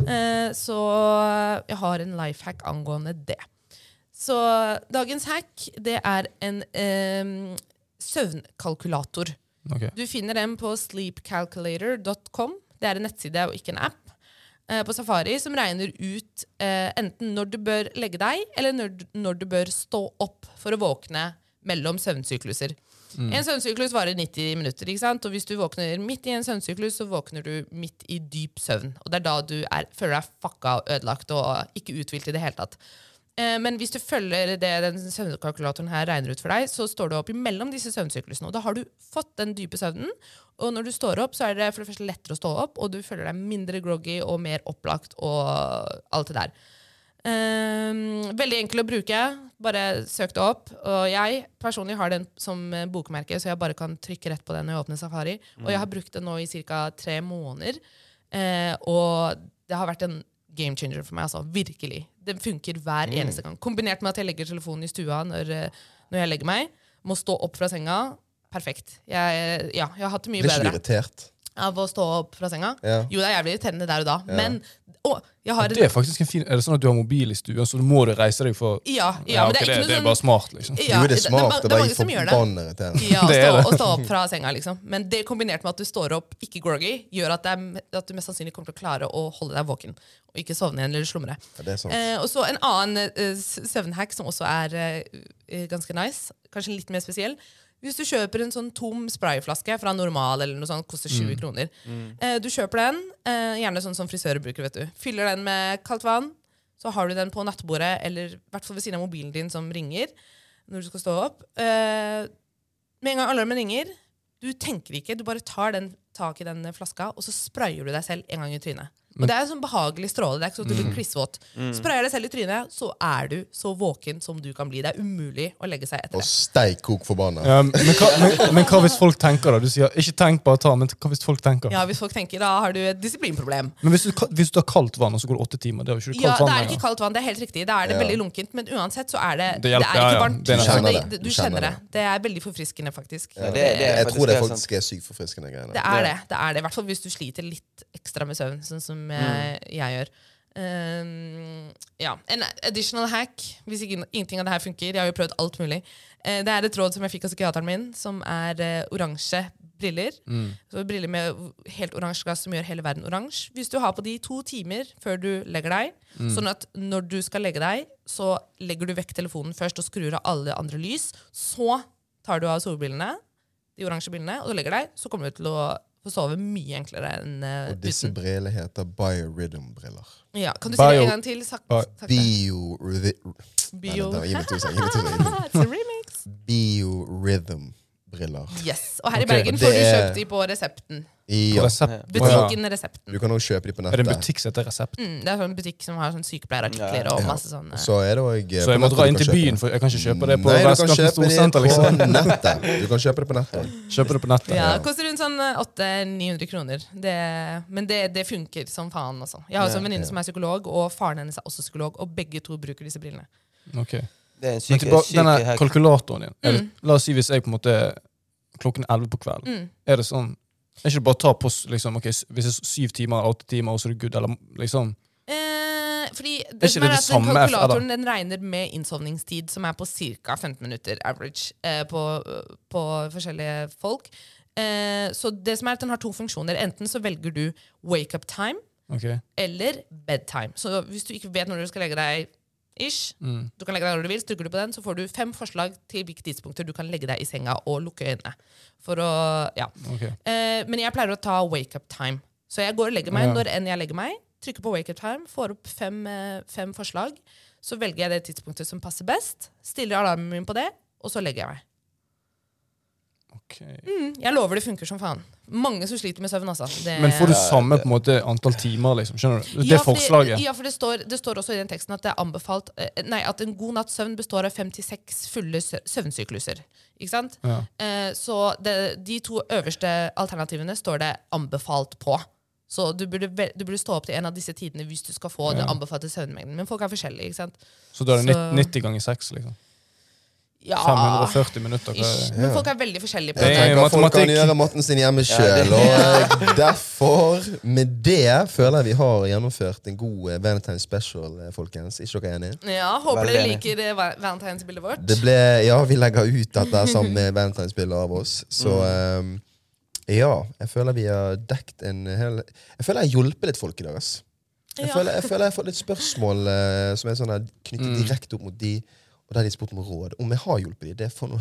uh, så eh, jeg har en lifehack angående det. Så dagens hack, det er en eh, søvnkalkulator. Ok. Du finner dem på sleepcalculator.com. Det er en nettside og ikke en app. eh, På Safari som regner ut eh, enten når du bør legge deg, eller når, du- når du bør stå opp for å våkne mellom søvnsykluser. En søvnsyklus varer 90 minutter, ikke sant? og hvis du våkner midt i en søvnsyklus, så våkner du midt i dyp søvn. Og det er da du er, føler deg fucka og ødelagt og ikke uthvilt i det hele tatt. Eh, Men hvis du følger det den søvnkalkulatoren her regner ut for deg, så står du opp imellom disse søvnsyklusene. Og da har du fått den dype søvnen. Og når du står opp, så er det for det første lettere å stå opp, og du føler deg mindre groggy og mer opplagt og alt det der. Ehm, veldig enkel å bruke. Bare søk det opp. Og jeg personlig har den som eh, bokmerke, så jeg bare kan trykke rett på den når jeg åpner Safari. Og Mm. jeg har brukt den nå i ca. tre måneder. Eh, og det har vært en game changer for meg. Altså, virkelig. Den funker hver Mm. eneste gang. Kombinert med at jeg legger telefonen i stua når, eh, når jeg legger meg. Må stå opp fra senga. Perfekt. Jeg, ja, jeg har hatt det mye Blir ikke du bedre irritert? av å stå opp fra senga. Ja. Jo, det er jævlig irriterende der og da, men å, jeg har en- Det er faktisk en fin Er det sånn at du har mobil i stuen, så må du reise deg for ja, ja, Ja, men det ok, er ikke noe det sånn er bare smart, liksom. ja, jo, det er smart. Det, det er var mange som gjør det. forbanna irriterende. Ja, *laughs* Det er stå, det. å stå opp fra senga, liksom. Men det kombinert med at du står opp ikke groggy, gjør at, det er, at du mest sannsynlig kommer til å klare å holde deg våken og ikke sovne igjen eller slumre. Ja, det er sånn. sant. Eh, og så en annen eh, s- søvnhack som også er eh, ganske nice, kanskje litt mer spesiell. Hvis du kjøper en sånn tom sprayflaske fra Normal, eller noe sånt, koster 20 Mm. kroner. Eh, du kjøper den, eh, gjerne sånn som frisører bruker, vet du. Fyller den med kaldt vann, så har du den på nattbordet, eller i hvert fall ved siden av mobilen din som ringer når du skal stå opp. Eh, med en gang alarmen ringer, du tenker ikke, du bare tar den, tak i den flaska, og så sprayer du deg selv en gang i trynet. Og det er en sånn behagelig stråle. det er ikke sånn at du blir klissvåt. Sprayer deg selv i trynet, så er du så våken som du kan bli. Det er umulig å legge seg etter Og det. steik kok forbanna. Ja, Um, men, hva, men, men hva hvis folk tenker, da? Du sier 'ikke tenk, bare ta', men hva hvis folk tenker? Ja, Hvis folk tenker da har du et disiplinproblem. Men hvis du, ka- hvis du tar kaldt vann, og så går det åtte timer, det er jo ikke Ja, Det kaldt vann er lenger. ikke kaldt vann, det er helt riktig. Da er det Ja. veldig lunkent, men uansett så er det, Det det er hjelper, ja, ja. ikke varmt. Det er Du nesten- kjenner Du kjenner det. det. Du kjenner det. Det er veldig forfriskende, faktisk. Ja, det- det er jeg faktisk tror det helt faktisk er sykt forfriskende greier. Det er det. det er det. I hvert fall hvis du sliter litt ekstra med søvn, sånn som eh, jeg gjør. Um, ja. En additional hack, hvis ikke, ingenting av det her funker. Jeg har jo prøvd alt mulig. Eh, det er et råd som jeg fikk av psykiateren min, som er eh, oransje briller. Så briller med helt oransje glass som gjør hele verden oransje. Hvis du har på de to timer før du legger deg, sånn at når du skal legge deg, så legger du vekk telefonen først og skrur av alle andre lys. Så tar du av solbrillene de oransje brillene og du legger deg, så kommer du til å få sove mye enklere enn eh, Og disse uten. brillene heter biorhythm-briller. Ja, kan du si det Bio- en gang til? Sak, Bi- sakte. Biorhythm Bio. *laughs* Nei, nei, nei, gi meg to sekunder, gi meg to sekunder. It's a remix. Biorhythm-briller. Yes. Og her i Ok, Bergen det får du er- kjøpt de på Resepten. Ja. Resept- Å, ja. Butikken Resepten. Du kan også kjøpe de på Er det en nettet. butikk som heter Resept? Mm, det er sånn butikk som har sånn sykepleierartikler og Ja. masse sånn eh, Så er det også, eh, Så jeg på må nettet dra du inn kan til kjøpe byen, det. for jeg kan ikke kjøpe det på Nei, du kan Vestkanten kjøpe de Storsenter. liksom. på nettet. Du kan kjøpe det på nettet. *laughs* Kjøpe det på nettet. Ja, det koster rundt sånn eh, 800-900 kroner. Det, men det, det funker som faen, altså. Jeg har også en venninne som er psykolog, og faren hennes er også psykolog, og begge to bruker disse brillene. Ok. Det er en syk, Men tilbake, syk denne hack. kalkulatoren din. Er det, Mm. la oss si hvis jeg på en måte klokken 11 på kvelden Er det sånn Er ikke det bare å ta på s- liksom, ok, s- hvis det er syv timer eller åtte timer, og så er det good? Eller, liksom. Eh, fordi Er det ikke som det er det at samme, den Kalkulatoren eller? den regner med innsovningstid, som er på ca. 15 minutter average eh, på, på forskjellige folk. Eh, så det som er at den har to funksjoner. Enten så velger du wake up time Ok. eller bedtime. Så hvis du ikke vet når du skal legge deg, Ish. Mm. Du kan legge deg når du vil. Så trykker du på den, så får du fem forslag til hvilke tidspunkter du kan legge deg i senga og lukke øynene. For å, ja. Ok. Eh, men jeg pleier å ta wake up time. Så jeg går og legger meg Ja. når enn jeg legger meg. Trykker på wake up time, får opp fem, eh, fem forslag. Så velger jeg det tidspunktet som passer best, stiller alarmen min på det, og så legger jeg meg. ok. Mm, jeg lover det funker som faen. Mange som sliter med søvn, altså. Det, Men får du samme på en måte antall timer, liksom? Skjønner du? Det Ja, for forslaget. Ja, for det står, det står også i den teksten at det er anbefalt eh, Nei, at en god natts søvn består av fem til seks fulle sø- søvnsykluser. Ikke sant? Ja. Eh, så det, de to øverste alternativene står det anbefalt på. Så du burde, vel- du burde stå opp til en av disse tidene hvis du skal få den Ja. anbefalte søvnmengden. Men folk er forskjellige, ikke sant? Så da er det Så- 90 ganger 6, liksom. Ja, 540 minutter. Hva ish. er det? Men folk er veldig forskjellige. på Det det. er Tenker folk kan matematikk. gjøre matten sin hjemme sjøl. Og eh, derfor, med det, føler jeg vi har gjennomført en god eh, Valentine special, eh, folkens. Ikke dere enige? Ja, Håper dere Veldig enig. liker eh, va- valentinsbildet vårt. Det ble, ja, vi legger ut dette sammen med Valentine's-bilder av oss. Så Mm. eh, ja, jeg føler vi har dekt en hel Jeg føler jeg har hjulpet litt folk i dag. ass. Jeg, Ja. føler, jeg føler jeg har fått litt spørsmål eh, som er sånn her, knyttet Mm. direkte opp mot de, og der de spurte om råd. Om jeg har hjulpet de, det får noe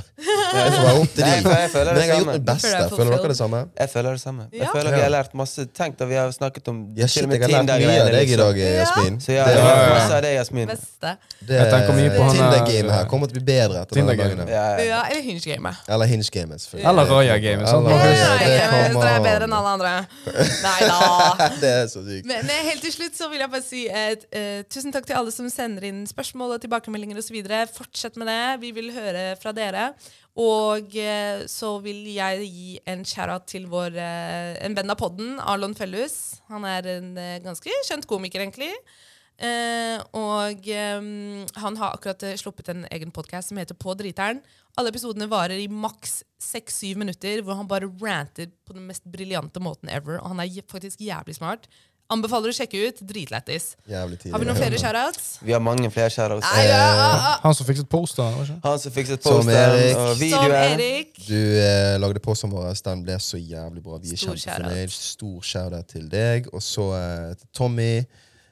Det får være opp til *laughs* Nei, jeg de. føler- jeg føler Men det jeg har gjort samme. mitt beste. Føler jeg er Føler dere fulfilled. det samme? Jeg føler det samme. Jeg Ja. føler vi har Ja. lært masse. Tenk da vi har snakket om Ja, til shit, og med jeg har lært mye Tinder-greier, av deg i liksom. dag, Ja. Jasmin. Så ja, Det- det ja, ja. var masse av det, Jasmin. Beste. Det Jeg tenker mye på han, Tinder-gamet eh, her kommer til å bli bedre etter denne Tinder-gamet. dagen. her. Ja, ja. Ja, eller Hinge-gamet. Eller Hinge-gamet, selvfølgelig. Eller sånn. Raja-gamet, sant? Eller Ja, Nei, Raja, det jeg mener, kommer dere er bedre enn alle andre. Nei da. Det er så sykt. Men eh, helt til slutt så vil jeg bare si eh, eh, tusen takk til alle som sender inn spørsmål og tilbakemeldinger osv. Fortsett med det. Vi vil høre fra dere. Og eh, så vil jeg gi en shout-out til vår, eh, en venn av podden, Arlon Fellus. Han er en eh, ganske kjent komiker, egentlig. Eh, og eh, han har akkurat eh, sluppet en egen podkast som heter På driteren. Alle episodene varer i maks 6-7 minutter, hvor han bare ranter på den mest briljante måten ever. Og han er j- faktisk jævlig smart. Anbefaler å sjekke ut. Dritlættis. Jævlig tidlig. Har vi noen flere shoutouts? Vi har mange flere shoutouts. Nei, ja, ja, ja. Han som fikk sitt poster, var det ikke? Han som fikset Som Erik. posteren og Som videoen. Erik. Du eh, lagde på som vår. Den ble så jævlig bra. Vi er Stor kjempefornøyd. Stor shout-out til deg. Og så eh, til Tommy,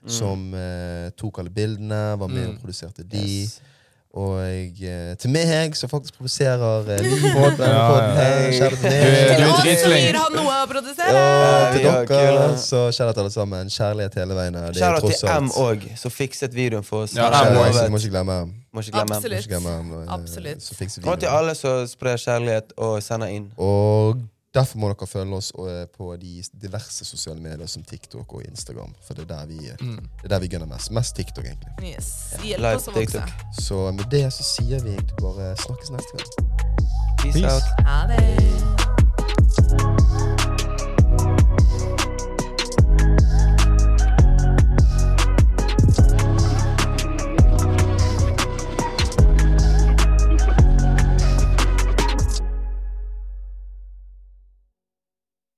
Mm. som eh, tok alle bildene, var med og produserte de. Yes. Og eh, til meg, som faktisk produserer *laughs* eh, Ja, ja. Livpodden. Kjære til Du- meg. Og du- er så dritflink. gir han noe å produsere! Og til Ja, vi er dere. kule. Så kjære til alle sammen. Kjærlighet hele veien. her. Det er Shoutout tross til M alt. òg, som fikset videoen for oss. Ja, Han M har Kjære, så også. du lovet- Må ikke glemme M. Må ikke glemme M. Må ikke glemme M. eh, Absolutt. Så fikser vi Og til det. alle som sprer kjærlighet og sender inn. Og derfor må dere følge oss eh, på de diverse sosiale medier som TikTok og Instagram. For det er der vi, det er der vi gunner mest. Mest TikTok, egentlig. Yes. Like Hjelp oss å vokse. TikTok. Så med det så sier vi egentlig bare snakkes neste gang. Peace Peace. out. Ha det.